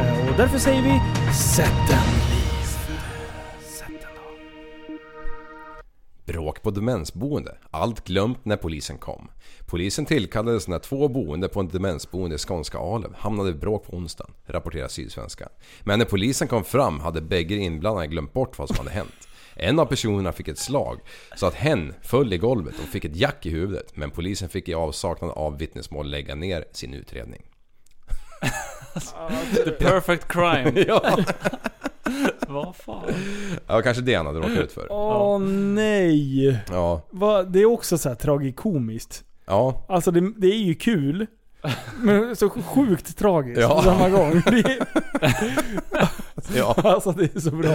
Speaker 4: Eh, Och därför säger vi, sätt den Liv.
Speaker 5: på demensboende. Allt glömt när polisen kom. Polisen tillkallades när två boende på en demensboende i skånska Alöv hamnade i bråk på onsdagen, rapporterar Sydsvenskan. Men när polisen kom fram hade bägge inblandade glömt bort vad som hade hänt. En av personerna fick ett slag så att hen föll i golvet och fick ett jack i huvudet. Men polisen fick i avsaknad av vittnesmål lägga ner sin utredning.
Speaker 7: The perfect crime.
Speaker 5: Ja,
Speaker 7: Vad fan?
Speaker 5: det var kanske det han hade råkat ut för.
Speaker 4: Åh nej.
Speaker 5: Ja,
Speaker 4: Va, det är också så här tragikomiskt.
Speaker 5: ja.
Speaker 4: Alltså det, det är ju kul. Men så sjukt tragiskt
Speaker 5: Ja.
Speaker 4: på samma gång. Det är,
Speaker 5: ja.
Speaker 4: alltså det är så bra.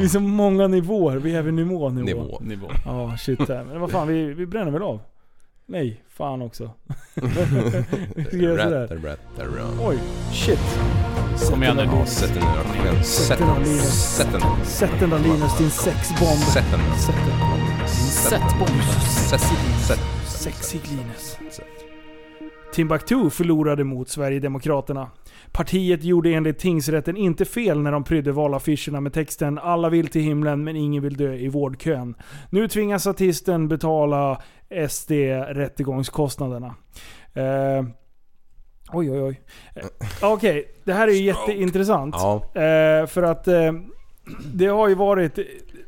Speaker 4: Det är så många nivåer. Vi är även nivå nivå.
Speaker 5: Nivå.
Speaker 7: Nivå.
Speaker 4: Ja, shit. här. Men vad fan, vi, vi bränner väl av? Nej, fan också. vi ska göra
Speaker 5: Rat,
Speaker 4: sådär.
Speaker 5: rat, rat.
Speaker 4: Oj, shit.
Speaker 7: Kom igen nu.
Speaker 5: Ja, sätt den där rationen. Sätt den. Sätt den.
Speaker 4: Sätt den där Linus, din sexbomb.
Speaker 5: Sätt den.
Speaker 4: Sätt den.
Speaker 5: Sätt bomben. Sätt. Sätt.
Speaker 4: Sexig Linus.
Speaker 5: Sätt.
Speaker 4: Timbuktu förlorade mot Sverigedemokraterna. Partiet gjorde enligt tingsrätten inte fel när de prydde valaffischerna med texten “Alla vill till himlen men ingen vill dö i vårdkön”. Nu tvingas artisten betala SD-rättegångskostnaderna. Eh, oj, oj, oj. Eh, Okej, det här är ju jätteintressant.
Speaker 5: Ja.
Speaker 4: Eh, för att eh, det har ju varit...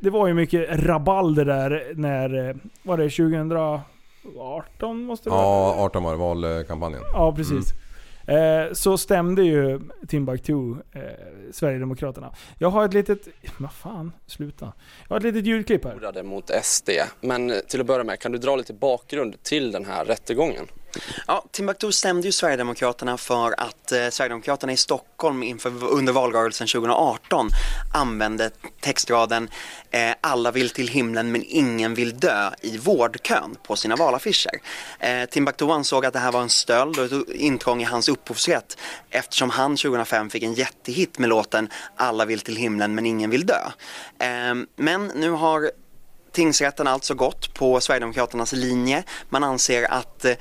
Speaker 4: Det var ju mycket rabalder där när... eh, Var det 2018 måste det vara?
Speaker 5: Ja, Mm. 18 var valkampanjen.
Speaker 4: Ja, precis. Eh, så stämde ju Timbuktu eh, Sverigedemokraterna. Jag har ett litet... Vad fan, sluta. Jag har ett litet ljudklipp här.
Speaker 10: förlorade mot SD. Men eh, till att börja med, kan du dra lite bakgrund till den här rättegången?
Speaker 11: Ja, Timbuktu stämde ju Sverigedemokraterna för att eh, Sverigedemokraterna i Stockholm inför, under valrörelsen 2018 använde textraden eh, “Alla vill till himlen men ingen vill dö” i vårdkön på sina valaffischer. Eh, Timbuktu ansåg att det här var en stöld och ett intrång i hans upphovsrätt eftersom han 2005 fick en jättehit med låten “Alla vill till himlen men ingen vill dö”. Eh, men nu har tingsrätten alltså gått på Sverigedemokraternas linje. Man anser att eh,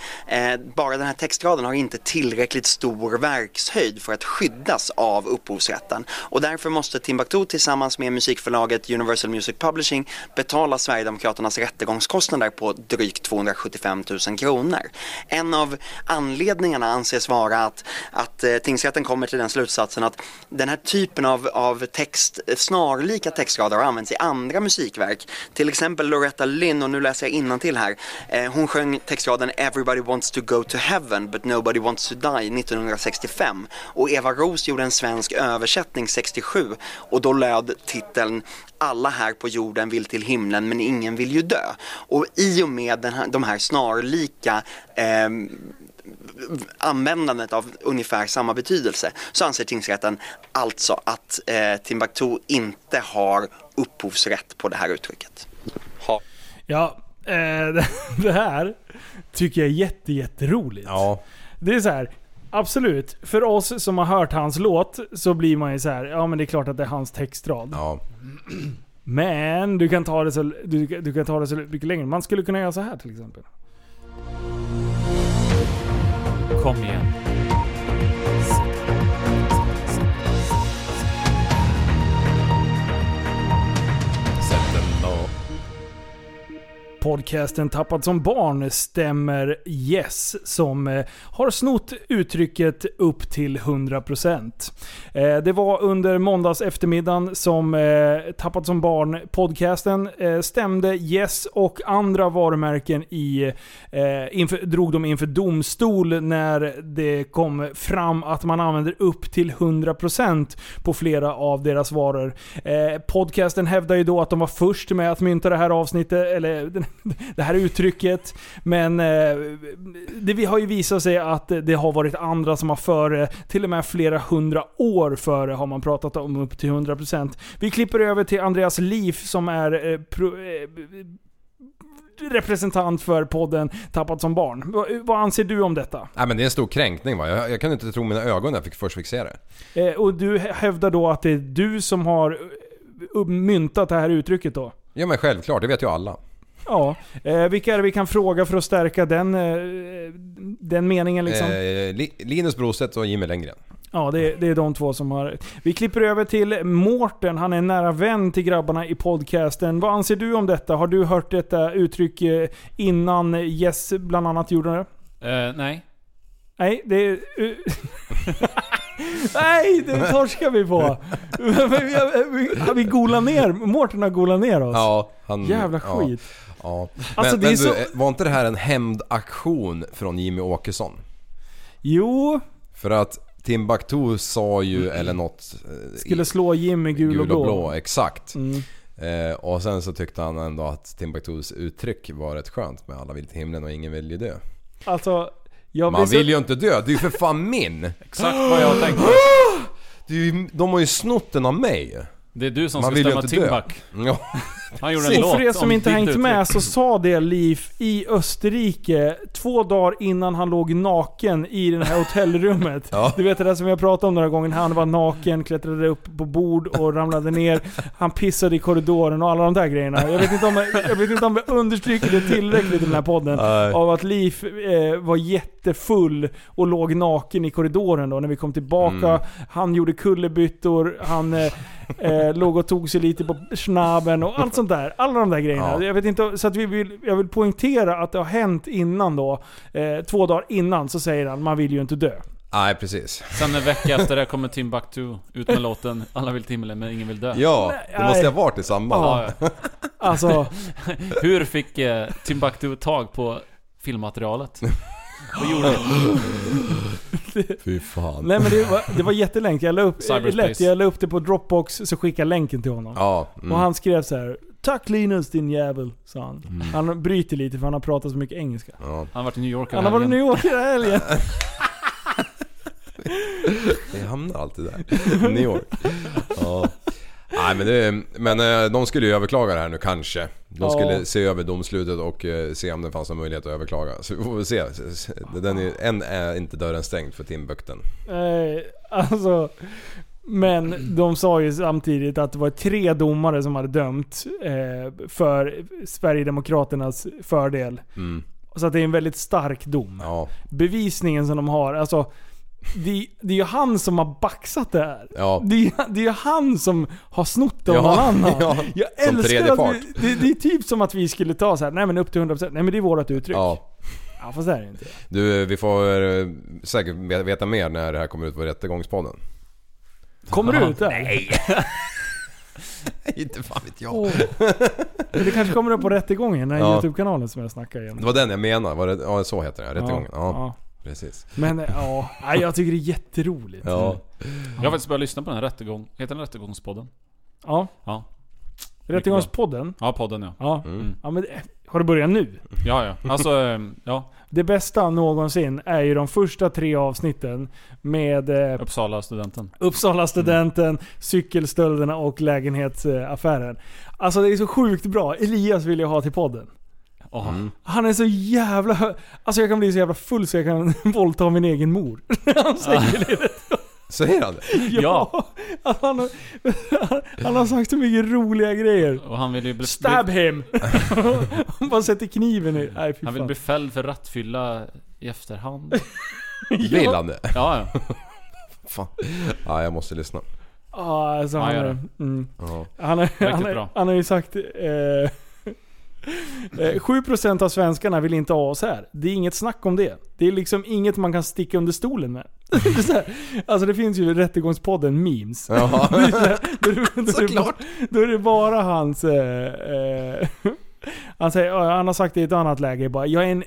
Speaker 11: bara den här textraden har inte tillräckligt stor verkshöjd för att skyddas av upphovsrätten. Och därför måste Timbuktu tillsammans med musikförlaget Universal Music Publishing betala Sverigedemokraternas rättegångskostnader på drygt 275 000 kronor. En av anledningarna anses vara att, att eh, tingsrätten kommer till den slutsatsen att den här typen av, av text, snarlika textrader har använts i andra musikverk. Till exempel Loretta Lynn, och nu läser jag till här. Eh, hon sjöng textraden “Everybody wants to go to heaven but nobody wants to die” 1965. Och Eva Roos gjorde en svensk översättning 67 och då löd titeln alla här på jorden vill till himlen men ingen vill ju dö. Och i och med den här, de här snarlika ehm, användandet av ungefär samma betydelse så anser tingsrätten alltså att eh, Timbuktu inte har upphovsrätt på det här uttrycket.
Speaker 4: Ja, eh, det- det här tycker jag är jätte, jätteroligt.
Speaker 5: Ja.
Speaker 4: Det är så här. Absolut, för oss som har hört hans låt så blir man ju så här, ja men det är klart att det är hans textrad.
Speaker 5: Ja.
Speaker 4: Men du kan ta det så, du, du kan ta det så mycket längre. Man skulle kunna göra så här till exempel.
Speaker 7: Kom igen.
Speaker 5: Sätt den. Ja.
Speaker 4: Podcasten Tappat som barn stämmer Yes som eh, har snott uttrycket upp till 100%. Eh, det var under måndags eftermiddagen som eh, Tappat som barn podcasten eh, stämde Yes och andra varumärken i, eh, inför, drog dem inför domstol när det kom fram att man använder upp till 100% på flera av deras varor. Eh, podcasten hävdar ju då att de var först med att mynta det här avsnittet, eller den- det här uttrycket. Men eh, det vi har ju visat sig att det har varit andra som har före, till och med flera hundra år före har man pratat om upp till 100%. Vi klipper över till Andreas Liv som är eh, pro, eh, representant för podden Tappat som barn. Vad, vad anser du om detta?
Speaker 5: Nej men det är en stor kränkning va. Jag, jag kan inte tro mina ögon när jag fick först fick se det.
Speaker 4: Eh, och du hävdar då att det är du som har eh, upp- myntat det här uttrycket då?
Speaker 5: Ja men självklart, det vet ju alla.
Speaker 4: Ja. Eh, vilka är det vi kan fråga för att stärka den, eh, den meningen liksom?
Speaker 5: Eh, Li- Linus Brostedt och Jimmy Lenngren.
Speaker 4: Ja, det är, det är de två som har... Vi klipper över till Mårten, han är en nära vän till grabbarna i podcasten. Vad anser du om detta? Har du hört detta uttryck eh, innan Jess bland annat gjorde det?
Speaker 7: Eh, nej.
Speaker 4: Nej, det är... Nej, det torskar vi på! vi, vi, vi golar ner, Mårten har golat ner oss.
Speaker 5: Ja, han...
Speaker 4: Alltså, Jävla
Speaker 5: ja,
Speaker 4: skit.
Speaker 5: Ja.
Speaker 4: Alltså,
Speaker 5: men,
Speaker 4: det är
Speaker 5: men
Speaker 4: så-
Speaker 5: du, eh, var inte det här en hämndaktion från Jimmy Åkesson?
Speaker 4: Jo,
Speaker 5: För att Timbuktu sa ju, eller något... eh,
Speaker 4: Mm. skulle slå Jimmy gul,
Speaker 5: gul
Speaker 4: och blå.
Speaker 5: exakt.
Speaker 4: Mm.
Speaker 5: Eh, och sen så tyckte han ändå att Timbuktus uttryck var rätt skönt med alla vill till himlen och ingen vill ju dö.
Speaker 4: Alltså, jag blir
Speaker 5: Man
Speaker 4: så...
Speaker 5: vill ju inte dö, det är ju för fan min!
Speaker 7: Exakt vad jag tänkte.
Speaker 5: Det är ju, de har ju snott den av mig.
Speaker 7: Det är du som ska
Speaker 5: vill ju
Speaker 7: stämma
Speaker 5: inte dö.
Speaker 7: Timbuk.
Speaker 5: Ja.
Speaker 7: Han gjorde en
Speaker 4: Och
Speaker 7: låt
Speaker 4: för er som
Speaker 7: om
Speaker 4: inte
Speaker 7: ditt
Speaker 4: hängt
Speaker 7: uttryck.
Speaker 4: med så sa det Liv i Österrike två dagar innan han låg naken i det här hotellrummet. Du vet det där som jag pratade om några gånger. Han var naken, klättrade upp på bord och ramlade ner. Han pissade i korridoren och alla de där grejerna. Jag vet inte om jag, jag, vet inte om jag understryker det tillräckligt i den här podden.
Speaker 5: Nej.
Speaker 4: Av att Liv eh, var jättefull och låg naken i korridoren då när vi kom tillbaka.
Speaker 5: Mm.
Speaker 4: Han gjorde kullerbyttor, han eh, eh, låg och tog sig lite på snaben och allt sånt där. Alla de där grejerna.
Speaker 5: Ja.
Speaker 4: Jag, vet inte, så att vi vill, jag vill poängtera att det har hänt innan då. Eh, två dagar innan så säger han man vill ju inte dö.
Speaker 5: Nej precis.
Speaker 7: Sen en vecka efter det kommer Timbuktu ut med låten 'Alla vill till himlen men ingen vill dö'
Speaker 5: Ja, det måste ha varit i samband.
Speaker 7: Ja.
Speaker 4: Alltså-
Speaker 7: Hur fick eh, Timbuktu tag på filmmaterialet? Och gjorde
Speaker 5: Fy fan.
Speaker 4: Nej men det var, det var jättelänkt. Jag la upp, eh,
Speaker 7: Cyberspace.
Speaker 4: lätt, jag la upp det på Dropbox så skickade jag länken till honom.
Speaker 5: Ja, mm.
Speaker 4: Och han skrev så här. Tack Linus din jävel, sa han. Han bryter lite för han har pratat så mycket engelska.
Speaker 5: Mm. Ja.
Speaker 7: Han har varit i New York
Speaker 4: Han har varit i New York hela helgen.
Speaker 5: Vi hamnar alltid där. New York. Ja. Nej men, det, men eh, de skulle ju överklaga det här nu kanske.
Speaker 4: Ja.
Speaker 5: De skulle se över domslutet och eh, se om det fanns någon möjlighet att överklaga. Så vi får väl se. Den är, än är inte dörren stängd för Timbukten.
Speaker 4: Nej, alltså. Men de sa ju samtidigt att det var tre domare som hade dömt eh, för Sverigedemokraternas fördel.
Speaker 5: Mm.
Speaker 4: Så att det är en väldigt stark dom.
Speaker 5: Ja.
Speaker 4: Bevisningen som de har, alltså. Det, det är ju han som har baxat det här.
Speaker 5: Ja.
Speaker 4: Det, är, ju- det är ju han som har snott det av
Speaker 5: Ja,
Speaker 4: någon annan.
Speaker 5: ja.
Speaker 4: Jag
Speaker 5: Som
Speaker 4: älskar
Speaker 5: tredje
Speaker 4: att
Speaker 5: part.
Speaker 4: vi, det, det är typ som att vi skulle ta så här, nej men upp till 100%, nej men det är vårt uttryck.
Speaker 5: Ja.
Speaker 4: ja fast det är det inte.
Speaker 5: Du, vi får eh, säkert ve- veta mer när det här kommer ut på Rättegångspodden.
Speaker 4: Kommer du
Speaker 5: Ja.
Speaker 4: ut där?
Speaker 5: Nej. Inte fan vet jag.
Speaker 4: Åh. Men Det kanske kommer upp på rättegången, den här
Speaker 5: Ja.
Speaker 4: YouTube-kanalen som jag snackade
Speaker 5: Det
Speaker 4: om.
Speaker 5: var den jag menade, var det, ja, så heter den, Rättegången. Ja,
Speaker 4: ja.
Speaker 5: precis.
Speaker 4: Men eh, ja, nej, jag tycker det är jätteroligt.
Speaker 5: Ja.
Speaker 7: Jag har faktiskt börjat lyssna på den här rättegång... Heter den Rättegångspodden?
Speaker 4: Ja.
Speaker 7: Ja.
Speaker 4: Rättegångspodden?
Speaker 7: Ja, podden ja.
Speaker 4: Ja.
Speaker 7: Mm.
Speaker 4: ja men, eh, har du börjat nu?
Speaker 7: Ja, ja. Alltså, ehm, ja.
Speaker 4: Det bästa någonsin är ju de första tre avsnitten med eh,
Speaker 7: Uppsala studenten.
Speaker 4: Uppsala studenten, cykelstölderna och lägenhetsaffären. Alltså det är så sjukt bra. Elias vill jag ha till podden.
Speaker 7: Mm.
Speaker 4: Han är så jävla... Alltså jag kan bli så jävla full så jag kan våldta min egen mor. Han säger det.
Speaker 5: Säger han det?
Speaker 7: Ja.
Speaker 4: Att Alltså, han, har, han har sagt så mycket roliga grejer.
Speaker 7: Och han vill ju bli...
Speaker 4: Stab him! han bara sätter kniven i... Nej fy
Speaker 7: Han vill
Speaker 4: fan.
Speaker 7: bli fälld för rattfylla i efterhand.
Speaker 5: Vill han det?
Speaker 7: Ja, ja.
Speaker 5: Fan. Ja, jag måste lyssna.
Speaker 4: Ja, alltså
Speaker 7: Ja,
Speaker 4: han
Speaker 7: gör
Speaker 4: är...
Speaker 7: det.
Speaker 4: Mm.
Speaker 5: Ja.
Speaker 4: Han, har-
Speaker 7: Riktigt
Speaker 4: han, har-
Speaker 7: bra.
Speaker 4: han har ju sagt... Eh, eh, 7% av svenskarna vill inte ha oss här. Det är inget snack om det. Det är liksom inget man kan sticka under stolen med. Det är så här. Alltså det finns ju Rättegångspodden memes.
Speaker 5: Ja.
Speaker 4: Det är så här, då är det- då är det
Speaker 5: Såklart.
Speaker 4: bara- Då är det bara hans... Eh, eh, han, säger, ja, han har sagt det i ett annat läge bara. Jag är en...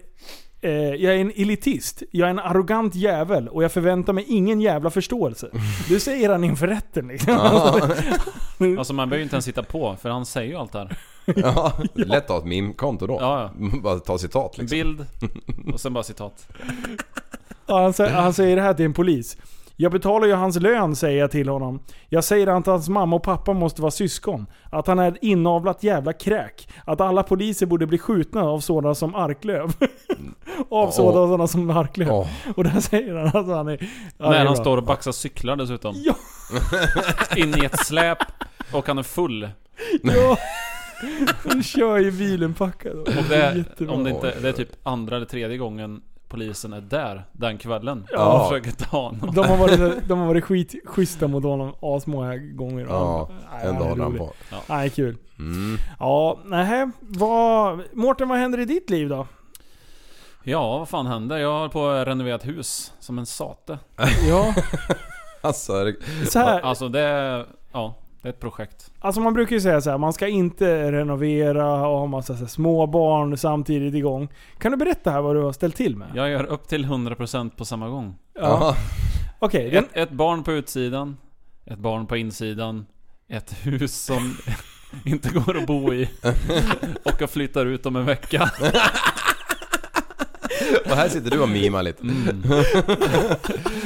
Speaker 4: Eh, jag är en elitist, jag är en arrogant jävel och jag förväntar mig ingen jävla förståelse. Det säger han inför rätten liksom.
Speaker 7: Alltså man behöver ju inte ens sitta på, för han säger ju allt det här.
Speaker 5: Ja, det är lätt att ha ett meme-konto då.
Speaker 7: Ja,
Speaker 5: Bara ta citat
Speaker 7: En
Speaker 5: liksom.
Speaker 7: bild och sen bara citat.
Speaker 4: Ja, han, sä- han säger det här till en polis. Jag betalar ju hans lön säger jag till honom. Jag säger att hans mamma och pappa måste vara syskon. Att han är ett inavlat jävla kräk. Att alla poliser borde bli skjutna av sådana som Arklöv. av sådana som Arklöv.
Speaker 5: Åh.
Speaker 4: Och där säger han alltså han är... ja, det är
Speaker 7: När han
Speaker 4: bra.
Speaker 7: står och baxar cyklar dessutom.
Speaker 4: Ja.
Speaker 7: In i ett släp och han är full.
Speaker 4: Ja. Han kör ju bilen packad.
Speaker 7: Och det,
Speaker 4: Jättebra.
Speaker 7: om det, inte, det är typ andra eller tredje gången polisen är där den kvällen
Speaker 4: Ja.
Speaker 7: och försöker ta honom.
Speaker 4: De har varit, de har varit skit, schyssta mot honom asmånga gånger.
Speaker 5: Ja,
Speaker 4: Nej,
Speaker 5: ändå
Speaker 4: han är
Speaker 5: håller han
Speaker 4: rolig.
Speaker 5: på.
Speaker 7: Ja.
Speaker 4: Nej, kul.
Speaker 5: Mm.
Speaker 4: Ja, nej. Vad... Mårten, vad händer i ditt liv då?
Speaker 7: Ja, vad fan hände? Jag höll på att renovera ett hus som en sate.
Speaker 4: Ja.
Speaker 5: alltså, det-
Speaker 4: Så här.
Speaker 7: Alltså det är... Ja, det är ett projekt.
Speaker 4: Alltså man brukar ju säga så här, man ska inte renovera och ha massa så här småbarn samtidigt igång. Kan du berätta här vad du har ställt till med?
Speaker 7: Jag gör upp till 100% på samma gång.
Speaker 4: Ja. Okej, den-
Speaker 7: ett, ett barn på utsidan, ett barn på insidan, ett hus som inte går att bo i och jag flyttar ut om en vecka.
Speaker 5: Och här sitter du och mimar lite.
Speaker 7: Mm.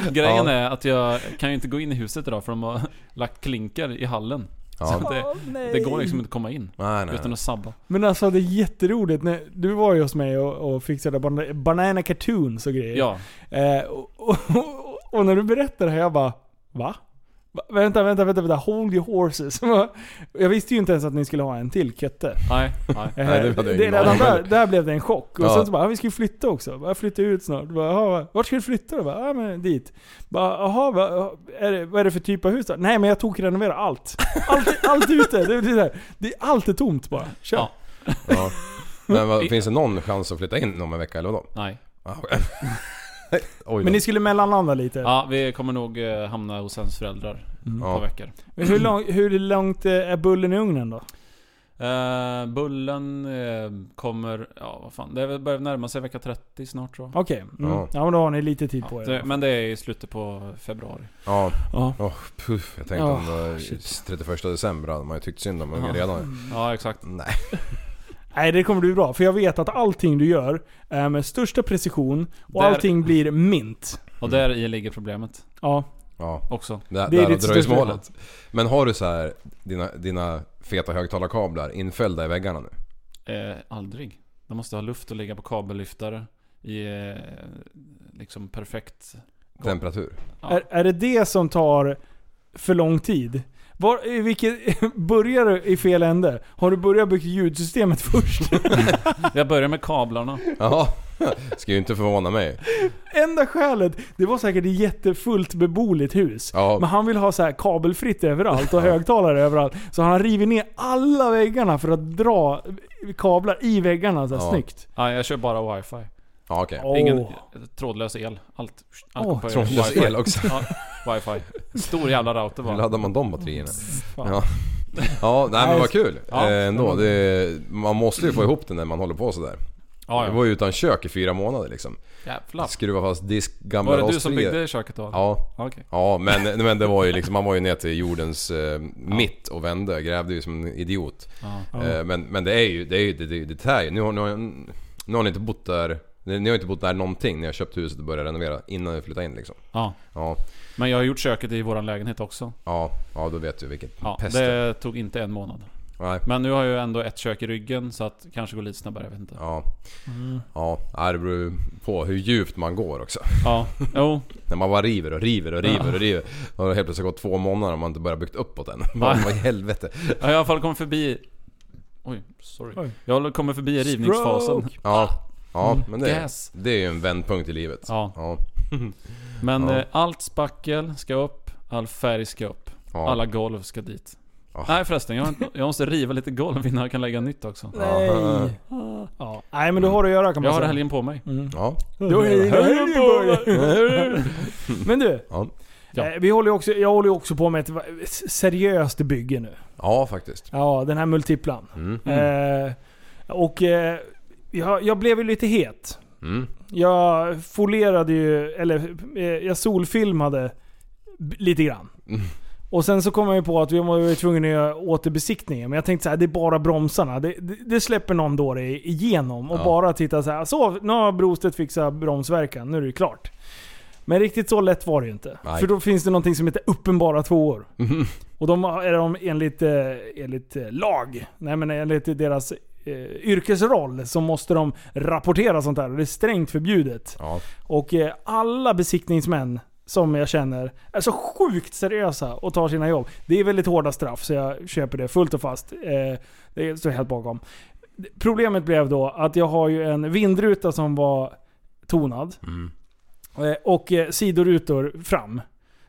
Speaker 7: Grejen är att jag kan ju inte gå in i huset idag för de har lagt klinker i hallen.
Speaker 5: Ja.
Speaker 7: Så det,
Speaker 4: Åh,
Speaker 7: det
Speaker 4: nej.
Speaker 7: går liksom inte att komma in.
Speaker 5: Nej, nej,
Speaker 7: utan
Speaker 5: nej.
Speaker 7: att sabba.
Speaker 4: Men alltså det är jätteroligt. När du var ju hos mig och, och fixade ban- banana cartoons och grejer.
Speaker 7: Ja.
Speaker 4: Eh, och, och, och, och när du berättade det här, jag bara Va? Va? Vänta, vänta, vänta, vänta. Hold your horses. Jag visste ju inte ens att ni skulle ha en till kötte.
Speaker 7: Nej,
Speaker 4: Eh,
Speaker 7: nej.
Speaker 4: det, redan där, där blev det en chock. Och
Speaker 7: Ja.
Speaker 4: sen så bara, "Ah, vi ska ju flytta också. Bara, Jag flyttar ut snart. Bara, "Jaha, vart ska du flytta då? Bara, "Ah, men dit. Bara, Jaha, vad är, det- vad är det för typ av hus då? Nej men jag tog och renovera allt. Allt, allt är ute. Det, det, där. det, allt är tomt bara. Kör.
Speaker 5: Ja. Men vad, finns det någon chans att flytta in om en vecka eller vadå?
Speaker 7: Nej.
Speaker 5: Ah, okej. Oj då.
Speaker 4: Men ni skulle mellanlanda lite?
Speaker 7: Ja, vi kommer nog eh, hamna hos hans föräldrar
Speaker 4: Mm.
Speaker 7: ett par
Speaker 4: Ja.
Speaker 7: veckor.
Speaker 4: Men hur, lång, hur långt eh, är bullen i ugnen då?
Speaker 7: Eh, bullen eh, kommer, ja vad fan, det är väl- börjar närma sig vecka 30 snart tror jag.
Speaker 4: Okej. Mm. Ja. men då har ni lite tid på er.
Speaker 7: Det, men det är i slutet på februari.
Speaker 5: Ja.
Speaker 4: Ja.
Speaker 5: Åh, puff. Jag tänkte
Speaker 7: Ja,
Speaker 5: om det var 31 december hade man ju tyckt synd om ungen redan ju.
Speaker 7: Ja, exakt.
Speaker 5: Nej.
Speaker 4: Nej det kommer bli bra, för jag vet att allting du gör är med största precision och
Speaker 7: Där-
Speaker 4: allting blir mint.
Speaker 7: Och där i ligger problemet.
Speaker 4: Ja.
Speaker 5: Ja.
Speaker 7: Också.
Speaker 5: Det,
Speaker 4: Det är
Speaker 5: där har
Speaker 4: ditt största-
Speaker 5: dröjsmålet. Men har du så här dina, dina feta högtalarkablar infällda i väggarna nu?
Speaker 7: Eh, aldrig. De måste ha luft och ligga på kabellyftare i eh, liksom perfekt...
Speaker 5: Temperatur?
Speaker 7: Ja.
Speaker 4: Är, är det det som tar för lång tid? Var, i vilket, börjar du i fel ände? Har du börjat bygga ljudsystemet först?
Speaker 7: Jag börjar med kablarna.
Speaker 5: Jaha. Ska ju inte förvåna mig.
Speaker 4: Enda skälet, det var säkert ett jättefullt beboeligt hus.
Speaker 5: Ja.
Speaker 4: Men han vill ha så här kabelfritt överallt och högtalare överallt. Så han har rivit ner alla väggarna för att dra kablar i väggarna så här snyggt.
Speaker 7: Ja, jag kör bara wifi.
Speaker 5: Ja, okej.
Speaker 7: Ingen
Speaker 4: Åh.
Speaker 7: trådlös el. Allt. allt
Speaker 5: Åh,
Speaker 7: går på
Speaker 5: trådlös
Speaker 7: wifi.
Speaker 5: el också.
Speaker 7: Ja, wifi. Stor jävla router
Speaker 5: Hur
Speaker 7: bara.
Speaker 5: laddar man de batterierna?
Speaker 7: Fan.
Speaker 5: Ja. ja, nej men
Speaker 7: Nej,
Speaker 5: vad
Speaker 7: så-
Speaker 5: kul
Speaker 7: Ja.
Speaker 5: eh, ändå. Det, man måste ju få ihop det när man håller på sådär.
Speaker 7: Ja, ja.
Speaker 5: Jag var ju utan kök i fyra månader liksom.
Speaker 7: Jävlar.
Speaker 5: Skruva fast disk, gamla
Speaker 7: Var det du
Speaker 5: rostfria-
Speaker 7: som byggde köket då?
Speaker 5: Ja.
Speaker 7: Okej.
Speaker 5: Ja, men, men det var ju liksom, man var ju ner till jordens eh, mitt och vände. Grävde ju som en idiot.
Speaker 7: Ja.
Speaker 5: Eh, men, men det är ju, det är ju, det, det, det här ju. Nu, har- nu, har- nu har ni inte bott där, ni har inte bott där någonting när jag köpte huset och började renovera innan vi flyttade in liksom.
Speaker 7: Ja.
Speaker 5: Ja,
Speaker 7: Men jag har gjort köket i våran lägenhet också.
Speaker 5: ja, ja då vet du vilket
Speaker 7: Ja,
Speaker 5: pest det
Speaker 7: det tog inte en månad.
Speaker 5: Nej.
Speaker 7: Men nu har jag ju ändå ett kök i ryggen så att kanske går lite snabbare, jag vet inte.
Speaker 5: Ja.
Speaker 7: Mm.
Speaker 5: Ja, nej, det beror ju på hur djupt man går också.
Speaker 7: Ja, jo.
Speaker 5: När man bara river och river och river
Speaker 7: Ja.
Speaker 5: och river. Då har det helt plötsligt gått två månader och man inte börjat byggt uppåt än. Vad i helvete.
Speaker 7: Ja, Jag har i alla fall kommit förbi... Oj, sorry.
Speaker 5: Oj.
Speaker 7: Jag har kommit förbi rivningsfasen.
Speaker 5: Ja, ja
Speaker 7: Mm.
Speaker 5: men det,
Speaker 7: Gas.
Speaker 5: det är ju en vändpunkt i livet.
Speaker 7: Ja. Men
Speaker 5: Ja.
Speaker 7: eh, allt spackel ska upp, all färg ska upp.
Speaker 5: Ja.
Speaker 7: Alla golv ska dit. Nej förresten, jag, har inte- jag måste riva lite golv innan jag kan lägga nytt också.
Speaker 4: Nej. Ja. Nej men du har att göra kan man
Speaker 7: Jag har
Speaker 4: säga.
Speaker 7: helgen på mig.
Speaker 4: Mm.
Speaker 5: Ja.
Speaker 4: Du har helgen på dig. Men du.
Speaker 5: Ja.
Speaker 4: eh, Vi håller ju också, jag håller ju också på med ett va- seriöst bygge nu.
Speaker 5: Ja, faktiskt.
Speaker 4: Ja, den här multiplan.
Speaker 5: Mm.
Speaker 4: Eh, och eh, jag, jag blev ju lite het.
Speaker 5: Mm.
Speaker 4: Jag folerade ju, eller eh, jag solfilmade b- lite grann.
Speaker 5: Mm.
Speaker 4: Och sen så kom jag ju på att vi var ju tvungna att göra återbesiktningen. Men jag tänkte så här, det är bara bromsarna. Det, det, det släpper någon då det igenom. Och
Speaker 5: Ja.
Speaker 4: bara titta så här, så nu har Brostedt fixat bromsverkan, nu är det klart. Men riktigt så lätt var det ju inte.
Speaker 5: Nej. Mm-hmm.
Speaker 4: För då finns det någonting som heter uppenbara tvåor. Och de har- är de enligt, eh, enligt eh, lag, nej men enligt deras eh, yrkesroll, så måste de rapportera sånt här. Och det är strängt förbjudet. Och eh, alla besiktningsmän som jag känner är så sjukt seriösa och tar sina jobb. Det är väldigt hårda straff så jag köper det fullt och fast. Eh, det står jag helt bakom. Problemet blev då att jag har ju en vindruta som var tonad.
Speaker 5: Mm.
Speaker 4: Eh, Och eh, sidorutor fram.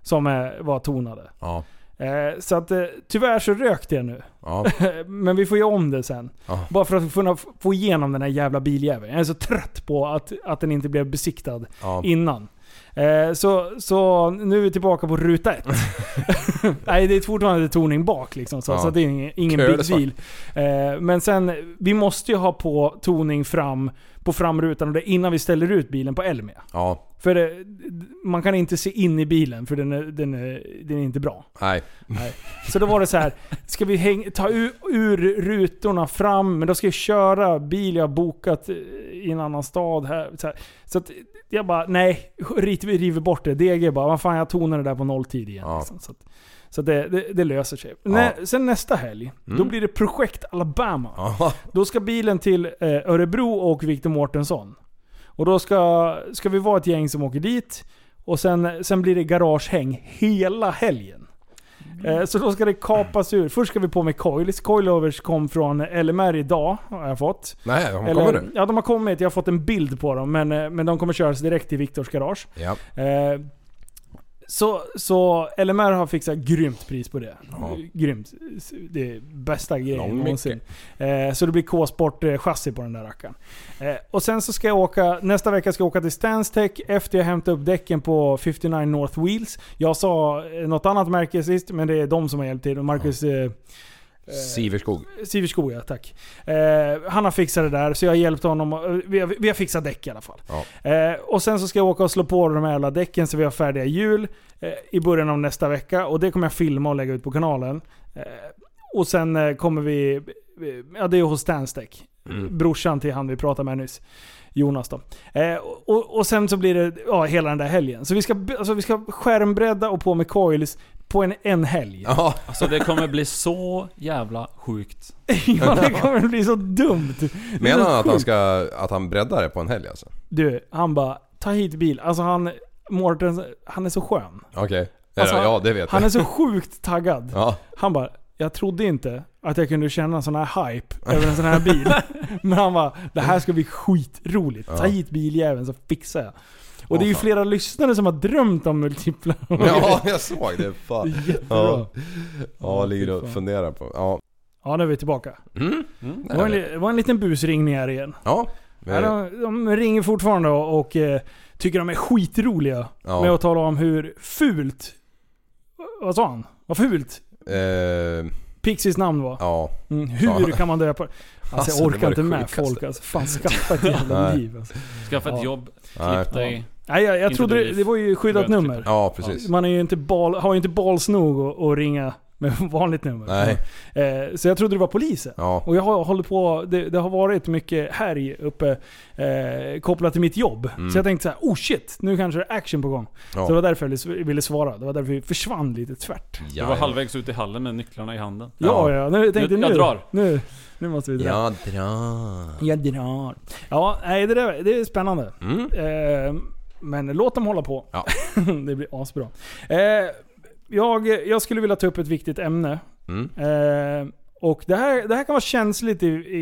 Speaker 4: Som eh, var tonade.
Speaker 5: Ja.
Speaker 4: Eh, Så att eh, tyvärr så rök det nu.
Speaker 5: Ja.
Speaker 4: Men vi får ju om det sen.
Speaker 5: Ja.
Speaker 4: Bara för att kunna f- få igenom den här jävla biljäveln. Jag är så trött på att, att den inte blev besiktad
Speaker 5: Ja.
Speaker 4: innan. Eh, Så, så nu är vi tillbaka på ruta ett. Nej, det är fortfarande toning bak liksom. Så,
Speaker 5: Ja.
Speaker 4: så det är ingen, ingen
Speaker 5: Kör
Speaker 4: big
Speaker 5: det svart.
Speaker 4: deal. Eh, Men sen, vi måste ju ha på toning fram på framrutan och det är innan vi ställer ut bilen på Elmia.
Speaker 5: Ja.
Speaker 4: För det, man kan inte se in i bilen för den är, den är, den är inte bra.
Speaker 5: Nej.
Speaker 4: Nej. Så då var det så här. ska vi häng, ta ur, ur rutorna fram, men då ska jag köra bil jag har bokat eh, i en annan stad här. Så, här. så att jag bara, nej, rit, vi river bort det. DG bara, vad fan jag tonar det där på nolltid igen. Liksom. Så, att, så att det, det, det löser sig. Nä, sen nästa helg, då
Speaker 5: Mm.
Speaker 4: blir det projekt Alabama. Då ska bilen till eh, Örebro och Victor Mårtensson. Och då ska, ska vi vara ett gäng som åker dit. Och sen, sen blir det garagehäng hela helgen. Eh, Så då ska det kapas ur. Först ska vi på med coils. Coilovers kom från LMR idag, har jag fått.
Speaker 5: Nej, de
Speaker 4: Eller-
Speaker 5: kommer nu.
Speaker 4: Ja, de har kommit. Jag har fått en bild på dem. Men, eh, men de kommer köras direkt till Viktors garage.
Speaker 5: Ja.
Speaker 4: Eh, Så, så LMR har fixat grymt pris på det.
Speaker 5: Ja.
Speaker 4: Grymt. Det är bästa
Speaker 5: Lång
Speaker 4: grejen
Speaker 5: mycket.
Speaker 4: någonsin. Eh, Så det blir K-sport eh, chassi på den där rackaren. Eh, Och sen så ska jag åka, nästa vecka ska jag åka till Stanstech efter jag hämtat upp däcken på 59 North Wheels. Jag sa eh, något annat märke sist, men det är de som har hjälpt till. Och Marcus... eh,
Speaker 5: Siverskog.
Speaker 4: Siverskog ja, tack. Eh, han har fixat det där, så jag har hjälpt honom. och- eh, Vi har, vi har fixat däck i alla fall.
Speaker 5: Ja.
Speaker 4: Eh, och sen så ska jag åka och slå på de här jävla däcken så vi har färdiga hjul eh, i början av nästa vecka. Och det kommer jag filma och lägga ut på kanalen. Eh, och sen eh, kommer vi... vi- Ja, det är hos Stanstek.
Speaker 5: Mm.
Speaker 4: Brorsan till han vi pratade med nyss. Jonas då. Eh, och, och sen så blir det ja, hela den där helgen. Så vi ska, b- alltså, vi ska skärmbredda och på med coils på en, en helg.
Speaker 5: Ja.
Speaker 7: Alltså det kommer bli så jävla sjukt.
Speaker 4: ja, det kommer bli så dumt. Det är så
Speaker 5: Menar han att han,
Speaker 4: sjukt.
Speaker 5: ska, att han breddar det på en helg alltså?
Speaker 4: Du, han bara ta hit bil. Alltså han, Mårten, han är så skön.
Speaker 5: Okej. Eh,
Speaker 4: Alltså,
Speaker 5: ja, det vet
Speaker 4: Han
Speaker 5: jag.
Speaker 4: är så sjukt taggad.
Speaker 5: Ja.
Speaker 4: Han bara, jag trodde inte att jag kunde känna sån här hype över en sån här bil. Men han bara, det här ska bli skitroligt. Ta
Speaker 5: Ja.
Speaker 4: hit biljäveln så fixar jag. Och
Speaker 5: Åh,
Speaker 4: det är ju
Speaker 5: fan.
Speaker 4: flera lyssnare som har drömt om multipla.
Speaker 5: Ja, jag såg det. Fan.
Speaker 4: Det är jättebra.
Speaker 5: Ja, ja
Speaker 4: Ja,
Speaker 5: ligger
Speaker 4: fy
Speaker 5: och
Speaker 4: fan.
Speaker 5: funderar på. Ja.
Speaker 4: Ja, nu är vi tillbaka.
Speaker 5: Mm.
Speaker 4: Det var en, li- det var en liten busringning här igen.
Speaker 5: Ja. Eh,
Speaker 4: Ja, de, de ringer fortfarande och, och eh, tycker de är skitroliga
Speaker 5: Ja.
Speaker 4: med att tala om hur fult... Vad sa han? Vad fult
Speaker 5: Eh,
Speaker 4: Pixies namn var.
Speaker 5: ja.
Speaker 4: Mm, hur
Speaker 5: Ja.
Speaker 4: kan man döpa det? Alltså,
Speaker 5: Alltså,
Speaker 4: jag
Speaker 5: det var
Speaker 4: orkar
Speaker 5: det
Speaker 4: inte med
Speaker 5: sjukaste.
Speaker 4: folk alltså. Fan skaffa ett jävla
Speaker 5: Nej.
Speaker 4: liv alltså.
Speaker 7: Skaffa ett
Speaker 4: Ja.
Speaker 7: jobb,
Speaker 5: Nej.
Speaker 7: klipp dig.
Speaker 4: Nej jag, jag
Speaker 7: Inte
Speaker 4: trodde det,
Speaker 7: bli
Speaker 4: det var ju skyddat
Speaker 7: rödklippad.
Speaker 4: nummer.
Speaker 5: Ja, precis.
Speaker 4: Man är ju inte bal, har ju inte balls nog att, att ringa med vanligt nummer.
Speaker 5: Nej.
Speaker 4: Eh, så jag trodde det var polisen.
Speaker 5: Ja.
Speaker 4: Och jag har, håller på, det, det har varit mycket härj uppe eh, kopplat till mitt jobb.
Speaker 5: Mm.
Speaker 4: Så jag tänkte så här, oh shit, nu kanske det är action på gång.
Speaker 5: Ja.
Speaker 4: Så det var därför jag ville- ville svara. Det var därför vi försvann lite tvärt.
Speaker 7: Du var halvvägs ut i hallen med nycklarna i handen.
Speaker 4: Ja, ja. Nu, jag tänkte,
Speaker 7: jag, jag
Speaker 4: nu,
Speaker 7: drar.
Speaker 4: Nu, nu måste vi dra.
Speaker 5: Jag drar.
Speaker 4: Jag drar. Ja, nej, det, där, det är spännande.
Speaker 5: Mm.
Speaker 4: Eh, men låt dem hålla på.
Speaker 5: Ja.
Speaker 4: det blir asbra. Eh, jag, jag skulle vilja ta upp ett viktigt ämne.
Speaker 5: Mm.
Speaker 4: Eh, och det här, det här kan vara känsligt i, i,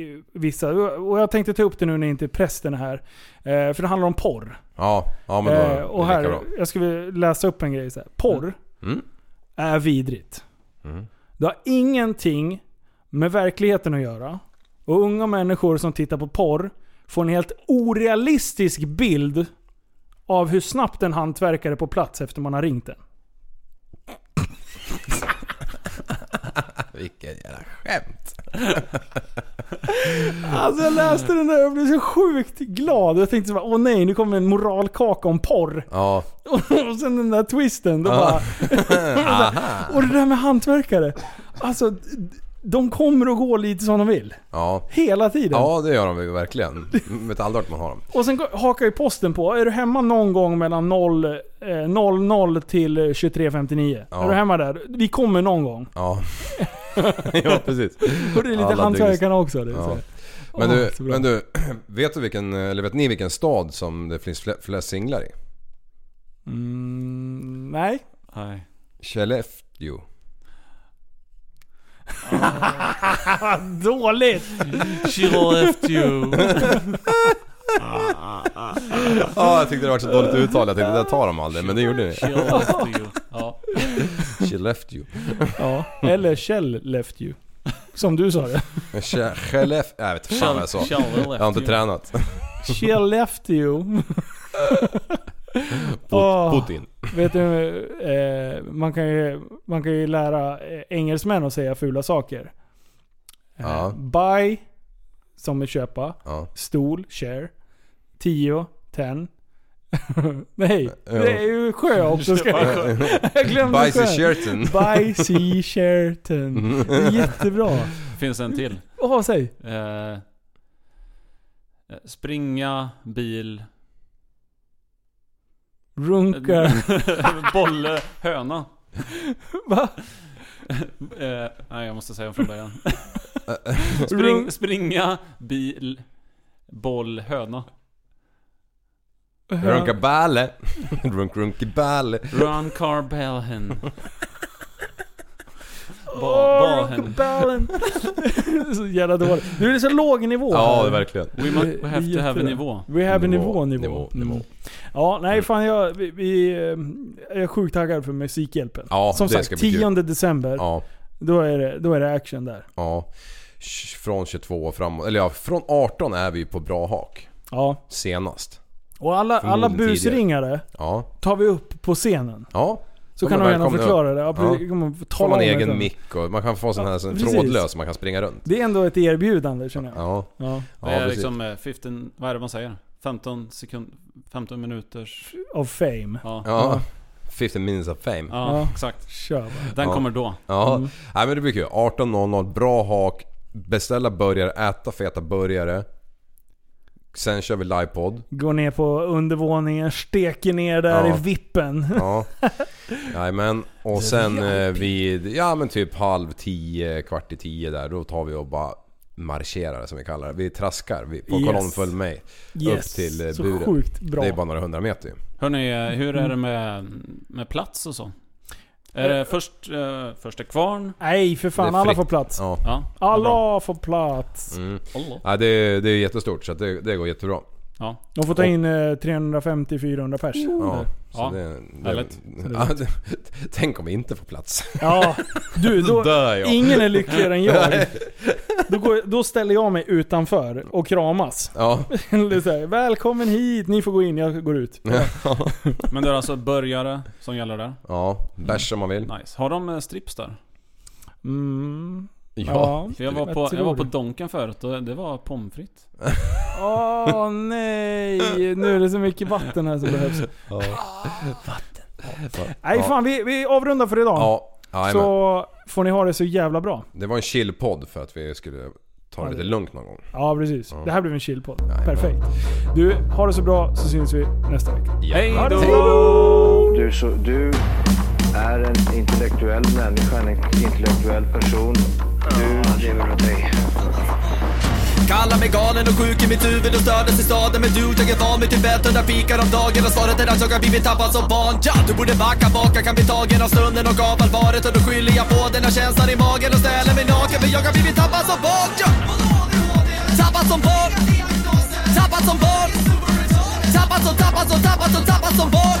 Speaker 4: i vissa. Och jag tänkte ta upp det nu när inte prästen är här. Eh, för det handlar om porr.
Speaker 5: Ja, ja men då
Speaker 4: Eh,
Speaker 5: är
Speaker 4: och
Speaker 5: det lika
Speaker 4: här,
Speaker 5: bra.
Speaker 4: jag skulle läsa upp en grej. Så här. Porr
Speaker 5: Mm.
Speaker 4: är vidrigt.
Speaker 5: Mm.
Speaker 4: Det har ingenting med verkligheten att göra. Och unga människor som tittar på porr får en helt orealistisk bild av hur snabbt en hantverkare är på plats efter man har ringt den.
Speaker 5: Vilket jävla skämt.
Speaker 4: Alltså jag läste den där och jag blev så sjukt glad. Jag tänkte så bara, åh nej, nu kommer en moralkaka om porr.
Speaker 5: Ja.
Speaker 4: Och sen den där twisten. Då
Speaker 5: Ja.
Speaker 4: bara, och det där med hantverkare. Alltså, de kommer och går lite som de vill.
Speaker 5: Ja.
Speaker 4: Hela tiden.
Speaker 5: Ja, det gör de ju verkligen. Metallvart man har dem.
Speaker 4: Och sen hakar ju posten på. Är du hemma någon gång mellan 0, eh, 00 till eh, 23.59?
Speaker 5: Ja.
Speaker 4: Är du hemma där? Vi kommer någon gång.
Speaker 5: Ja. ja, precis.
Speaker 4: Och det är lite
Speaker 5: Alla
Speaker 4: hantverkarna
Speaker 5: dygns-
Speaker 4: också. liksom. Det är så
Speaker 5: Ja.
Speaker 4: här.
Speaker 5: Men
Speaker 4: Åh,
Speaker 5: du,
Speaker 4: så bra.
Speaker 5: men du vet, du vilken, eller vet ni vilken stad som det finns fle- flest singlar i?
Speaker 4: Mm, nej.
Speaker 7: Nej.
Speaker 5: Skellefteå.
Speaker 4: Dåligt!
Speaker 7: She left you.
Speaker 5: Ja, jag tyckte det var så dåligt uttal. Jag tänkte det där tar de aldrig, men det gjorde ni.
Speaker 4: She left you.
Speaker 7: Ja.
Speaker 5: She left you.
Speaker 4: Ja, eller Kjell left you. Som du sa det.
Speaker 5: She- she left... Nej, jag vet inte fan vad jag sa.
Speaker 4: She left
Speaker 5: alltså. Jag har inte
Speaker 4: you.
Speaker 5: tränat.
Speaker 4: Kjell left you. Åh,
Speaker 5: Putin.
Speaker 4: Vet du, eh, man, kan ju, man kan ju lära eh, engelsmän att säga fula saker. Eh,
Speaker 5: Ja.
Speaker 4: Buy, som är köpa.
Speaker 5: Ja.
Speaker 4: Stol, share. Tio, ten. Nej,
Speaker 5: Ja.
Speaker 4: det är ju sjö också. Ska
Speaker 5: Köpa
Speaker 4: jag,
Speaker 5: sjö.
Speaker 4: jag glömde
Speaker 5: Buy
Speaker 4: sjön.
Speaker 5: Sheraton.
Speaker 4: Buy Sheraton. Det är jättebra.
Speaker 7: Finns en till.
Speaker 4: Åh, säg.
Speaker 7: Eh, springa, bil... Mm.
Speaker 4: Runka.
Speaker 7: Bolle, höna.
Speaker 4: Va?
Speaker 7: eh, nej, jag måste säga dem från början. Spring, springa, bil, boll, höna.
Speaker 5: Runka balle. Runk runki balle.
Speaker 7: Ron Carbellhen.
Speaker 4: Åh, Ballen. så jävla dåligt. Nu är det så låg nivå.
Speaker 5: Ja,
Speaker 4: här.
Speaker 5: verkligen.
Speaker 7: We mu- we have to have a nivå.
Speaker 4: We have a nivå,
Speaker 5: Nivå,
Speaker 4: nivå.
Speaker 5: nivå,
Speaker 4: Mm.
Speaker 5: nivå.
Speaker 4: Ja,
Speaker 5: Mm.
Speaker 4: nej fan jag, vi, vi, eh, jag är sjukt taggad för Musikhjälpen.
Speaker 5: Ja,
Speaker 4: Som
Speaker 5: det ska
Speaker 4: sagt,
Speaker 5: bli kul.
Speaker 4: 10 december.
Speaker 5: Ja.
Speaker 4: Då, är det, då är det action där.
Speaker 5: Ja. Sh- Från 22 och framåt. Eller ja, från 18 är vi på bra hak.
Speaker 4: Ja.
Speaker 5: Senast.
Speaker 4: Och alla, alla
Speaker 5: Förmodligen tidigare.
Speaker 4: busringare
Speaker 5: Ja.
Speaker 4: tar vi upp på scenen.
Speaker 5: Ja.
Speaker 4: Så
Speaker 5: De
Speaker 4: kan
Speaker 5: är
Speaker 4: de gärna
Speaker 5: välkomna
Speaker 4: förklara
Speaker 5: upp.
Speaker 4: det. Ja, precis. Kan man få
Speaker 5: Får
Speaker 4: tala
Speaker 5: man
Speaker 4: om det
Speaker 5: egen
Speaker 4: sen.
Speaker 5: mick och man kan få sån här sån
Speaker 4: precis.
Speaker 5: trådlös som man kan springa runt.
Speaker 4: Det är ändå ett erbjudande känner jag.
Speaker 5: Ja.
Speaker 4: Ja.
Speaker 7: det är
Speaker 5: precis.
Speaker 7: liksom eh, 15, vad är det man säger? 15 sekund, 15 minuters...
Speaker 4: Of fame.
Speaker 7: Ja.
Speaker 5: Ja. 15 minutes of fame.
Speaker 7: Ja, exakt.
Speaker 4: Kör bara.
Speaker 7: Den
Speaker 5: Ja.
Speaker 7: kommer då.
Speaker 5: Ja,
Speaker 4: Mm.
Speaker 5: Nej, men det blir kul. 18.00, bra hak. Beställa burgare, äta feta burgare. Sen kör vi livepodd.
Speaker 4: Går ner på undervåningen, steker ner där
Speaker 5: Ja.
Speaker 4: i vippen.
Speaker 5: Ja. Jajamän. Och sen eh, vid, ja men typ halv tio, kvart i tio där. Då tar vi och bara marscherar som vi kallar det. Vi traskar vi, på
Speaker 4: Yes.
Speaker 5: kolonn följ mig.
Speaker 4: Yes.
Speaker 5: Upp till eh,
Speaker 4: Så
Speaker 5: buren.
Speaker 4: sjukt bra.
Speaker 5: Det är bara några hundra meter ju.
Speaker 7: Hörrni, eh, hur är det med, med plats och så? Är det först, eh, första kvarn?
Speaker 4: Nej för fan,
Speaker 7: Det är
Speaker 4: alla
Speaker 7: fritt.
Speaker 4: får plats.
Speaker 5: Ja.
Speaker 4: Alla får plats.
Speaker 5: Mm. Ja, det, är- det är jättestort så att det, det går jättebra.
Speaker 7: Ja.
Speaker 4: De får ta in eh, 350-400 pers.
Speaker 5: Ja,
Speaker 4: Där.
Speaker 5: så
Speaker 4: Ja.
Speaker 5: det, det,
Speaker 7: härligt.
Speaker 5: ja, det, tänk om vi inte får plats.
Speaker 4: Ja, du då,
Speaker 5: dör jag.
Speaker 4: ingen är lyckligare än jag. Då, går, då ställer jag mig utanför och kramas.
Speaker 5: Ja.
Speaker 4: Eller så här, Välkommen hit, ni får gå in, jag går ut.
Speaker 7: Men det är alltså börjare som gäller där?
Speaker 5: Ja, bärs om man vill.
Speaker 7: Nice. Har de eh, strips där?
Speaker 4: Mm.
Speaker 7: För jag, var på, jag var på Donken förut och det var pommes frites.
Speaker 4: Åh nej, nu är det så mycket vatten här som behövs.
Speaker 5: Ja.
Speaker 4: Vatten. Nej
Speaker 5: Ja.
Speaker 4: fan, vi, vi avrundar för idag.
Speaker 5: Ja, jajamän.
Speaker 4: så får ni ha det så jävla bra.
Speaker 5: Det var en chillpodd för att vi skulle ta det lite lugnt någon gång.
Speaker 4: Ja precis.
Speaker 5: Ja.
Speaker 4: Det här blev en chillpodd. Perfekt. Du, ha det så bra så syns vi nästa vecka.
Speaker 5: Hej
Speaker 4: Ha det så
Speaker 5: då!
Speaker 4: bra.
Speaker 3: Du, så, du är en intellektuell människa, en intellektuell person. Du lever åt dig.
Speaker 1: Kallar mig galen och sjuk i mitt huvud och stördes i staden Men du, jag är van vid Tibet och där fikar om dagen Och svaret är att jag har blivit tappad som barn ja, Du borde backa bak, jag kan bli tagen av stunden och av allvaret Och då skyller jag på den här känslan i magen och ställer mig naken För jag har blivit tappad som barn ja. Tappad som barn Tappad som barn Tappad som, tappad som, tappad som, tappad som barn